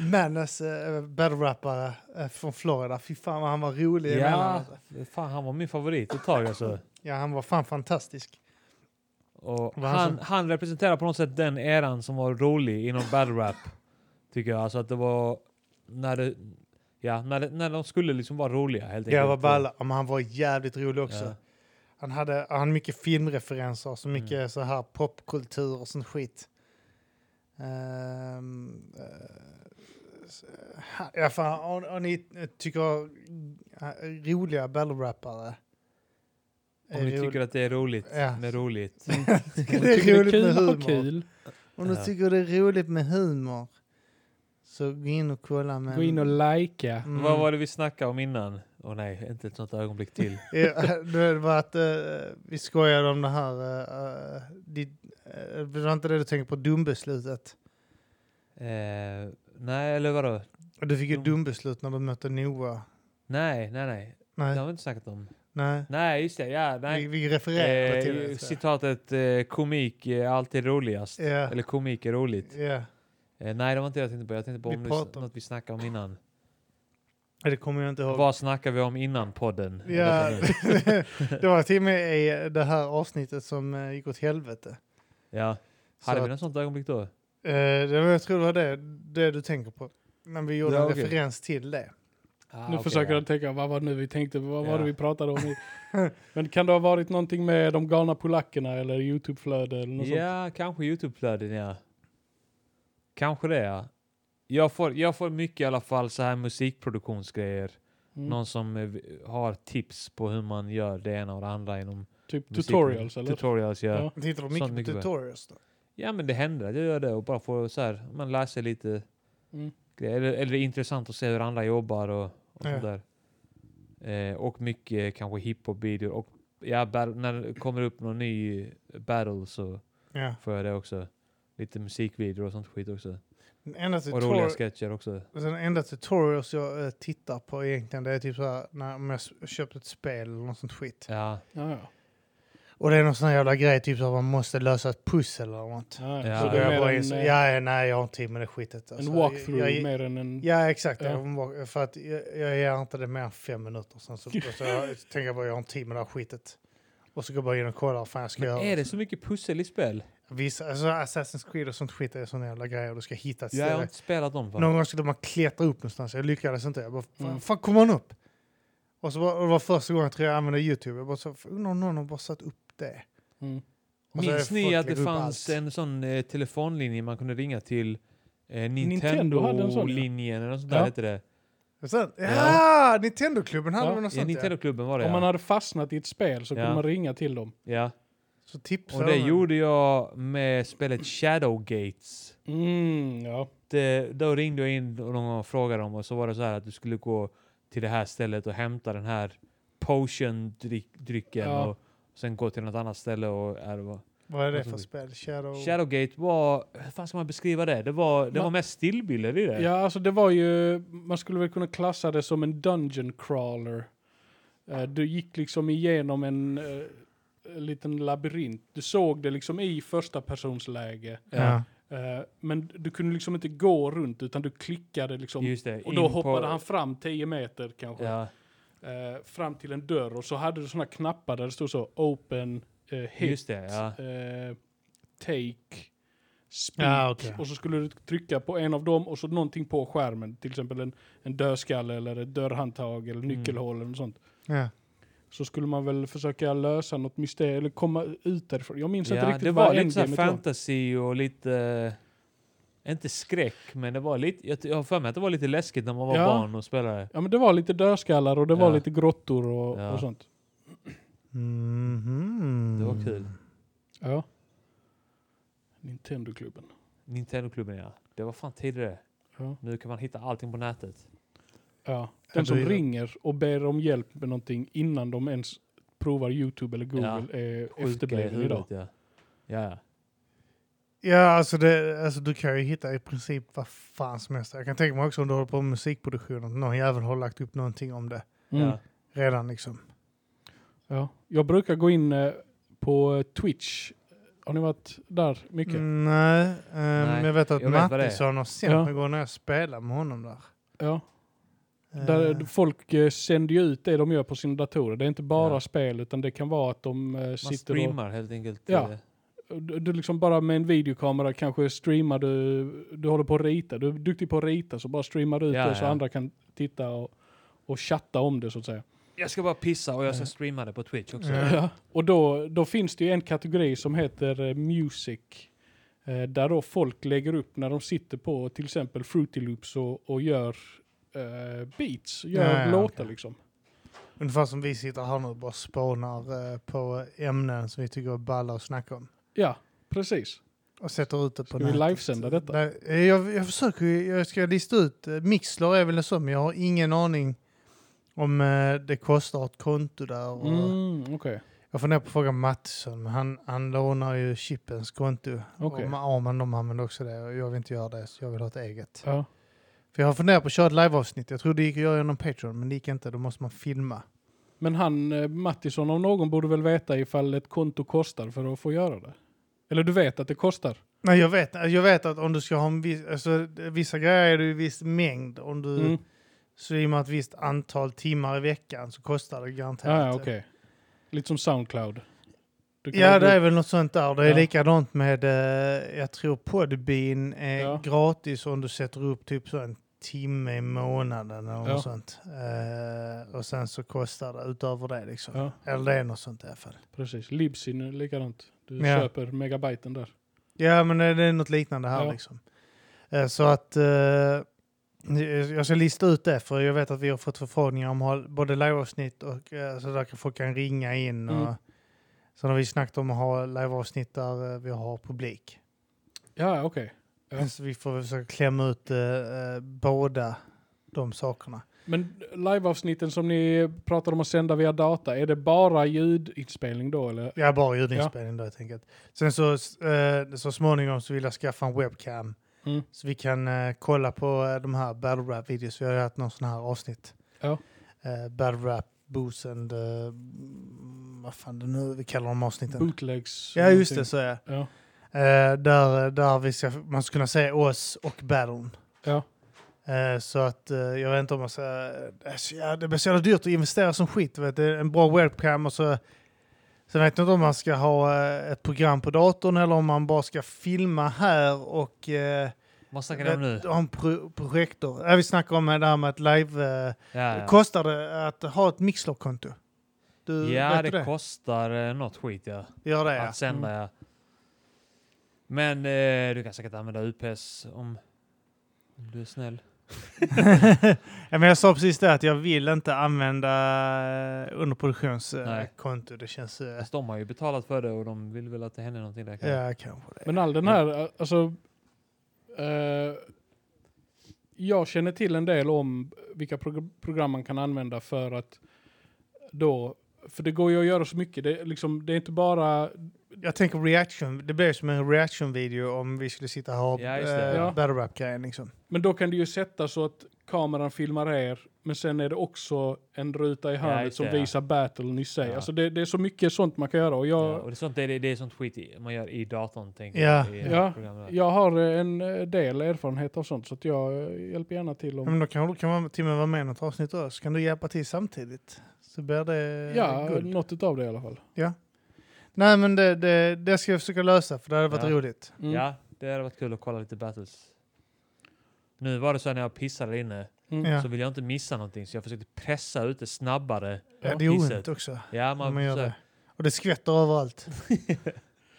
S1: Mannes uh, battle-rappare eh, från Florida. Fy fan vad han var rolig i
S2: Ja,
S1: emellanåt.
S2: fan han var min favorit ett tag alltså.
S1: ja, han var fan fantastisk.
S2: Och
S1: Vad han
S2: han, han representerar på något sätt den eran som var rolig inom battle rap. Tycker jag. Alltså att det var när det, ja, när, det, när de skulle liksom vara roliga helt enkelt.
S1: Jag var balla. Ja, Men han var jävligt rolig också.
S2: Ja.
S1: Han hade han hade mycket filmreferenser, så mycket så här popkultur och sånt skit. Ehm, eh, så- ha- ja, fan, om, om ni tycker eh, roliga battle-rappare
S2: Om ni tycker att det är roligt
S1: Ja.
S2: med roligt.
S1: tycker
S3: Tycker
S1: det är roligt med
S3: ha
S1: humor.
S3: kul.
S1: Om du
S2: Ja.
S1: tycker det är roligt med humor så gå in och kolla med...
S3: Gå in och likea.
S1: Mm.
S2: Vad var det vi snackade om innan? Åh nej, inte ett sånt ögonblick till.
S1: Ja, det var att eh, vi skojade om det här... eh, eh, ditt, eh, det var inte det du tänkte på, dumbeslutet.
S2: eh, nej, eller vadå?
S1: Du fick ju
S2: Dum-
S1: dumbeslut när du mötte Noah.
S2: Nej, nej, nej. Det
S1: Nej,
S2: har vi inte snackat om.
S1: nej.
S2: Nej, just det. Ja, nej.
S1: Vi, vi refererade till det.
S2: Eh,
S1: tror jag.
S2: citatet eh, komik är alltid roligast.
S1: Ja,
S2: Eller komik är roligt.
S1: ja.
S2: Eh, nej, det var inte det jag tänkte på. Jag tänkte på
S1: Vi
S2: om det,
S1: pratar om-
S2: något vi snackade om innan.
S1: Ja, det kommer jag inte ihåg.
S2: Vad snackade vi om innan podden?
S1: Ja,
S2: Eller vad det nu-
S1: det var till och med i det här avsnittet som eh, gick åt helvete.
S2: ja.
S1: Så
S2: Hade vi
S1: att,
S2: något sånt ögonblick då?
S1: eh, det var, jag tror det var det, det du tänker på. Men vi gjorde
S2: Ja,
S1: en
S2: okej.
S1: referens till det.
S2: Ah,
S3: Nu
S2: okej,
S3: försöker
S2: ja.
S3: han tänka, vad var det nu vi tänkte, vad var det
S2: Ja.
S3: vi pratade om? i- Men kan det ha varit någonting med de galna polackerna eller Youtube-flöde eller något sånt?
S2: Ja, kanske Youtube-flöden, ja. Kanske det, ja. Jag får, jag får mycket i alla fall så här musikproduktionsgrejer.
S3: Mm.
S2: Någon som eh, v- har tips på hur man gör det ena och det andra inom
S3: Typ
S2: musik-
S3: tutorials eller?
S2: Tutorials, ja.
S3: Ja.
S1: Tittar du
S2: Sånt
S1: mycket på
S2: mycket bra.
S1: tutorials då?
S2: ja men det händer att jag gör det och bara får så här, man läser lite
S3: Mm.
S2: grejer. Eller, eller det är intressant att se hur andra jobbar och, och
S1: Ja.
S2: sådär. Eh, och mycket kanske hiphop-videor och ja, battle, när det kommer upp någon ny battle så
S1: Ja.
S2: får jag det också. Lite musikvideor och sånt skit också.
S1: Den enda,
S2: Och roliga
S1: tutor
S2: sketcher också.
S1: den enda tutorials jag eh, tittar på egentligen det är typ så här när om jag s- köpt ett spel eller något sånt skit.
S2: Ja,
S3: Ja, ja.
S1: Och det är någon sån här jävla grej typ så att man måste lösa ett pussel eller något.
S3: ja,
S2: Ja.
S3: Så
S1: Så
S3: det är
S1: jag bara
S3: mer en,
S1: inser,
S3: eh,
S1: ja, ja, nej jag har inte tid med det skitet.
S3: en
S1: alltså.
S3: walkthrough
S1: Jag- jag-
S3: mer än en...
S1: Ja, exakt.
S3: Ja.
S1: Jag var- För att jag, jag ger inte det mer än fem minuter. Sen så, så jag tänker bara, jag har en tid med det här skitet. Och så går jag bara in och kollar vad fan jag ska
S2: Men
S1: göra.
S2: är det så mycket pussel i spel?
S1: Vissa, alltså Assassin's Creed och sånt skit är såna jävla grejer. Du ska hitta ett
S2: Jag har
S1: ställe.
S2: inte spelat dem fan.
S1: Någon gång skulle man klättra upp någonstans. Jag lyckades inte. Jag bara, fan,
S3: Mm.
S1: fan kom man upp? Och så var, och det var första gången jag tror jag använde YouTube. Jag bara, så, undrar om någon har bara satt upp det.
S3: Mm.
S1: Och så har
S2: Minns
S1: jag
S2: ni
S1: fått
S2: att det
S1: lägga upp
S2: fanns
S1: allt.
S2: en sån eh, telefonlinje man kunde ringa till? Eh,
S3: Nintendo hade en sån, ja.
S2: Nintendo-linjen eller något sånt där
S3: Ja.
S2: hette det.
S1: Och sen, ja, Nintendo-klubben hade
S3: Ja.
S1: väl något
S2: Ja,
S1: sånt ja.
S2: Nintendo-klubben var det
S3: Om man
S2: ja.
S3: hade fastnat i ett spel så kunde
S2: Ja.
S3: man ringa till dem.
S2: ja.
S1: Så tipsade
S2: Och det
S1: de.
S2: gjorde jag med spelet Shadowgates.
S3: Mm, ja.
S2: Det, då ringde jag in och någon gång och frågade dem och så var det så här att du skulle gå till det här stället och hämta den här potion-drycken
S3: Ja.
S2: och sen gå till något annat ställe och... Ja, det var.
S1: Vad är det
S2: Vad
S1: för
S2: tog vi?
S1: spel? Shadow...
S2: Shadowgate var... Hur fan ska man beskriva det? Det var, det
S3: Ma-
S2: var mest stillbilder i det.
S3: ja, alltså det var ju... Man skulle väl kunna klassa det som en dungeon crawler. Eh, Du gick liksom igenom en eh, liten labyrint. Du såg det liksom i första personsläge.
S1: Ja.
S3: Eh, Men du kunde liksom inte gå runt utan du klickade liksom.
S2: Just det.
S3: och då
S2: in på-
S3: hoppade han fram 10 meter kanske.
S2: Ja.
S3: Eh, fram till en dörr och så hade du såna knappar där det stod så open, eh, hit,
S2: Just det, Ah, ja.
S3: eh, take, speak.
S1: Ja, okej.
S3: Och så skulle du trycka på en av dem och så någonting på skärmen. Till exempel en, en dödskalle eller ett dörrhandtag eller
S2: Mm.
S3: nyckelhål eller något sånt.
S1: Ja.
S3: Så skulle man väl försöka lösa något mysterium eller komma ut därifrån. Jag minns inte
S2: ja
S3: riktigt
S2: det var
S3: vad
S2: lite såhär
S3: endgamet var.
S2: fantasy och lite... eh, Inte skräck, men det var lite... Jag, jag har för mig att det var lite läskigt när man var
S3: Ja.
S2: barn och spelade.
S3: Ja men det var lite dödskallar och det var
S2: Ja.
S3: lite grottor och,
S2: Ja.
S3: och sånt.
S1: Mhm.
S2: Det var
S3: Mm.
S2: kul.
S3: Ja. Nintendo-klubben.
S2: Nintendo-klubben ja. Det var fan tidigare.
S3: Ja.
S2: Nu kan man hitta allting på nätet.
S3: Ja,
S1: Ja,
S3: den som
S1: det är det.
S3: ringer och ber om hjälp med någonting innan de ens provar Youtube eller Google är efterbliven idag.
S2: ja. Ja, ja.
S1: Ja, alltså, det, alltså du kan ju hitta i princip vad fan som helst. Jag kan tänka mig också om du håller på med musikproduktion att någon jävel har lagt upp någonting om det
S3: Mm.
S2: ja.
S1: redan liksom.
S3: Ja. Jag brukar gå in eh, på eh, Twitch. Har ni varit där mycket?
S1: Mm, nej, eh, men jag vet att
S2: jag vet vad det är.
S1: Mattisson har sänt
S3: Ja.
S1: mig gå när jag spelade med honom där.
S3: Ja.
S1: Eh,
S3: Där folk eh, sänder ju ut det de gör på sina datorer. Det är inte bara
S2: Ja.
S3: spel utan det kan vara att de eh,
S2: Man
S3: sitter och...
S2: streamar helt enkelt.
S3: Ja.
S2: eh,
S3: Du, du liksom bara med en videokamera kanske streamar du... Du håller på att rita. Du är duktig på att rita så bara streamar du ut
S2: Ja,
S3: det så
S2: ja.
S3: andra kan titta och, och chatta om det så att säga.
S2: Jag ska bara pissa och jag ska
S3: Ja.
S2: streama det på Twitch också.
S1: Ja.
S3: Ja. Och då, då finns det ju en kategori som heter eh, Music. Eh, där då folk lägger upp när de sitter på till exempel Fruity Loops och, och gör eh, beats, gör
S1: Ja, ja,
S3: låtar
S1: okej.
S3: liksom.
S1: Ungefär som vi sitter här nu och bara spånar eh, på ämnen som vi tycker är balla att snacka om.
S3: Ja, precis.
S1: Och sätter ut det på
S3: Ska vi livesända detta?
S1: Nej, eh, jag, jag försöker ju- jag ska lista ut, eh, Mixler är väl en sån, men jag har ingen aning om eh, det kostar ett konto där. Och
S3: Mm, Okej.
S1: Jag funderar på att fråga Mattsson, men han, han lånar ju Chippens konto.
S3: Okej.
S1: Och Ma- Arman de använder också det och jag vill inte göra det, så jag vill ha ett eget.
S3: Ja.
S1: För jag har funderat på att köra ett liveavsnitt, jag tror det gick att göra genom Patreon, men det gick inte, då måste man filma.
S3: Men han, eh, Mattisson om någon, borde väl veta ifall ett konto kostar för att få göra det? Eller du vet att det kostar?
S1: Nej, jag vet, jag vet att om du ska ha en viss, alltså, vissa grejer är det ju en viss mängd. Om du
S3: Mm.
S1: streamar ett visst antal timmar i veckan så kostar det
S3: Ja,
S1: garanterat.
S3: Ah, ja, okej. Lite som Soundcloud. Du kan
S1: Ja,
S3: lägga
S1: det är
S3: upp-
S1: väl något sånt där. Det är
S3: Ja.
S1: likadant med, eh, jag tror Podbean är
S3: Ja.
S1: gratis om du sätter upp typ så en timme i månaden eller
S3: Ja.
S1: något sånt. Eh, och sen så kostar det utöver det liksom.
S3: Ja,
S1: Eller det är något sånt i alla fall.
S3: precis. Libsyn är likadant. Du
S1: Ja.
S3: köper megabyten där.
S1: Ja, men det det är något liknande här
S3: Ja.
S1: liksom. Eh, så att eh, jag ska lista ut det för jag vet att vi har fått förfrågningar om att ha både liveavsnitt och eh, så där kan folk kan ringa in. Och,
S3: Mm.
S1: Sen har vi snackat om att ha liveavsnitt där eh, vi har publik.
S3: Ja, okej. Ja.
S1: Så vi får väl försöka klämma ut eh, eh, båda de sakerna.
S3: Men liveavsnitten som ni pratar om att sända via data, är det bara ljudinspelning då eller?
S1: Jag har bara ljudinspelning då helt enkelt. Sen så, eh, så småningom så vill jag skaffa en webcam
S3: Mm.
S1: så vi kan eh, kolla på eh, de här battle rap videos. Vi har ju haft någon sån här avsnitt.
S3: Ja.
S1: Eh, battle rap, boost and... eh, mm, vad fan det nu vi kallar de avsnitten.
S3: Bootlegs?
S1: ja just det, så är det.
S3: Ja.
S1: Eh, där, där vi ska, man ska kunna se oss och battlen.
S3: Ja.
S1: Eh, Så att eh, jag vet inte om man ska... Alltså, ja, det blir så jävla dyrt att investera som skit. Vet du. En bra webcam och så... Sen vet jag inte om man ska ha eh, ett program på datorn eller om man bara ska filma här och eh,
S2: Vad snackar ni om
S3: Mm.
S2: nu?
S1: vet- ha en pro- projektor. Ja, vi snackar om det här med att live... Eh,
S2: Ja, ja.
S1: Kostar det att ha ett Mixlog-konto? Du,
S2: ja
S1: vet du
S2: det kostar eh, något skit ja.
S1: Gör det, ja. Mm.
S2: Att sända ja. Men eh, du kan säkert använda UPS om, om du är snäll.
S1: ja, men jag sa precis det att jag vill inte använda underproduktionskonto. Eh,
S2: Nej.
S1: konto. det känns... Eh,
S2: Fast de har ju betalat för det och de vill väl att det händer någonting där kanske.
S1: ja, kanske det.
S3: Men all den här, alltså... eh, jag känner till en del om vilka prog- program man kan använda för att då... För det går ju att göra så mycket. Det, är liksom, det är inte bara...
S1: Jag tänker reaction, det blir som en reaction-video om vi skulle sitta här och
S2: Ja, just det.
S1: eh,
S3: Ja.
S1: battle rap-grejen liksom.
S3: Men då kan du ju sätta så att kameran filmar er, men sen är det också en ruta i hörnet
S2: just
S3: som
S2: det, ja.
S3: visar battlen i sig.
S2: Ja.
S3: Alltså det, det är så mycket sånt man kan göra. Och jag,
S2: Ja, och det, är sånt, det, är, det är sånt skit i, man gör i datorn. Tänker
S1: Ja.
S2: jag, i
S3: Ja.
S2: programmet.
S3: jag har en eh, del erfarenhet av sånt, så att jag eh, hjälper gärna till.
S1: Ja,
S3: Om,
S1: Men då kan, kan man till och med vara med i något avsnitt då, så kan du hjälpa till samtidigt. Så blir det eh,
S3: ja,
S1: guld.
S3: något av det i alla fall.
S1: Nej men det, det, det ska jag försöka lösa för det hade varit
S2: Ja.
S1: roligt.
S3: Mm.
S2: Ja, det hade varit kul att kolla lite battles. Nu var det så här när jag pissade där inne
S3: Mm.
S1: Ja.
S2: så ville jag inte missa någonting så jag försökte pressa ut det snabbare.
S1: Ja,
S3: Ja,
S1: det är ont
S2: pisset.
S1: också
S2: Ja,
S1: när
S2: man,
S1: man gör
S2: så-
S1: det. Och det skvätter överallt.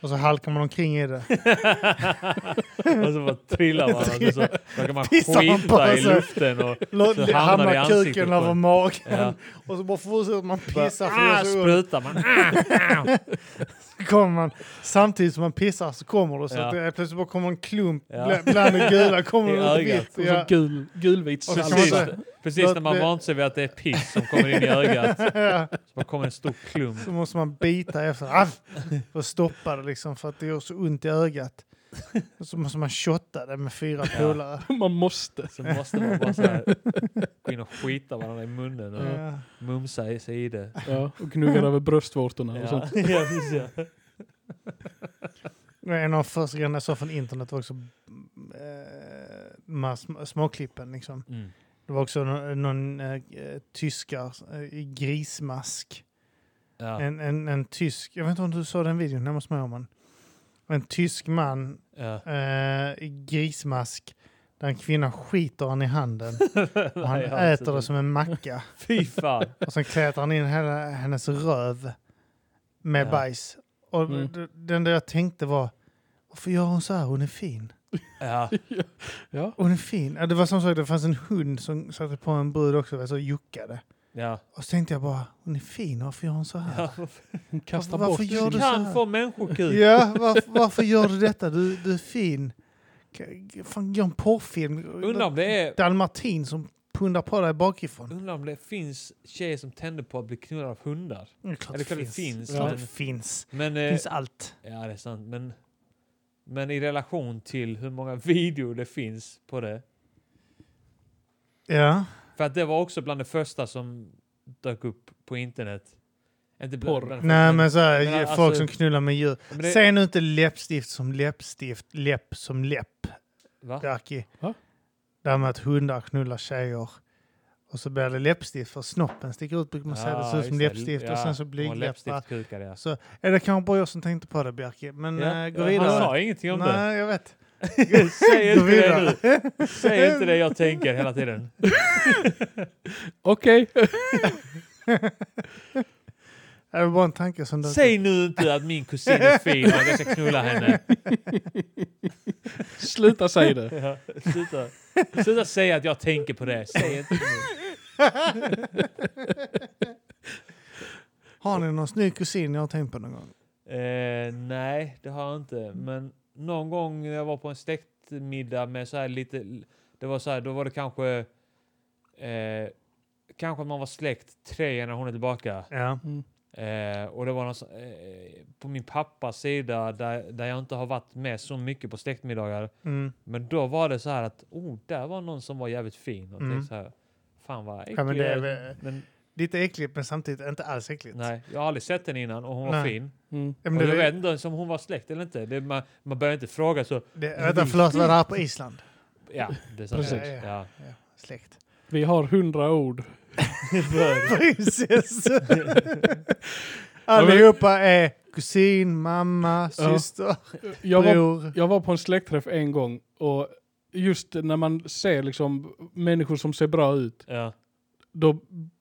S1: och så halkar man omkring i det.
S2: och så bara trillar man och så råkar man
S1: Pissar man på
S2: skita i
S1: sig.
S2: luften. Och,
S1: Lå-
S2: Så
S1: det
S2: hamnar det i
S1: hamnar
S2: ansiktet
S1: kuken
S2: på
S1: över
S2: en.
S1: magen
S2: ja.
S1: och så bara fortsätter man pissa för det
S2: ah,
S1: gör så ont.
S2: sprutar man. Ah,
S1: kommer man, samtidigt som man pissar så kommer det så
S2: Ja.
S1: att det, plötsligt bara kommer en klump
S2: Ja.
S1: bland, bland det gula kommer
S2: I
S1: det
S2: ögat.
S1: vitt.
S3: Och
S1: Ja.
S3: så gul, gulvit
S1: Och så kan
S3: salt.
S1: man
S2: precis,
S1: säga-
S2: precis när man vant sig vid att det är piss som kommer in i ögat så bara kommer en stor klump.
S1: Så måste man bita efter aff, för att stoppa det liksom för att det gör så ont i ögat. Och så måste man shotta det med fyra
S2: Ja.
S1: polare.
S3: Man måste.
S2: Så måste man bara så här, gå in och skita varandra i munnen och
S1: Ja.
S2: mumsa i sig i det.
S3: Ja, och gnuggar över bröstvårtorna och sånt.
S2: Ja. Ja, precis, ja.
S1: Det var En av de första grejerna jag såg från internet var också eh, de här sm- småklippen. Liksom.
S2: Mm.
S1: Det var också någon, någon eh, tyskar eh, i grismask.
S2: Ja.
S1: En, en, en tysk, jag vet inte om du såg den videon, jag måste med om den. En tysk man
S2: Ja.
S1: eh, i grismask där en kvinna skiter han i handen och han
S2: Nej, jag har inte
S1: äter det
S2: sett
S1: som en macka.
S2: Fy fan.
S1: Och sen klätar han in hela hennes röv med
S2: Ja.
S1: bajs. Och
S3: Mm.
S1: d- det enda jag tänkte var, varför gör hon så här? Hon är fin.
S2: Ja.
S3: Ja.
S1: Hon är fin. Ja, Det var som sagt, det fanns en hund som satte på en brud också, vet du, och juckade.
S2: Ja.
S1: Och så tänkte jag bara, hon är fin, varför gör hon så här?
S2: Ja.
S3: Hon kastar
S1: Varför
S3: bort
S1: gör
S2: Du
S1: du
S3: sin-
S1: så här?
S2: kan få människokuk.
S1: Ja, varför, varför gör du detta? Du, du är fin. K- Fan, gör en porrfilm.
S2: Undrar om det är...
S1: Dalmatin som pundar på dig bakifrån.
S2: Undrar om det finns tjejer som tänder på att bli knullade av hundar.
S1: Det är klart
S2: Ja, det är klart det finns,
S1: Klart
S2: men-
S1: det finns.
S2: Men,
S1: Det
S2: eh,
S1: finns allt.
S2: ja, det är sant. Men, men i relation till hur många videor det finns på det.
S1: Ja.
S2: För att det var också bland det första som dök upp på internet. Inte bland,
S3: Porr.
S2: bland det
S1: Nej,
S2: första,
S1: men så här,
S2: men
S1: ge-
S2: alltså-
S1: folk som knullar med djur.
S2: men det,
S1: Säg nu inte läppstift som läppstift, läpp som läpp,
S2: va?
S1: Darky.
S3: Va?
S1: Det här med att hundar knullar tjejer. Och så blir det läppstift för snoppen sticker ut, brukar man säga. Det ser ut som
S2: just det.
S1: läppstift och sen så
S2: de har
S1: blygdläppar.
S2: läppstiftkukar, ja.
S1: Så är det kanske bara jag som tänkte på det, Bjarke. Men eh, gå
S2: Han
S1: vidare.
S2: sa ingenting om det.
S1: Nej, jag vet. Gå
S2: Säg inte
S1: vidare.
S2: det nu. Säg inte det jag tänker hela tiden.
S3: Okej.
S1: Det var bara en tanke som dök
S2: Säg nu inte att min kusin är fin och att jag ska knulla henne.
S3: Sluta säga det.
S2: Ja, sluta. sluta säga att jag tänker på det. Säg inte det nu.
S1: Har ni någon snygg kusin jag har tänkt på någon gång?
S2: Eh, nej, det har jag inte. Men någon gång när jag var på en stekt middag med så här lite, det var så här, då var det kanske, eh, kanske att man var släkt tre generationer tillbaka.
S1: Ja.
S3: Mm.
S2: Eh, och det var någon, så- eh, på min pappas sida där, där jag inte har varit med så mycket på släktmiddagar.
S1: Mm.
S2: Men då var det så här att, oh, där var någon som var jävligt fin. Och
S1: Mm.
S2: tänkte så här, Fan vad äcklig.
S1: Ja, men det är
S2: jag
S1: väl-
S2: men,
S1: Lite äckligt men samtidigt inte alls äckligt.
S2: nej, jag har aldrig sett den innan och hon var
S1: Nej.
S2: fin.
S3: Mm.
S1: Ja,
S2: Och
S1: men det,
S2: jag vet inte ens om hon var släkt eller inte. Det, man, man börjar inte fråga så.
S1: det, vänta, förlåt, var det här på Island?
S2: Ja, det är sant.
S3: Precis.
S2: Ja, ja.
S1: Ja, släkt.
S3: Vi har hundra ord.
S1: Precis. Allihopa är kusin, mamma,
S3: Ja.
S1: syster,
S3: Jag var,
S1: bror.
S3: jag var på en släktträff en gång och just när man ser liksom människor som ser bra ut,
S2: Ja.
S3: då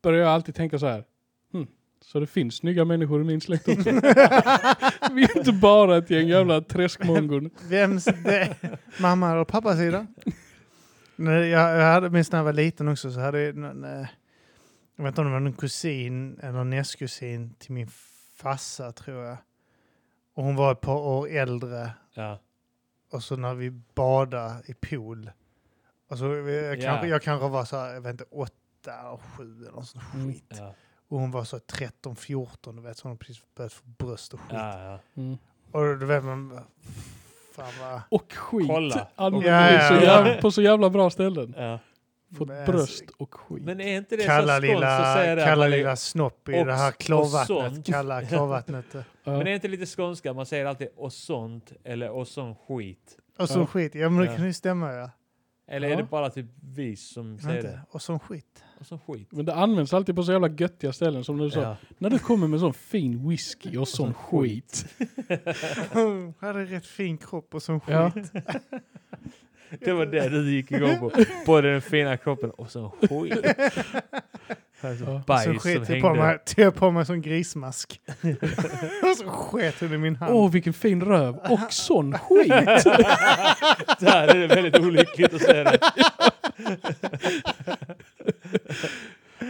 S3: börjar jag alltid tänka så här. Hm, så det finns snygga människor i min släkt också. Vi är inte bara ett gäng jävla träskmongon.
S1: Vems det? Mamma eller pappas sida? Nej, jag, jag hade, minst när jag var liten också så hade jag, en- en, eh, jag vet inte om det var en kusin eller nästkusin till min farsa tror jag. Och hon var ett par år äldre
S2: Ja.
S1: och så när vi badade i pool. Alltså, jag,
S2: Ja.
S1: kanske, jag kanske var så här, jag vet inte, åtta eller sju eller något sånt
S3: Mm.
S1: skit.
S2: Ja.
S1: Och hon var så 13, 14, du vet, så hon hade precis börjat få bröst och skit.
S2: Ja, ja.
S3: Mm.
S1: Och då vet man, fan vad...
S3: Och skit.
S2: Kolla.
S3: Använd
S1: Ja,
S3: det
S1: ja,
S3: så
S1: ja.
S3: jävla, på så jävla bra ställen.
S2: Ja.
S3: Fått
S1: Men-
S3: bröst och skit.
S2: Men är inte det
S1: kalla
S2: så skånskt att
S1: lilla,
S2: säga det? att
S1: kalla
S2: man är-
S1: lilla snopp i
S2: och-
S1: det här
S2: och
S1: klorvattnet.
S2: sånt.
S1: Kalla klorvattnet.
S3: Ja.
S2: Men det är inte lite skånska? Man säger alltid och sånt eller och sån skit.
S1: Och sån
S3: Ja.
S1: skit. Ja men det
S2: Ja.
S1: kan ju stämma ja.
S2: Eller
S3: Ja.
S2: är det bara typ vi som säger
S1: Inte.
S2: det?
S1: Och sån skit.
S2: Och sån skit.
S3: Men det används alltid på så jävla göttiga ställen som du sa.
S2: Ja.
S3: När du kommer med sån fin whisky och sån skit.
S1: Hon hade rätt fin kropp och sån skit.
S3: Ja.
S2: Det var det du gick igång på. Både den fina kroppen och sån skit.
S3: Ja.
S2: Alltså,
S1: Och sån
S2: bajs som
S1: skit. Jag på
S2: hängde.
S1: mig, tog på mig sån grismask. och så sket hon i min hand.
S3: Åh, vilken fin röv och sån skit.
S2: Där är det väldigt olyckligt att säga det.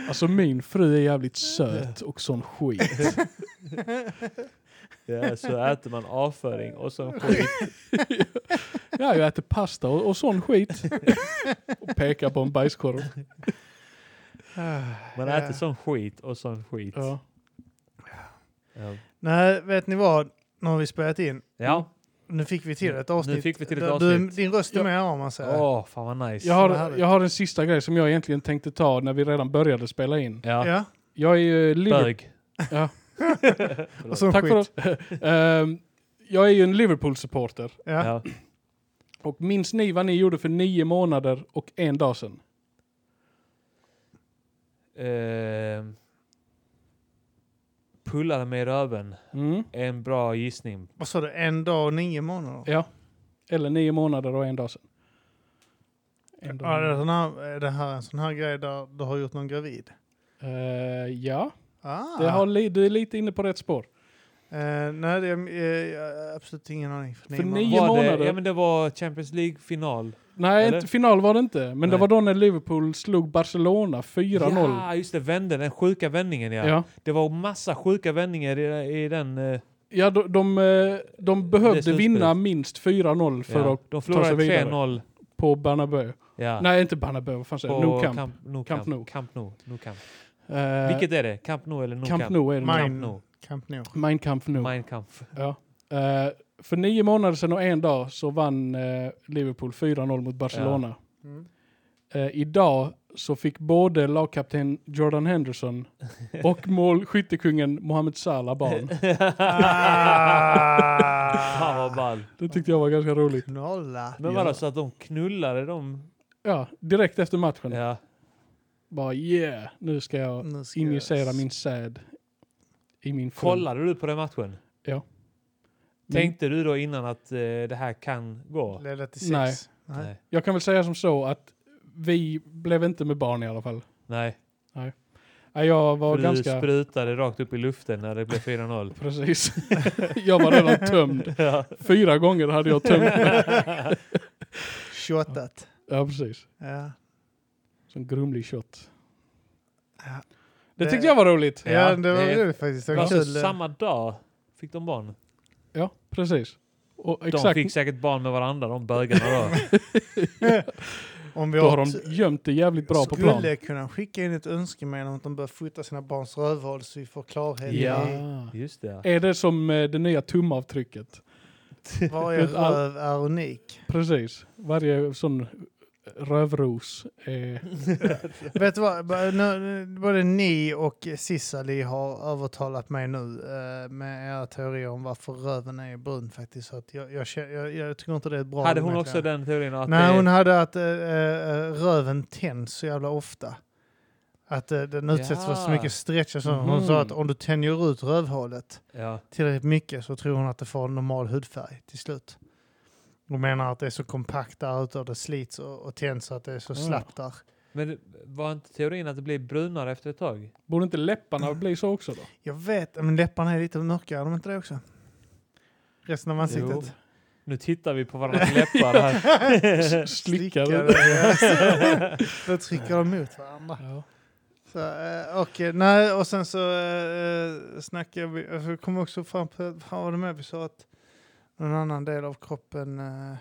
S3: Alltså min fru är jävligt söt och sån skit.
S2: Ja, så äter man avföring och sån skit.
S3: Ja, jag äter pasta och, och sån skit. Och pekar på en bajskorv.
S1: Ah,
S2: Man
S1: ja.
S2: äter sån skit och sån skit.
S3: Ja.
S2: Ja.
S1: Nej, vet ni vad? Nu har vi spelat in.
S3: Mm,
S2: Ja.
S1: Nu fick vi till ett
S2: Nu
S1: avsnitt.
S2: fick vi till ett
S1: Du- Du,
S2: avsnitt.
S1: din röst är
S3: Ja.
S1: med om man säger.
S2: Åh, fan vad nice.
S3: Jag, har,
S1: härligt.
S3: jag har en sista grej som jag egentligen tänkte ta när vi redan började spela in.
S2: Ja.
S1: Ja.
S3: Jag är ju Liverpool...
S2: Bög.
S3: Ja.
S1: Och sån
S3: Tack
S1: skit.
S3: för oss. Ehm, jag är ju en Liverpool-supporter.
S1: Ja.
S2: Ja.
S3: Och minns ni vad ni gjorde för nio månader och en dag sedan?
S2: Ehm. Pullade med röven
S3: Mm.
S2: är en bra gissning.
S1: Vad sa du? En dag och nio månader?
S3: Ja. Eller nio månader och en dag sedan. En dag.
S1: Ja, det, är sån här, är det här en sån här grej där du har gjort någon gravid?
S3: Eh, ja,
S1: Ah.
S3: det har li- du är lite inne på rätt spår.
S1: Eh, nej, det är, eh, jag har absolut ingen aning. För
S3: För
S1: månader.
S3: nio
S2: Var
S3: månader?
S2: Det, ja men det var Champions League-final.
S3: Nej,
S2: Eller?
S3: inte, final var det inte. Men det
S2: Nej.
S3: var då när Liverpool slog Barcelona 4-0.
S2: Ja, just det. Vände den sjuka vändningen ja.
S3: Ja. Ja.
S2: Det var massa sjuka vändningar i, i den... eh,
S3: de, de, eh, de behövde
S2: slutspelet.
S3: vinna minst 4-0 för
S2: ja.
S3: att
S2: De
S3: sig
S2: förlorade
S3: vidare.
S2: 3-0.
S3: på Bernabeu.
S2: Ja.
S3: Nej, inte Bernabeu, vad fan säger
S2: på
S3: jag? Nou Camp.
S2: Nou
S3: Camp
S2: Camp,
S3: Nou.
S2: Camp Nou. Nou Camp.
S3: Eh,
S2: Vilket är det? Camp Nou eller Nou Camp?
S3: Camp Nou är det.
S1: Mine.
S3: nog.
S2: Camp Nou.
S1: Camp Nou.
S3: Mein Camp Nou.
S2: Mein Camp.
S3: Ja. Eh, för nio månader sedan och en dag så vann eh, Liverpool 4-0 mot Barcelona.
S1: Mm.
S3: Eh, idag så fick både lagkapten Jordan Henderson och målskyttekungen Mohamed Salah barn.
S2: Fan vad
S1: Ah!
S2: ball.
S3: Det tyckte jag var ganska roligt.
S1: Nolla.
S2: Men vadå, så att de knullade de?
S3: Ja, direkt efter matchen.
S2: Ja.
S3: Bara yeah, nu ska jag
S1: Nu ska jag-
S3: injicera min säd i min fru.
S2: Kollade du på den matchen?
S3: Mm. Men
S2: Tänkte du då innan att eh, det här kan gå?
S1: Leda till sex.
S3: Nej.
S1: Nej.
S3: Jag kan väl säga som så att vi blev inte med barn i alla fall.
S2: Nej.
S3: Nej, Jag var
S2: För du
S3: ganska...
S2: sprutade rakt upp i luften när det blev 4-0.
S3: Precis. jag var redan tömd. Fyra gånger hade jag tömt mig.
S1: Shotat.
S3: Ja, precis.
S1: Ja.
S3: Som grumlig shot.
S1: Ja.
S3: Det
S1: Det-
S3: tyckte jag var roligt.
S1: Ja,
S2: Ja,
S1: det var
S2: det är-
S3: Alltså,
S1: roligt faktiskt. Det var
S2: Alltså,
S1: kul.
S2: samma dag fick de barn.
S3: Ja, precis. Och
S2: De
S3: exakt,
S2: fick säkert barn med varandra, de bögarna då.
S1: Om vi
S3: då har
S1: åt-
S3: de gömt det jävligt bra på plan.
S1: skulle kunna skicka in ett önskemål om att de bör fota sina barns rövhål så vi får klarhet i
S3: Ja.
S2: Just det.
S3: Är det som eh, det nya tumavtrycket?
S1: varje
S3: Vet all-
S1: röv är unik.
S3: Precis. Varje sån rövros eh, är...
S1: Vet du vad, B- nu- både ni och Sissali har övertalat mig nu eh, med era teorier om varför röven är brun faktiskt. Så att jag, jag, kä- jag, jag tycker inte det är ett bra
S2: Hade hon
S1: argument
S2: också
S1: längre.
S2: den teorin? Att
S1: Nej,
S2: det,
S1: hon hade att eh, eh, röven tänds så jävla ofta. Att eh, den utsätts för så
S2: Ja.
S1: mycket stretch och så. Hon sa att
S3: Mhm.
S1: om du tänjer ut rövhålet
S2: ja.
S1: tillräckligt mycket så tror hon att det får en normal hudfärg till slut. Hon menar att det är så kompakt där ute och det slits och, och tänds så att det är så
S3: Ja.
S1: slappt där.
S2: Men var inte teorin att det blir brunare efter ett tag?
S3: Borde inte läpparna bli så också då?
S1: Jag vet, men läpparna är lite mörkare, är de inte det också? Resten av
S2: Jo.
S1: ansiktet.
S2: Nu tittar vi på varandras läppar här.
S3: Slickar.
S1: Då trycker de mot varandra.
S3: Ja.
S1: Så, eh, och, eh, nej, och sen så eh, snackar vi, alltså, vi kom också fram på, fan var det med vi sa att någon annan del av kroppen eh,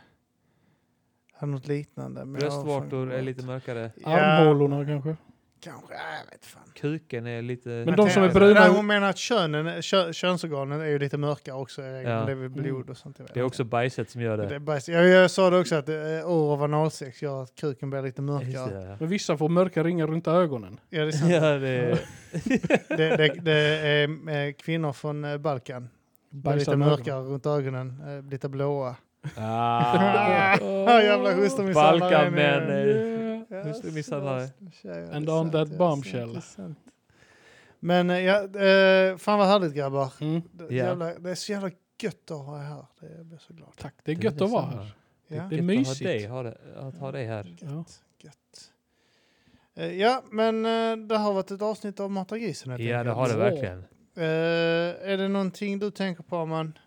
S1: hade något liknande. men jag har fan
S2: Bröstvårtor är
S1: glömt.
S2: lite mörkare.
S1: Ja.
S3: Armhålorna kanske?
S1: Kanske, jag vet fan.
S2: Kuken är lite...
S3: Men de som är
S1: Nej,
S3: bruna-
S1: hon menar att könen, kö, könsorganen är ju lite mörka också.
S2: Ja.
S1: Ja. Det är väl blod och sånt. jag vet
S2: Det är
S1: inte.
S2: också bajset som gör
S1: det.
S2: det.
S1: är bajs. Jag, jag sa det också att eh, år av analsex gör att kuken blir lite
S2: Just
S1: mörkare.
S2: det.
S3: Men vissa får mörka ringar runt ögonen.
S1: Ja, det är sant.
S2: Ja, det
S1: Det, det, det är eh, kvinnor från eh, Balkan. Blir
S3: Bajsar
S1: lite
S3: med ögonen.
S1: mörkare runt ögonen, eh, lite blåa.
S2: Ah.
S1: Ah, jävla hustrumisshandlare.
S2: Balkan,
S1: är ni.
S2: men, eh,
S3: Yeah.
S1: Ja,
S2: hustrumisshandlare.
S1: tjejer,
S3: And
S1: det är
S3: on
S1: sant,
S3: that
S1: det är
S3: bombshell.
S1: sant, det är sant. Men eh, ja, eh, fan vad härligt grabbar.
S3: Mm.
S1: Det,
S2: Ja.
S1: jävla, det är så jävla gött att ha er här. Det, jag blir så glad.
S3: Tack, det är gött att vara här.
S1: Ja.
S3: Det är
S2: Gött
S3: mysigt.
S2: Att ha dig, ha det, att ha dig här.
S3: Ja.
S1: Gött, gött. Eh, Ja, men eh, det har varit ett avsnitt av Mata grisen. helt
S2: Ja, det
S1: enkelt.
S2: har det
S3: Så.
S2: verkligen.
S1: Eh, är det någonting du tänker på, man?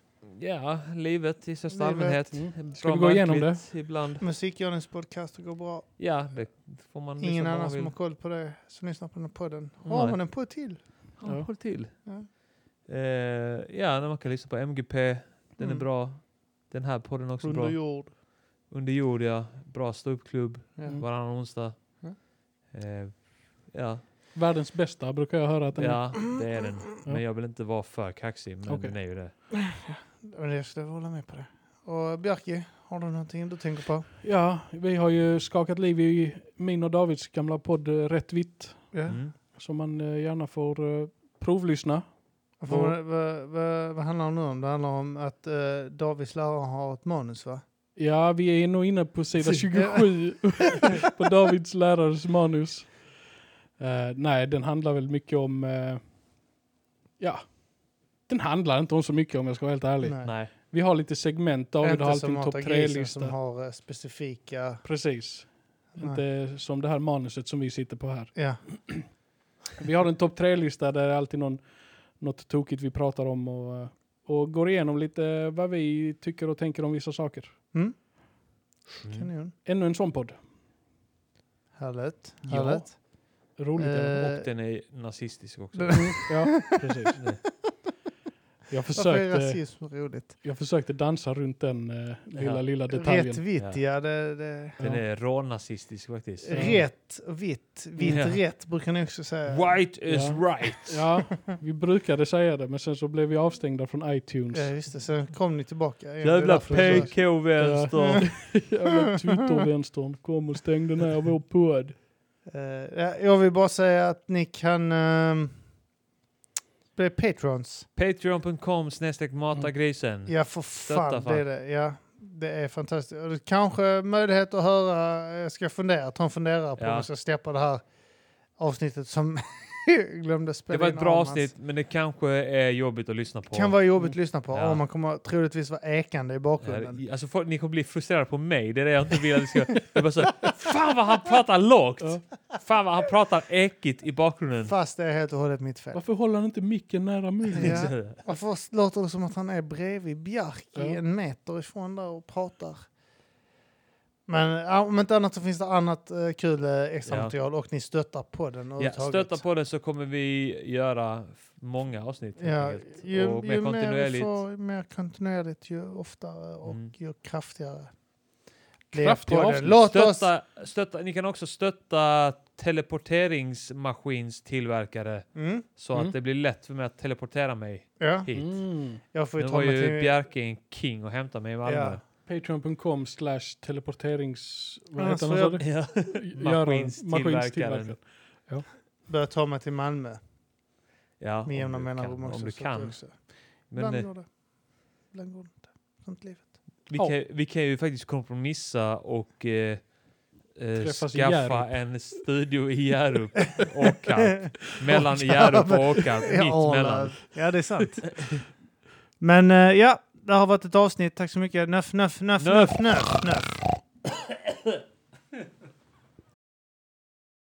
S2: Ja, livet i största
S1: Livet.
S2: allmänhet.
S3: Mm. Ska
S2: Bra
S3: vi gå igenom
S2: märkligt Ibland.
S1: Musikgörningspodcaster går bra.
S2: Ja, det får man
S1: Ingen
S2: lyssna på om
S1: annan
S2: man
S1: som
S2: vill.
S1: har koll på det som lyssnar på den här podden.
S2: Nej.
S1: Har man en podd till?
S2: Ja,
S3: Ja.
S2: håll till.
S1: Ja.
S2: Eh, ja, när man kan lyssna på MGP. Den
S1: Mm.
S2: är bra. Den här podden är också
S1: Under
S2: bra.
S1: jord.
S2: Under jord, ja. Bra ståuppklubb
S1: Ja.
S3: Mm.
S2: varannan onsdag.
S1: Ja.
S2: Eh, ja.
S3: Världens bästa brukar jag höra att den är.
S2: ja, det är den.
S3: Ja.
S2: Men jag vill inte vara för kaxig, men
S3: Okej.
S2: den är ju det.
S1: Men jag skulle hålla med på det. Och Bjarke, har du någonting du tänker på?
S3: Ja, vi har ju skakat liv i min och Davids gamla podd eh, Rätt vitt.
S1: Ja.
S2: Mm.
S3: Som man eh, gärna får eh, provlyssna.
S1: Vad, vad, vad, vad, vad handlar det nu om? Det handlar om att eh, Davids lärare har ett manus, va?
S3: Ja, vi är nog inne på sida 27 på Davids lärares manus. Eh, nej, den handlar väl mycket om... eh, ja, den handlar inte om så mycket om jag ska vara helt ärlig.
S2: Nej.
S3: Vi har lite segment. David
S1: inte
S3: har alltid
S1: som
S3: en topp
S1: Mata grisen som
S3: 3-lista.
S1: har eh, specifika...
S3: Precis.
S1: Nej.
S3: Inte som det här manuset som vi sitter på här.
S1: Ja.
S3: Vi har en topp tre-lista där det är alltid någon, något tokigt vi pratar om och, och går igenom lite vad vi tycker och tänker om vissa saker.
S2: Mm.
S1: Kanon.
S3: Ännu en sån podd.
S1: Härligt.
S3: Ja.
S1: Härligt.
S3: Roligt.
S1: Eh,
S2: Och den är nazistisk också.
S3: Ja, precis. Jag
S1: Mm, Varför är
S3: försökte,
S1: rasism roligt?
S3: jag försökte dansa runt den eh, lilla,
S2: Ja.
S3: lilla
S1: Rätt
S3: detaljen.
S1: vitt,
S2: Ja.
S1: ja. Det, det.
S2: Den
S3: Ja.
S2: är rånazistisk faktiskt.
S3: Ja.
S1: Rätt och vitt. Vitt
S2: Ja.
S1: rätt brukar ni också säga.
S2: White is
S3: Ja.
S2: right!
S3: Ja, vi brukade säga det, men sen så blev vi avstängda från iTunes.
S1: Ja, just det. Sen kom ni tillbaka. igen. Det är
S2: Jävla
S1: därför jag sa-
S2: PK-vänster!
S3: Jävla Twitter-vänstern kom och stängde ner vår podd.
S1: Eh, ja, jag vill bara säga att ni kan ehm, bli patrons.
S2: Patreon.com snedstreck matagrisen.
S1: Ja, för fan,
S2: Mm. fan.
S1: det är det. Ja, det är fantastiskt. Och det kanske möjlighet att höra, jag ska fundera, ta en funderare på
S2: Ja.
S1: om jag ska släppa det här avsnittet som jag glömde spela
S2: Det var
S1: in
S2: ett bra
S1: av Mats.
S2: avsnitt, men det kanske är jobbigt att lyssna på.
S1: kan vara jobbigt att lyssna på.
S2: Ja.
S1: Och man kommer troligtvis vara ekande i bakgrunden.
S2: Ja, Alltså, folk, ni kommer bli frustrerade på mig. Det är det jag inte vill att ni ska... Jag är bara så, här, Fan vad han pratar lågt! Fan vad han pratar ekigt i bakgrunden.
S1: Fast det är helt och hållet mitt fel.
S3: Varför håller han inte micken nära munnen?
S1: Ja. Varför låter det som att han är bredvid Bjarki
S3: Ja.
S1: en meter ifrån där och pratar? Men ja, om inte annat så finns det annat eh, kul eh, extra
S2: Ja.
S1: material och ni stöttar på den
S2: Ja,
S1: överhuvudtaget.
S2: stötta på den så kommer vi göra f- många avsnitt. helt
S1: Ja,
S2: enkelt.
S1: ju,
S2: och mer
S1: ju mer vi
S2: kontinuerligt.
S1: får, ju mer kontinuerligt, ju oftare och
S2: Mm.
S1: ju kraftigare.
S3: Kraftiga
S1: Kraftiga
S3: avsnitt.
S1: Låt oss...
S2: Stötta, stötta, ni kan också stötta teleporteringsmaskinstillverkare
S1: Mm,
S2: så
S3: Mm.
S2: att det blir lätt för mig att teleportera mig
S1: ja,
S2: hit.
S3: Mm.
S1: jag får
S2: Nu
S1: ju
S2: var
S1: ta mig
S2: ju
S1: till...
S2: Bjerke en king och hämtade mig i Malmö.
S1: Ja.
S3: Patreon.com slash teleporterings... Vad
S1: Ja,
S3: heter
S1: så
S3: den? sa
S1: jag-
S3: du?
S2: Ja.
S3: Göra-
S2: Maskinstillverkaren.
S3: maskinstillverkaren.
S1: Börja ta mig till Malmö
S2: Ja,
S1: med jämna
S2: om du
S1: mellanrum
S2: kan,
S1: också.
S2: Om du
S1: så att det
S2: kan.
S1: också-
S2: Men
S1: Ibland
S2: eh,
S1: går det. Ibland går det inte. Sånt livet.
S2: vi
S3: Ja.
S2: kan, vi kan ju faktiskt kompromissa och eh, eh,
S3: Träffas i
S2: skaffa
S3: Hjärup.
S2: en studio i Hjärup och Åkarp. Mellan Hjärup och Åkarp,
S1: Ja,
S2: mitt mellan.
S1: Ja, det är sant. Men eh, ja, det har varit ett avsnitt. Tack så mycket. Nöff, nöff, nöff,
S2: Nöff.
S1: nöff, nöff, nöff.